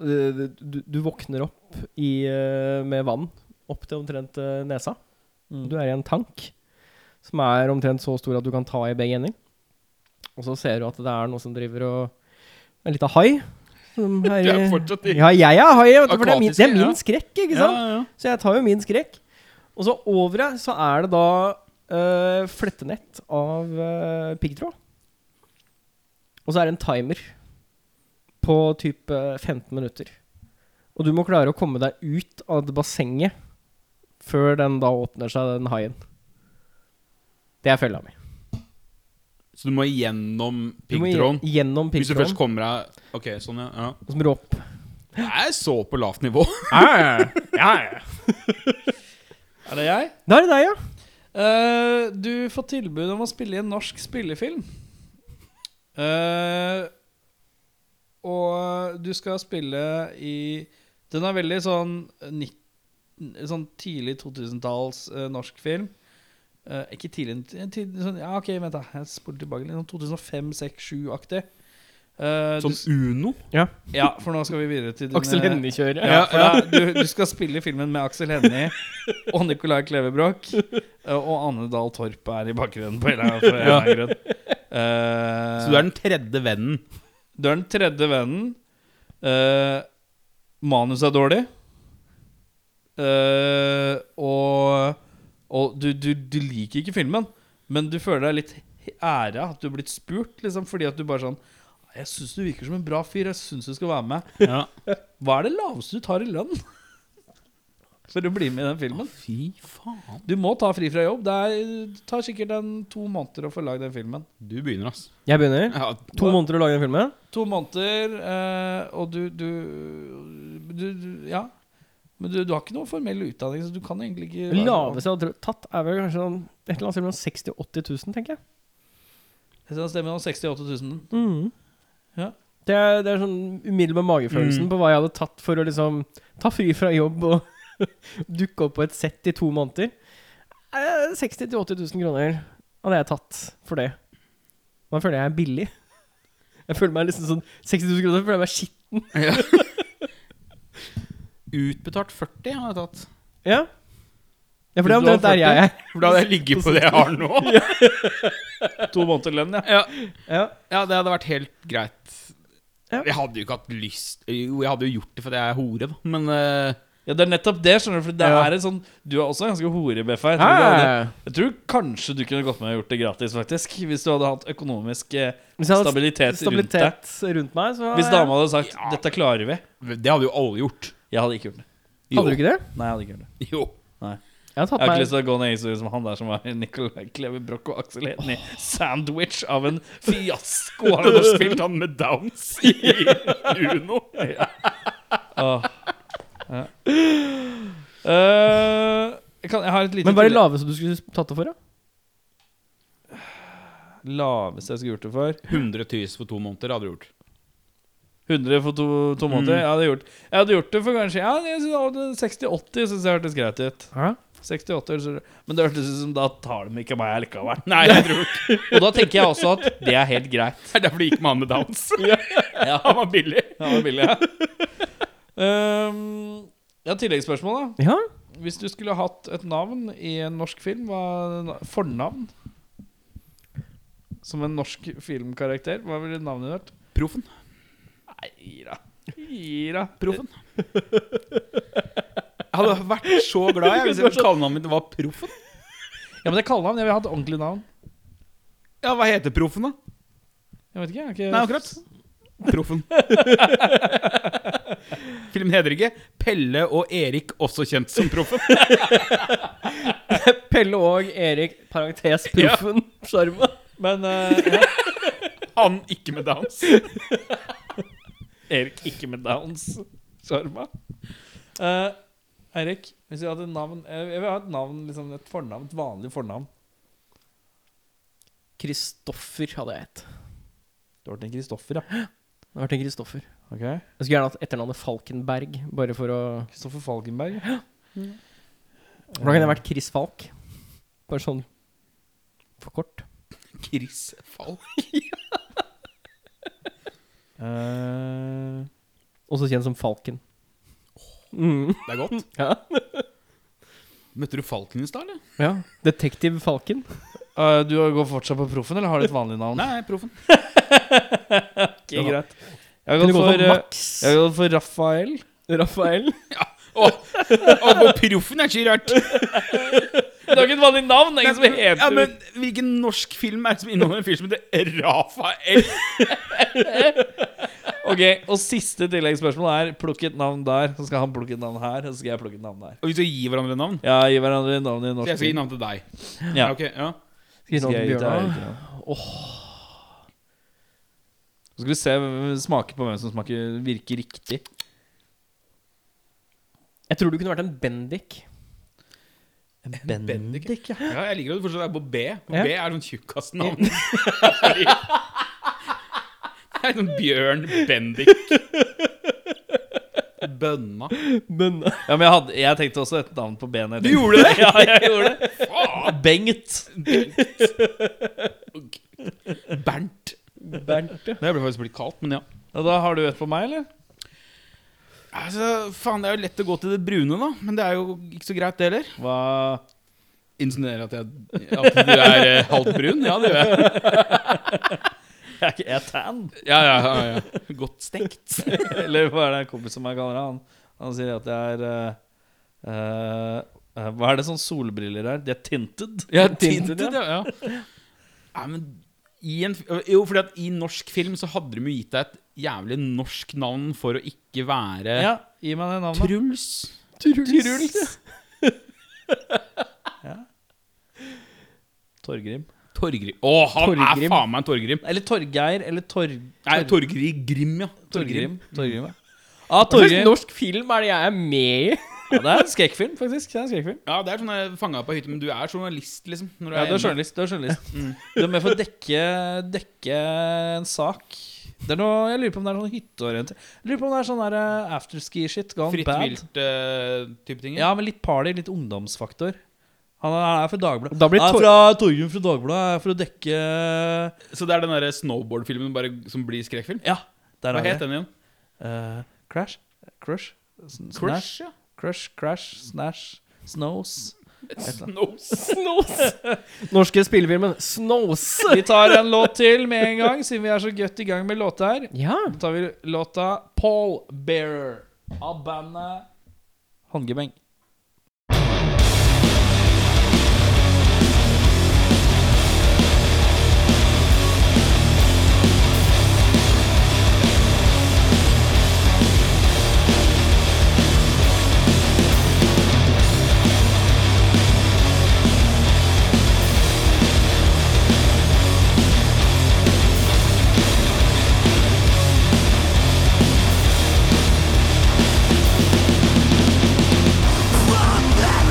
eh, du, du våkner opp i, eh, med vann opp til omtrent eh, nesa. Mm. Du er i en tank som er omtrent så stor at du kan ta i begge ender. Og så ser du at det er noe som driver og En lita hai. (laughs) Som er, Du er fortsatt i ja, jeg er hai, vet du, for det er min, det er Akvatiske, ja. min skrekk, ikke sant? Så jeg tar jo min skrekk. Og så over det så er det da eh, flettenett av eh, piggtråd. Og så er det en timer på type 15 minutter. Og du må klare å komme deg ut av det bassenget før den da åpner seg, den haien. Det er fella mi. Så du må gjennom Du må piggtråden? gje- Gjennom Hvis du først piggtråden. kommer deg Ok, sånn, ja. ja. Som råp. Det er så på lavt nivå. Er Da det jeg? er det deg, ja. Eh, du får tilbud om å spille i en norsk spillefilm. Eh, og du skal spille i Den er veldig sånn, nitt- sånn tidlig 2000-talls eh, norsk film. Eh, ikke tidlig eh, tid, sånn, Ja, OK, vent, da. Jeg spoler tilbake litt. Sånn 2005-2006-2007-aktig. Eh, du Som s- Uno. Ja, for nå skal vi videre til dine- Aksel Hennie-kjøret. ja, for da, du, du skal spille i filmen med Aksel Hennie og Nicolai Klevebrok. eh, Og Anne Dahl Torp er i bakgrunnen på hele for en eller annen grunn. Eh, Så du er den tredje vennen. du er den tredje vennen. Uh, Manus er dårlig. Eh, og og du, du, du liker ikke filmen, men du føler deg litt he- æra at du er blitt spurt, liksom, fordi at du bare sånn Jeg syns du virker som en bra fyr. Jeg syns du skal være med. Ja. Hva er det laveste du tar i lønn? (laughs) For å bli med i den filmen. Fy faen. Du må ta fri fra jobb. Det er, det tar sikkert en to måneder å få lagd den filmen. Du begynner, ass. Jeg begynner. Ja, To måneder å lage den filmen. To måneder, eh, og du, du, du, du Ja. Men du, du har ikke noe formell utdanning, så du kan egentlig ikke være- Laveste jeg har tatt, er vel kanskje sånn et eller annet sted mellom 60 000 og 80 000, tenker jeg. Jeg synes Det stemmer, 68 000. Ja. Mm. Mm. Det, er, det er sånn umiddelbar magefølelsen på hva jeg hadde tatt for å liksom ta fri fra jobb og (laughs) dukke opp på et sett i to måneder. Eh, 60 000-80 000 kroner hadde jeg tatt for det. Da føler jeg jeg er billig. Jeg føler meg liksom sånn 60 000 kroner føler jeg meg skitten. Ja. Utbetalt 40 har jeg tatt. Ja. ja, for det er Du har omtrent der jeg er. For da hadde jeg ligget på det jeg har nå. (laughs) To måneder lønn, ja. Ja, Ja. ja det hadde vært helt greit. Ja. Jeg hadde jo ikke hatt lyst Jo, jeg hadde jo gjort det fordi jeg er hore, da. Men eh, ja. Det er nettopp det, skjønner du. For det Ja. er en sånn Du er også ganske hore, Beffa. Jeg, tror du hadde- Ja. jeg tror kanskje du kunne gått med og gjort det gratis, faktisk. Hvis du hadde hatt økonomisk eh, Hvis jeg hadde stabilitet, rundt deg. stabilitet rundt meg, så Hvis dama hadde sagt Ja. 'dette klarer vi', det hadde jo alle gjort. jeg hadde ikke gjort det. Hadde du ikke det? Nei, jeg hadde ikke gjort det. Jo. Jeg hadde Jeg har tatt ikke meg lyst til å gå ned i historien som han der som var (laughs) Nicolai Kleve Broch og Aksel Hennie. Sandwich av en fiasko. Og han hadde (laughs) spilt han med downs i Uno. Åh. Ah. Ja. Eh, jeg, kan, jeg har et lite Men hva er det tillegg. laveste du skulle tatt det for, da? laveste jeg skulle gjort det for. 100 000 for to måneder hadde du gjort. 100 for to, to Mm. måneder. Jeg, hadde gjort, jeg hadde gjort det for kanskje ja, jeg synes- 60-80 syns jeg hørtes greit ut. Ja. 68, så- Men det hørtes ut som da tar de ikke meg likevel. Nei, jeg tror ikke Og da tenker jeg også at det er helt greit. det er derfor det gikk med han med downs. (laughs) Han var billig. Ja, det var billig, ja. Ehm, ja, tilleggsspørsmål, da. ja. Hvis du skulle hatt et navn i en norsk film, hva fornavn? Som en norsk filmkarakter, hva ville navnet vært? Proffen. Nei, Ira. Ira. Proffen. Jeg hadde vært så glad jeg, hvis kallenavnet mitt var sånn- Proffen. Ja, men det er kallenavn. Jeg vil ha et ordentlig navn. Ja, hva heter Proffen, da? Jeg vet ikke. Jeg har ikke Nei, akkurat. Proffen. (laughs) Filmen heter ikke Pelle og Erik, også kjent som Proffen. (laughs) Pelle og Erik, parentes proffen, sjarma. Men eh, ja. Han ikke med downs. (laughs) Erik ikke med downs. Sjarma. Eh, Eirik, hvis jeg hadde et navn eh, Jeg jeg vil ha et navn, liksom et fornavn, et vanlig fornavn. Kristoffer hadde jeg hett. Du har vært en Kristoffer, ja. Det har vært en Kristoffer. Ok Jeg skulle gjerne hatt etternavnet Falkenberg, bare for å Kristoffer Falkenberg. Da kunne jeg vært Chris Falk. Bare sånn for kort. Chris Falk. Eh, Også kjent som Falken. Mm. Det er godt. (laughs) Ja. Møtte du Falken i stad, eller? ja. Detektiv Falken. eh, du går fortsatt på proffen, eller har du et vanlig navn? Nei, Proffen. Ikke greit. Jeg har Kunne gått gått for, for eh, Max. jeg har gått for (laughs) Raphael. Rafael. Å, å gå Proffen er ikke rart. Det er ikke et vanlig navn! Ingen som heter Ja, men Hvilken norsk film er det som inneholder en fyr som heter Rafael? Ok, Og siste tilleggsspørsmål er plukk et navn der, så skal han plukke et navn her. Og så skal jeg plukke et navn der. Og vi skal gi hverandre navn? Ja, gi hverandre navn i Så norsk jeg skal gi navn til deg? Ja. Ok, ja. Skriv navnet til Bjørnar. Så skal vi se hvem- smake på hvem som smaker virker riktig. Jeg tror du kunne vært en Bendik. Bendik, Ja, jeg liker at du fortsatt er på B. Og Ja. B er sånn tjukkasnavn. (laughs) Fordi- Det er sånn Bjørn Bendik. Bønna. Bønna. Ja, men jeg, hadde, jeg tenkte også et navn på benet. Du gjorde det? Ja, jeg gjorde det. Bengt. Bernt. Bernt, ja. Det ble faktisk blitt kaldt, men ja. Ja, da har du et på meg, eller? Altså, faen, Det er jo lett å gå til det brune, da. Men det er jo ikke så greit, det heller. Hva Insinuere at, jeg- at du er eh, halvt brun? Ja, det gjør jeg. Jeg er ikke jeg er tan. Ja, ja, ja, ja. Godt stekt. Eller hva er det en kompis som jeg kaller det? Han, han sier at jeg er eh, eh, Hva er det sånn solbriller er? De er tinted. (laughs) Ja, Tinted, tinted, ja. ja. Nei, men i en, jo, fordi at i norsk film så hadde de jo gitt deg et jævlig norsk navn for å ikke være Ja, gi meg det navnet. Truls. Truls. Torgrim. Torgrim. Å, han Torgrim. er faen meg en Torgrim. Eller Torgeir eller Torg... Nei, Torgrim Grim, ja. Torgrim. Torgrim, ja. Hva Ah, slags Torgrim. (laughs) norsk film er det jeg er med i? Ja, det er en skrekkfilm, faktisk. Det er en skrekkfilm. Ja, det er sånn fanga på hytte, men du er journalist, liksom. Når du Ja, du er hjemme. journalist. Du er journalist. Du er med for å dekke, dekke en sak. Det er noe, jeg lurer på om det er sånn hytteorientert Jeg Lurer på om det er sånn der, eh, afterski-shit gone Fritt bad. vilt-type Mm. ting. Ja, men litt party, litt ungdomsfaktor. Han er, han er fra Dagbladet. Da blir Han Tor- er fra Torjun fra Dagbladet for å dekke Så det er den derre snowboard-filmen bare- som blir skrekkfilm? Ja, der Hva har vi het det. den igjen? Eh, crash? Crush? Sn- Snash? Crush, (laughs) ja. Crush, crash, snash, snows. Snows. Snos! Norske spillefilmen Snos. Vi tar en låt til med en gang, siden vi er så godt i gang med låter. Ja. Da tar vi låta Paul Bearer av bandet Håndgemeng. Thank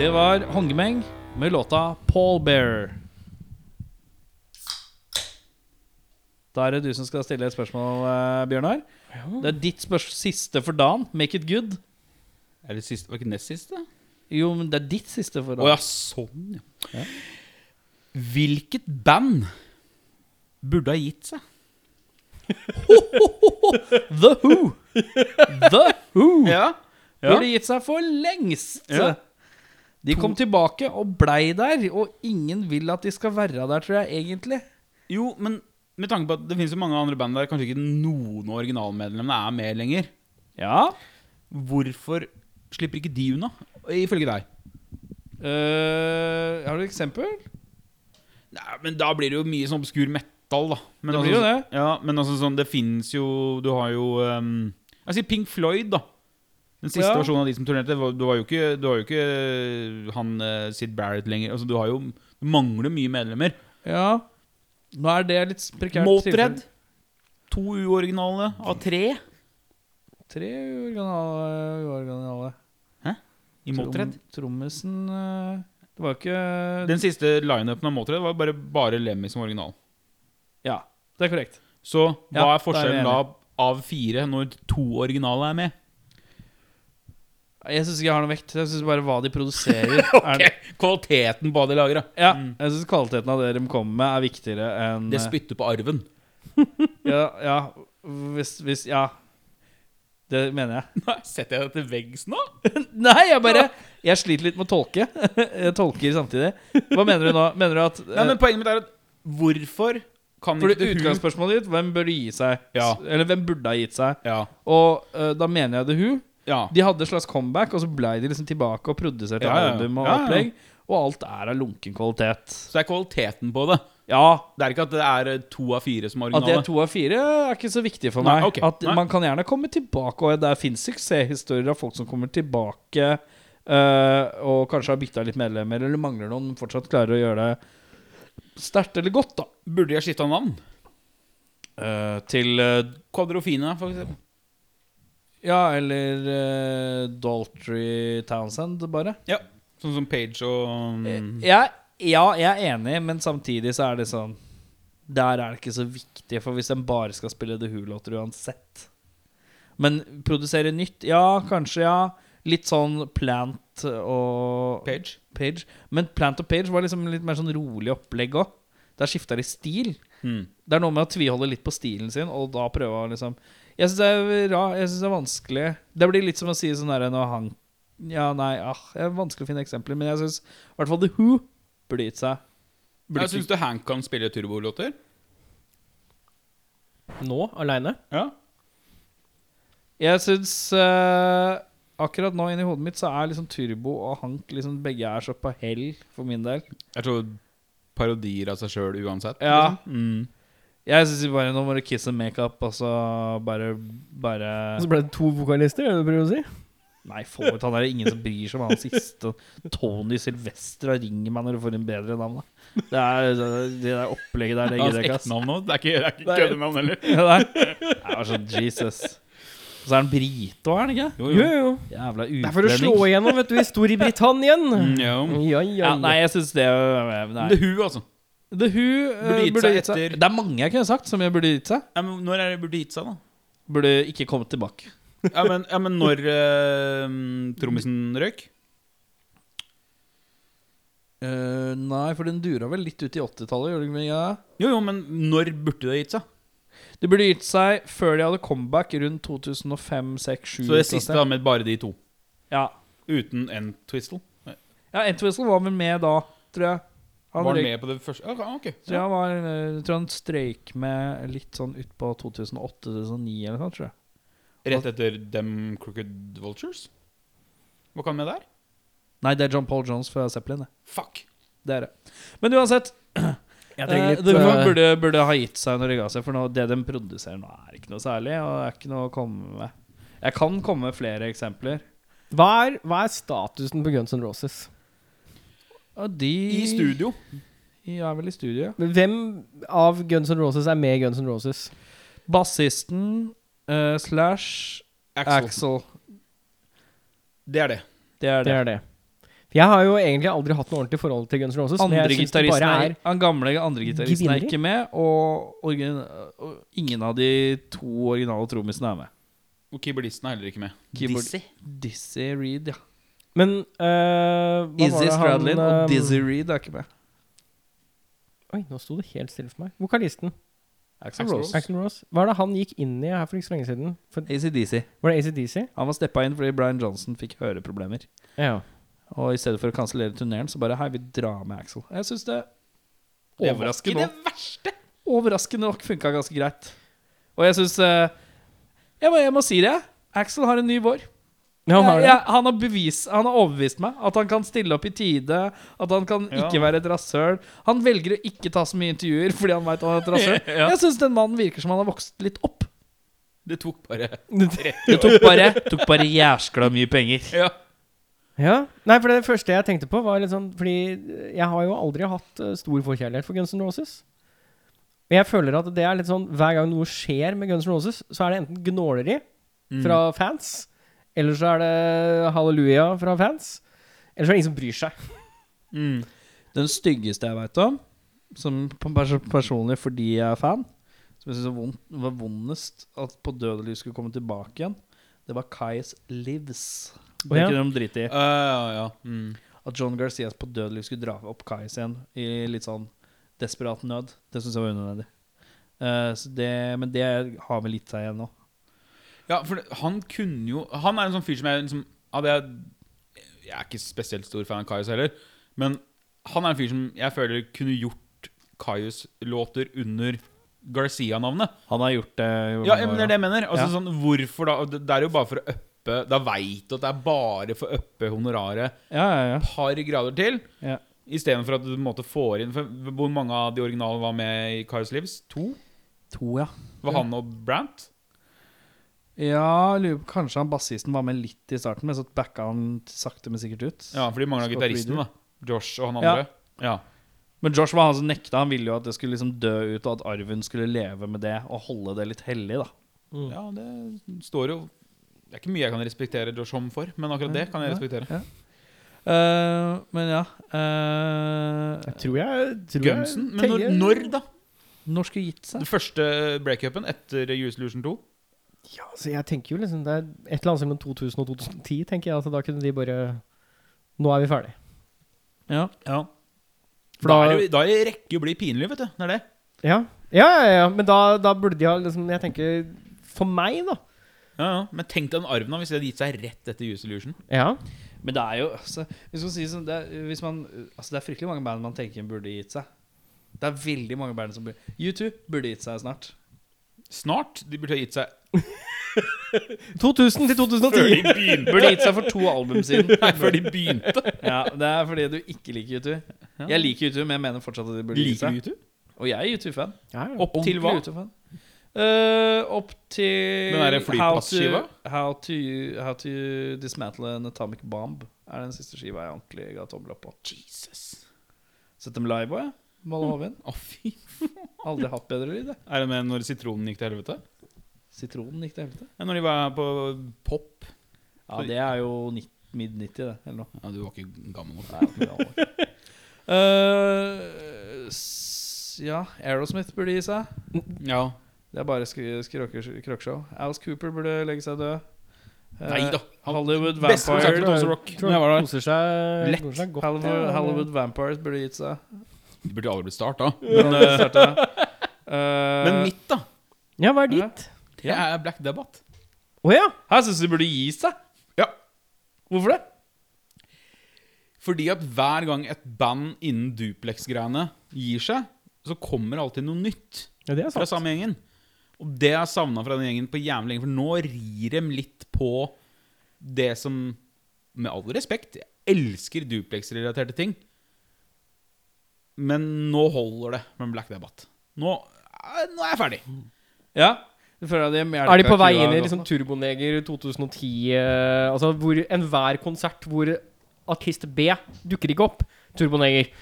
Det var Hongemeng med låta Paul Bear. Da er det du som skal stille et spørsmål, eh, Bjørnar. Det er ditt spørs siste for dagen. Make it good. Er det siste? Var ikke nest siste? Jo, men det er ditt siste for Å dagen. ja, sånn, ja. Hvilket band burde ha gitt seg? The Who! The (laughs) Who Ja. burde gitt seg for lengst. Ja. De kom tilbake og blei der, og ingen vil at de skal være der, tror jeg egentlig. Jo, men med tanke på at det finnes jo mange andre band der kanskje ikke noen av originalmedlemmene er med lenger. Ja. Hvorfor slipper ikke de unna, ifølge deg? Eh, har du et eksempel? Nei, men da blir det jo mye sånn obskur metal, da. Men Det blir jo det. Ja, men altså sånn, det fins jo Du har jo ehm, Jeg sier Pink Floyd, da. Den siste Ja. versjonen av de som turnerte. var- Du har jo ikke, du har jo ikke han eh, Sid Barrett lenger. Altså, du har jo Du mangler mye medlemmer. Ja. Nå er det litt prekært. Motred. tilfelle. To uoriginale av tre Tre uoriginale. uoriginale. i Motred. Trom- Trommisen eh, Det var ikke Den siste lineupen av Motred var bare, bare Lemmy som original. Ja, det er korrekt. Så hva Ja, er forskjellen da da er av fire når to originale er med? Jeg syns ikke jeg har noe vekt. Jeg syns bare hva de (laughs) produserer. er, Kvaliteten på hva de lager, da. ja, jeg syns kvaliteten av det de kommer med, er viktigere Mm. enn eh, Det spytter på arven. Ja, ja hvis, hvis Ja. Det mener (laughs) jeg. Nei, Setter jeg deg til veggs nå? Nei, jeg bare Jeg sliter litt med å tolke. (laughs) Jeg tolker samtidig. Hva mener du nå? Mener du at Nei, men Poenget mitt er at hvorfor kan For ikke det The Who- utgangsspørsmålet ditt hvem burde gi seg? Ja. Eller hvem burde ha gitt seg? Ja. Og eh, da mener jeg The Who. ja. De hadde et slags comeback, og så blei de liksom tilbake og produserte Ja, ja. album og Ja, ja. opplegg. Og alt er av lunken kvalitet. Så det er kvaliteten på det. Ja, Det er ikke at det er eh, to av fire som er at det originale. er to av fire, er ikke så viktig for Nei, meg. ok. At Nei. Man kan gjerne komme tilbake, og der fins suksesshistorier av folk som kommer tilbake eh, og kanskje har bytta litt medlemmer, eller mangler noen, men fortsatt klarer å gjøre det sterkt eller godt, da. Burde de ha skifta navn? Eh, til eh, Kvadrofina, for eksempel. Ja, eller eh, Daltry Townsend, bare. Ja. Sånn som Page og um, Jeg, ja, jeg er enig, men samtidig så er det sånn Der er det ikke så viktig, for hvis en bare skal spille The Who-låter uansett Men produsere nytt? Ja, kanskje, ja. Litt sånn Plant og Page. Page. Men Plant og Page var liksom litt mer sånn rolig opplegg òg. Der skifta de stil. Mm. Det er noe med å tviholde litt på stilen sin, og da prøve å liksom Jeg syns det er ra, jeg synes det er vanskelig. Det blir litt som å si sånn derre når han Ja, nei, ah, det er vanskelig å finne eksempler, men jeg syns i hvert fall The Who burde gitt seg. Burde Jeg Syns du Hank kan spille turbolåter? Nå, aleine? Ja. Jeg syns akkurat nå inni hodet mitt så er liksom Turbo og Hank liksom begge er så på hell for min del. Jeg tror parodier av seg sjøl uansett. Ja. Liksom. Mm. Jeg syns bare nå må du kiss and makeup, og så bare Bare Og så ble det to vokalister, er det det du prøver å si? Nei, få ut han der. Ingen som bryr seg om han siste. Tony Silvestra ringer meg når du får en bedre navn. da. Det er det der opplegget der. Det Hans gidder jeg ikke, ass. ektenavn nå? Det er ikke, det er ikke Nei. køddenavn heller. Ja, det er- Det var sånn Jesus. Og så er han brite òg, er han ikke? Jo, Jo, jo. Jævla Det er for å slå utlending. igjennom, vet du, i Storbritannia. (laughs) Mm, ja. Ja, ja, Ja, nei, jeg syns det øh, nei. The Who, altså. The Who eh, Burde gitt seg etter- Det er mange jeg kunne sagt som jeg burde gitt seg. Ja, men når er det burde gitt seg, da? Burde ikke kommet tilbake. Ja, men, ja, men når uh, trommisen røyk? Eh, nei, for den dura vel litt ut i 80-tallet, gjorde den ikke det? Ja. Jo, jo, men når burde det gitt seg? Det burde gitt seg før de hadde comeback rundt 2005, 2006, 2007. Så det siste da med bare de to. Ja. Uten en twistle. Ja, Entwistle var vel med da, tror jeg. Han Var han røyk- med på det første? Ok, ok. Tror jeg, var, eh, tror han strøyk med litt sånn utpå 2008-2009 eller noe sånt, tror jeg. Rett etter Dem Crooked Vultures? Hva kan med der? Nei, det er John Paul Jones fra Zeppelin, det. Fuck! Det er det. Men uansett, Jeg eh, trenger litt The Who eh, burde, burde ha gitt seg når de ga seg, for nå, det de produserer nå, er ikke noe særlig, og det er ikke noe å komme med. Jeg kan komme med flere eksempler. hva, er, hva er statusen på Guns N' Roses? Og de I studio. de er vel i studio. ja. Hvem av Guns N' Roses er med i Guns N' Roses? Bassisten eh, slash Axel. Axel. Det er det. Det er Det det. er det. For jeg har jo egentlig aldri hatt noe ordentlig forhold til Guns N' Roses. men Andre jeg synes det bare gitaristen er, er han gamle andre gitaristen er Gevinner. ikke med, og, orgin- og ingen av de to originale trommisene er med. Og keyboardisten er heller ikke med. Keyboard- Dizzy Reed, ja. Men øh, hva var Izzy det han, Stradlin og øhm, Dizzy Reed er ikke med. Oi, nå sto det helt stille for meg. Vokalisten. Axl Rose. Axl Rose. Hva er det han gikk inn i her for ikke så lenge siden? For, ACDC. var det ACDC? Han var steppa inn fordi Brian Johnson fikk høreproblemer. Ja. Og i stedet for å kansellere turneren, så bare Hei, vi drar med Axel. Jeg syns det Overraskende. overraskende nok funka ganske greit. Og jeg syns jeg, må- jeg må si det. Axel har en ny vår. Ja, han har Jeg- det. jeg- han, har bevis, han har overbevist meg at han kan stille opp i tide. At han kan ikke være et rasshøl. Han velger å ikke ta så mye intervjuer fordi han veit han er et rasshøl. Ja. Jeg syns den mannen virker som han har vokst litt opp. Det tok bare (laughs) Det tok bare, tok bare jæskla mye penger. Ja. Ja. Nei, for det første jeg tenkte på, var litt sånn Fordi jeg har jo aldri hatt eh, stor forkjærlighet for Guns N' Roses. Og jeg føler at det er litt sånn hver gang noe skjer med Guns N' Roses, så er det enten gnåleri Mm. fra fans, eller så er det halleluja fra fans. Eller så er det ingen som bryr seg. Den styggeste jeg veit om, som på- pers personlig fordi jeg er fan, som jeg syns var vondest at på Dødelig skulle komme tilbake igjen, det var Kais Lives. Det Å, ja. er ikke noe drit i. ja, ja. Mm. At John Garcias på dødelig skulle dra opp Kais igjen i litt sånn desperat nød, det syns jeg var unødvendig. Eh, så det, men det har vel litt seg igjen nå. ja, for det- han kunne jo Han er en sånn fyr som jeg liksom hadde jeg, jeg er ikke spesielt stor fan av Kaius heller, men han er en fyr som jeg føler kunne gjort Kaius-låter under Garcia-navnet. Han har gjort det. i Ja, mange men år det er det nå. jeg mener. Altså, Ja. sånn, hvorfor da? Og Det det er jo bare for å uppe Da veit du at det er bare for å uppe honoraret Ja, ja, ja. et par grader til. Ja. Istedenfor at du på en måte får inn for Hvor mange av de originale var med i Kaius Lives? To? To, ja. Var han og Brant? Ja, lurer på, kanskje han bassisten var med litt i starten, men så backa han sakte, men sikkert ut. Ja, for de mangla Scott gitaristen, Reeder. da. Josh og han Ja. andre. Ja. Men Josh var han som nekta. Han ville jo at det skulle liksom dø ut, og at arven skulle leve med det, og holde det litt hellig, da. Ja. det står jo Det er ikke mye jeg kan respektere Josh Homme for, men akkurat det kan jeg respektere. Eh, men ja eh, Tror jeg, tror Gunsen? Men når, når da? Når skulle gitt seg? Den første breakupen etter Use Illusion 2? Ja, så jeg tenker jo liksom Det er et eller annet sted mellom 2000 og 2010, tenker jeg. Altså, da kunne de bare Nå er vi ferdig. Ja. Ja. For da, da- er det, da er det rekke å bli pinlig, vet du. Det er det. Ja, ja, ja, ja. men da, da burde de ha liksom Jeg tenker For meg, da. Ja, ja. Men tenk deg den arven da, hvis de hadde gitt seg rett etter Use Illusion. Ja. Men det er jo altså, hvis man sier sånn, det, er, hvis man, altså, det er fryktelig mange band man tenker burde gitt seg. Det er veldig mange band som burde U2 burde gitt seg snart. Snart. De burde ha gitt seg 2000 til 2010. Burde gitt seg for to album (laughs) siden. Nei, før de begynte. Ja, det er fordi du ikke liker U2. Jeg liker U2, men jeg mener fortsatt at de burde gitt Liker seg. du YouTube? Og jeg er U2-fan. Ja, ja. Opp til hva? Ordentlig U2-fan. Eh, opp til Den derre How to, flyplassskiva? how, to, how to Dismantle an Atomic Bomb er den siste skiva jeg ordentlig ga tommel opp på. Jesus. Sett dem live òg, jeg. Malle Hovin. Å, fy. Aldri hatt bedre lyd. jeg. Er det med når sitronen gikk til helvete? Sitronen gikk til helvete. Ja, når de var på pop. Ja, det er jo mid-90, det. Eller noe. Ja, du var ikke gammel nok. (laughs) Eh, s- ja, Aerosmith burde gi seg. Ja. Det er bare skr- skrokker- kråkeshow. Alice Cooper burde legge seg død. Eh, Nei da. Hollywood Best konsert Vampire på Tons of Rock. Tror Når jeg var der. koser seg, Lett. koser seg godt. Hollywood, Hollywood Vampires burde gitt seg. De burde aldri blitt starta. Men, eh, starta. Eh, Men mitt, da. Ja, hva er ditt? Det er Black Debate. Å ja. Her syns du de burde gi seg. Ja. Hvorfor det? Fordi at hver gang et band innen Duplex-greiene gir seg, så kommer alltid noe nytt ja! Det er fra sant. samme gjengen. Og det har jeg savna fra den gjengen på jævlig lenge, for nå rir dem litt på det som Med all respekt, jeg elsker Duplex-relaterte ting, men nå holder det med Black Debate. Nå, eh, nå er jeg ferdig. Ja. Du føler at de Er de på vei inn i liksom Turboneger 2010? eh, altså hvor enhver konsert hvor artist B dukker ikke opp. Turboneger.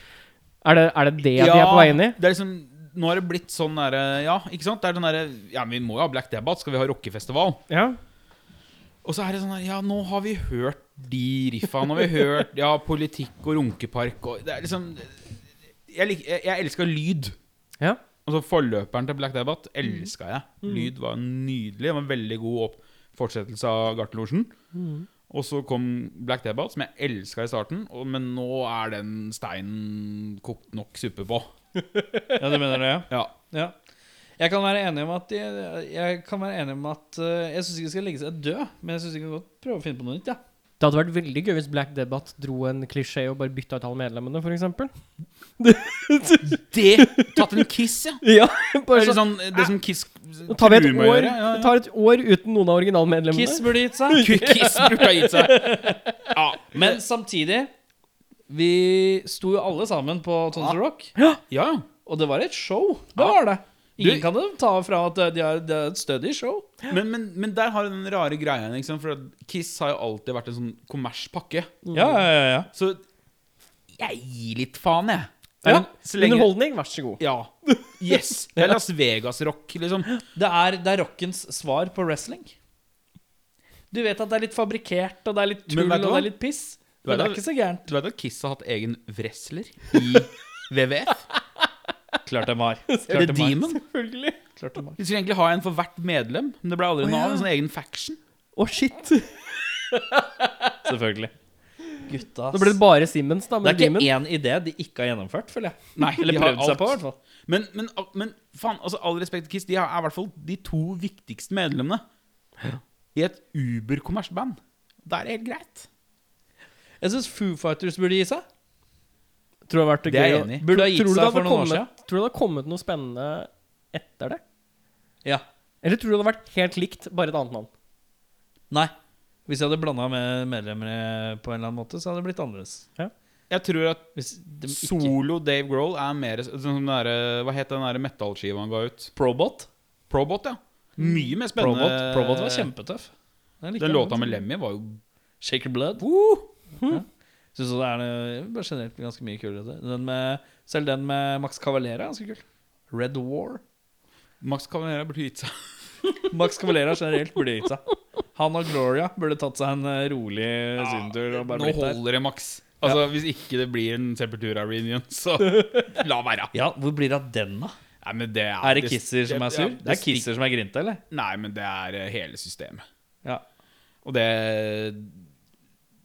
Er det er det, det de er på vei inn i? Det er liksom, nå har det blitt sånn derre Ja, ikke sant? Det er sånn derre Ja, men vi må jo ha Black Debate. Skal vi ha rockefestival? Ja. Og så er det sånn her Ja, nå har vi hørt de riffene har vi hørt. Ja, politikk og runkepark og Det er liksom Jeg, lik, jeg, jeg elska lyd. Ja. Mm. Altså Forløperen til Black Dabbat elska jeg. Lyd var nydelig. Det var en veldig god opp fortsettelse av Gartelosjen. Mm. Og så kom Black Dabbat, som jeg elska i starten, og, men nå er den steinen kokt nok suppe på. Ja, du mener det, ja? Ja. Ja. Jeg kan være enig om at Jeg, jeg kan være enig om at eh, Jeg syns ikke det skal legge seg død, men jeg syns vi kan godt prøve å finne på noe nytt. Ja. Det hadde vært veldig gøy hvis Black Debate dro en klisjé og bare bytta ut alle medlemmene, f.eks. Det! Tatt en kiss, ja. Ja, Det, bare er litt sånn, det som Kiss Nå tar vi et truer med å år, gjøre, ja, ja. tar et år uten noen av originalmedlemmene. Kiss burde gitt seg. Kiss (laughs) burde ha gitt seg. Ja, Men samtidig Vi sto jo alle sammen på Tons Rock, ja. og det var et show. Det var det. Ingen Du- kan det ta fra at det er, det er et stødig show. Men, men, men der har du den rare greia. Liksom, for at Kiss har jo alltid vært en sånn kommerspakke. Ja, ja, ja. Så jeg gir litt faen, jeg. Ja. Så lenge Underholdning, vær så god. Ja. Yes. (laughs) Det er Las Vegas-rock, liksom. Det er, det er rockens svar på wrestling. Du vet at det er litt fabrikkert, og det er litt tull, Men og vet du det hva? er litt piss. Du vet Men det er hva? ikke så gærent. Du vet at Kiss har hatt egen wrestler i WWF? (laughs) Klart dem har. The Demon. Selvfølgelig. Klart dem har. De skulle egentlig ha en for hvert medlem, men det ble aldri Å, noe ja. av. En sånn egen faction. Å, shit. Selvfølgelig. Gutta, ass. Da ble det bare Simmons, da. Det Med er ikke Demon. én idé de ikke har gjennomført, føler jeg. Nei, Eller de har prøvd seg alt. på, i hvert fall. Men, men, men faen, altså, all respekt til Kiss, de er i hvert fall de to viktigste medlemmene i et uber-kommersband. Da er det helt greit. Jeg syns Foo Fighters burde gi seg. Tror det har vært Det er gøy jeg å- enig i. Burde ha gitt Tror du det seg hadde for noen år kommet- siden. Tror du det hadde kommet noe spennende etter det? Ja. Eller tror du det hadde vært helt likt, bare et annet navn? Nei. Hvis jeg hadde blanda med medlemmer eh, på en eller annen måte, så hadde det blitt annerledes. Jeg tror at Hvis de ikke solo Dave Grohl er mer sånn som den derre- Hva het den derre metallskiva han ga ut? Probot. Probot, ja. Mye mer spennende. Probot, Probot var kjempetøff. Jeg liker Den låta med altså. Lemmy var jo Shake Your Blood. Ja. Synes det er eh, bare generelt ganske mye kulere. Den med, selv den med Max Cavalera er ganske kul. Red War. Max Cavalera burde gitt seg. Max Cavalera generelt burde gitt seg. Han og Gloria burde tatt seg en eh, rolig sydentur og bare Nå blitt der. holder det, Max. Altså, Hvis ikke det blir en Sepultura-reunion, så (laughs) la være. Ja, hvor blir det av den, da? Nei, men det er, Er det Kisser som er ja, sur? Det er Kisser som er grinta, eller? stik- Nei, men det er eh, hele systemet. Ja. Og det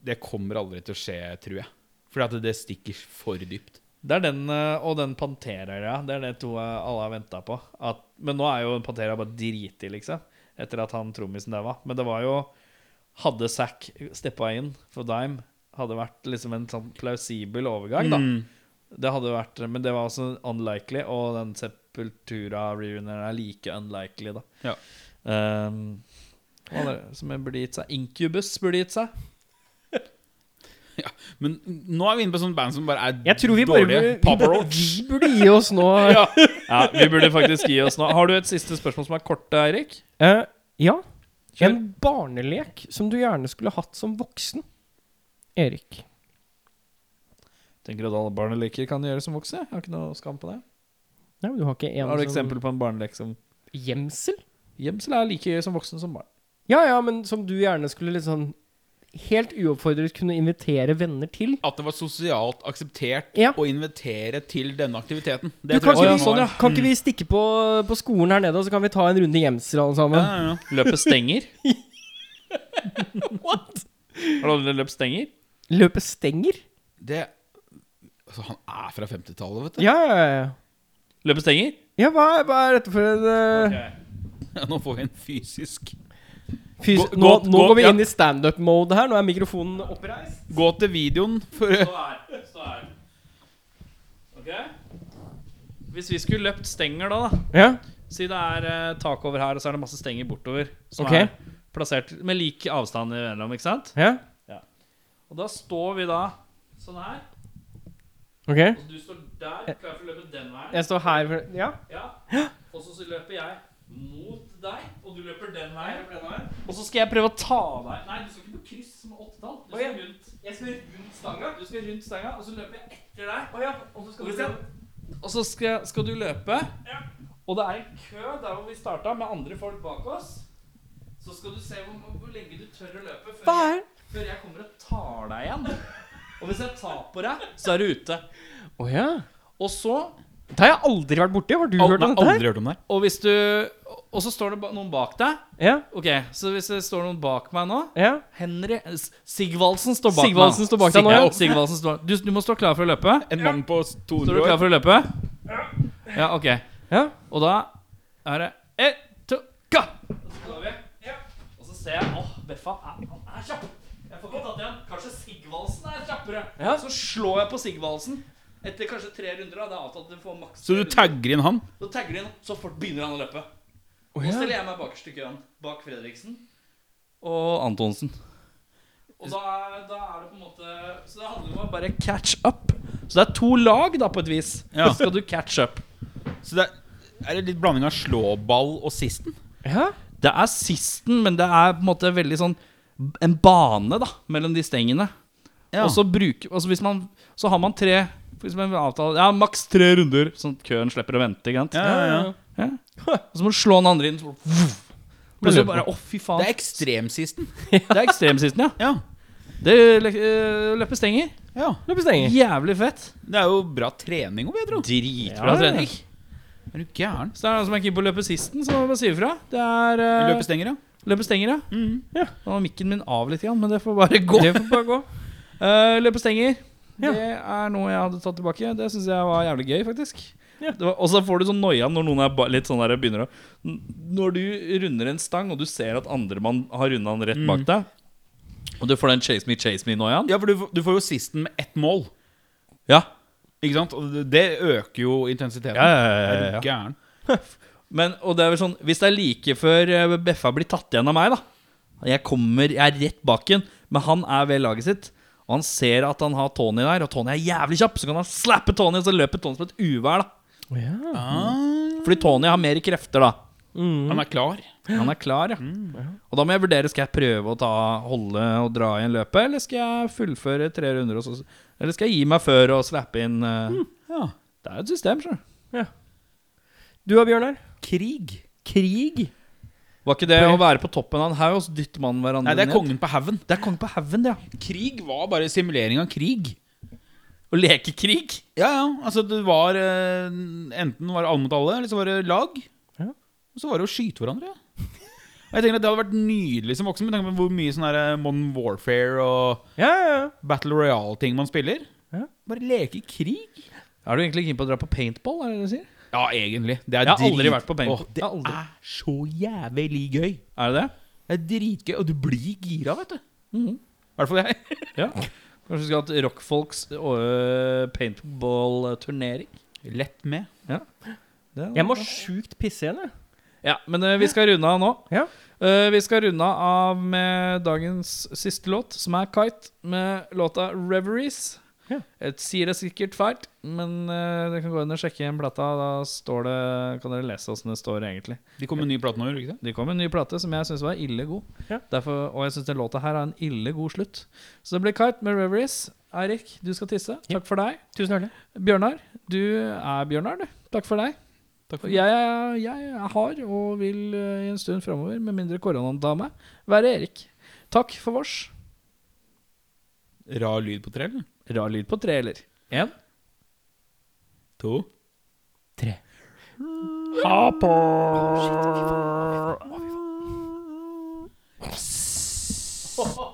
Det kommer aldri til å skje, tror jeg. Fordi at det stikker for dypt. Det er den eh, og den Pantera, ja. Det er det to eh, alle har venta på. At, men nå er jo Pantera bare driti, liksom. Etter at han trommisen daua. Men det var jo Hadde Zack steppa inn for Dime, hadde vært liksom en sånn plausibel overgang, da. Mm. Det hadde vært Men det var også unlikely, og den Sepultura-reunionen er like unlikely, da. Ja. Ehm, hva er det som burde gitt seg? Incubus burde gitt seg. Men nå er vi inne på sånt band som bare er Jeg tror vi bare dårlige. burde, Papa Roach. vi burde gi oss nå ja. Ja, vi burde faktisk gi oss nå. Har du et siste spørsmål som er kort, Eirik? Eh, ja. Kjør. En barnelek som du gjerne skulle hatt som voksen. Erik. Tenker at alle barneleker kan gjøre som voksne? Jeg har ikke noe skam på det. Nei, men du har ikke en Har du som- eksempel på en barnelek som Gjemsel? gjemsel er like gøy som voksen som barn? Ja ja, men som du gjerne skulle litt sånn Helt uoppfordret kunne invitere venner til. At det var sosialt akseptert Ja. å invitere til denne aktiviteten. Du, Det kan, tror ikke jeg vi, var- kan ikke vi stikke på, på skolen her nede, og så kan vi ta en runde gjemsel alle sammen? Ja, ja, ja. Løpet stenger. What? Har du aldri løpt stenger? Løpet stenger? Det Altså, han er fra 50-tallet, vet du. Ja, ja, ja. Løpet stenger? ja hva, er- hva er dette for en eh, Nå får vi en fysisk fys Gå- nå, gå- nå gå- går vi ja. inn i standup-mode her. Nå er mikrofonen oppreist. Gå til videoen for Ok Hvis vi skulle løpt stenger da, da Ja. Si det er eh, tak over her, og så er det masse stenger bortover. Som Ok. er plassert med lik avstand imellom, ikke sant? ja. Og da står vi da sånn her. Ok. Og du står der, klar for å løpe den veien. Jeg står her for Ja. Ja. Og så så løper jeg mot deg, og du løper den veien. Og så skal jeg prøve å ta deg Nei, du skal ikke på kryss med åttetall. Du skal rundt. Jeg skal rundt stanga. Du skal rundt stanga, og så løper jeg etter deg. Og så skal, du, og så skal, skal du løpe. Og det er en kø der hvor vi starta, med andre folk bak oss. Så skal du se hvor, hvor lenge du tør å løpe før, Hva jeg, er før jeg kommer og tar Og hvis jeg tar på deg, så er du ute. Å ja. Og så Det har jeg aldri vært borti. Har du Al- hørt Nei, om dette? her? aldri hørt om det. Og hvis du Og så står det ba- noen bak deg. Ja, Ok, Så hvis det står noen bak meg nå ja. Henry S- Sigvaldsen står bak Sigvaldsen meg. står bak deg nå, ja. Ja, Sigvaldsen står du, du må stå klar for å løpe. En mann på Står du 200 klar år. for å løpe? Ja, ok. ja. Og da er det ett, to, ga! Og så går vi. Og så ser jeg Åh, Beffa er, han er kjapp. Jeg får ikke tatt igjen. Kanskje Sigvaldsen er kjappere. Ja. Så slår jeg på Sigvaldsen. Etter kanskje tre runder. da, Det er avtalt at du får maks Så tre du runder. tagger inn han? Så tagger de inn, så fort begynner han å løpe. Å, Nå ja. stiller jeg meg bakerst i køen, bak Fredriksen og Antonsen. Og da, er- da er det på en måte Så det handler om å bare catch up. Så det er to lag, da, på et vis. Ja. Så skal du catch up. Så det er, er det litt blanding av slåball og sisten? ja. Det er sisten, men det er på en måte veldig sånn en bane, da, mellom de stengene. Og så bruker altså hvis man, Så har man tre Hvis man avtaler Ja, maks tre runder, sånn at køen slipper å vente. Ikke sant? ja, ja, ja. Og så må du slå den andre inn. Så plutselig bare Å, fy faen. Det er ekstremsisten. Det er ekstremsisten, ja. Ja. Det løper stenger. ja. Løp i stenger. Jævlig fett. Det er jo bra trening òg, vil jeg tro. Dritbra Ja, ja. trening. Er du gæren? Så det er noen som er keen på å løpe sisten, så må man bare si ifra. Det er eh, Løpestenger, ja. løpestenger, ja. Ja. Nå var mikken min av litt, grann, men det får bare gå. Mhm. Det får bare gå. Eh, løpestenger. Ja. Det er noe jeg hadde tatt tilbake. Det syns jeg var jævlig gøy, faktisk. Ja. Det var- Og så får du sånn noia når noen er ba- litt sånn der begynner å N- Når du runder en stang, og du ser at andre mann har runda den rett Mm. bak deg, og du får den chase me, chase me-noiaen Ja, for du, du får jo sisten med ett mål. Ja. Ikke sant? Og det- det øker jo intensiteten. Ja, ja, ja, ja, Er ja. du gæren? Men, og det er vel sånn Hvis det er like før eh, Beffa blir tatt igjen av meg, da Jeg kommer, jeg er rett bak igjen, men han er ved laget sitt. Og han ser at han har Tony der, og Tony er jævlig kjapp. Så kan han slappe Tony, og så løper Tony som et uvær. da Å, ja. mm. Ah, Fordi Tony har mer krefter, da. han er klar. Han er klar, ja. Mm, Og da må jeg vurdere skal jeg prøve å ta, holde og dra i en løpet, eller skal jeg fullføre tre runder, og så, eller skal jeg gi meg før og slappe inn eh, Mm, Ja. Det er jo et system, sjøl. Du og Bjørnar? Krig. Krig? Var ikke det å være på toppen av en haug, og så dytter man hverandre Nei, det er ned? kongen på haugen. Det er konge på haugen, det, ja. Krig var bare simulering av krig. Å leke krig? Ja, ja. Altså, det var eh, Enten var det alle mot alle, eller så var det lag. Ja. Og så var det å skyte hverandre. Ja. Og jeg tenker at Det hadde vært nydelig som voksen, med tanke på hvor mye sånn her eh, Modern Warfare og Ja, ja, ja. Battle Royale-ting man spiller. Ja. Bare leke krig. Er du egentlig keen på å dra på paintball? Er det det du sier? Ja, egentlig. Det er Jeg har aldri drit- vært på paintball. Åh, det Jeg har aldri- er så jævlig gøy. Er det det? Det er dritgøy, og du blir gira, vet du. Mhm. I hvert fall jeg. Ja. Kanskje vi skal ha et rockfolks øh, paintball-turnering? Lett med. Det er- Jeg må sjukt pisse igjen, jeg. Ja, men øh, vi skal runde av nå. Ja. Øh, vi skal runde av med dagens siste låt, som er Kite, med låta 'Reveries'. Ja. Jeg sier det sikkert feil, men øh, dere kan gå inn og sjekke igjen plata. Da står det, kan dere lese åssen det står egentlig. De kom med ny plate nå, gjorde de ikke det? Det kom en ny plate som jeg syns var ille god. Ja. Derfor, og jeg syns den låta her har en ille god slutt. Så det blir Kite med Reveries. Eirik, du skal tisse. Ja. Takk for deg. Tusen hjertelig. Bjørnar, du er Bjørnar, du. Takk for deg. jeg, er- jeg er hard og vil eh, i en stund framover, med mindre koronaen tar meg, være Erik. Takk for vårs. Rar lyd på trell. Rar lyd på tre, eller? Én. To. Ha på!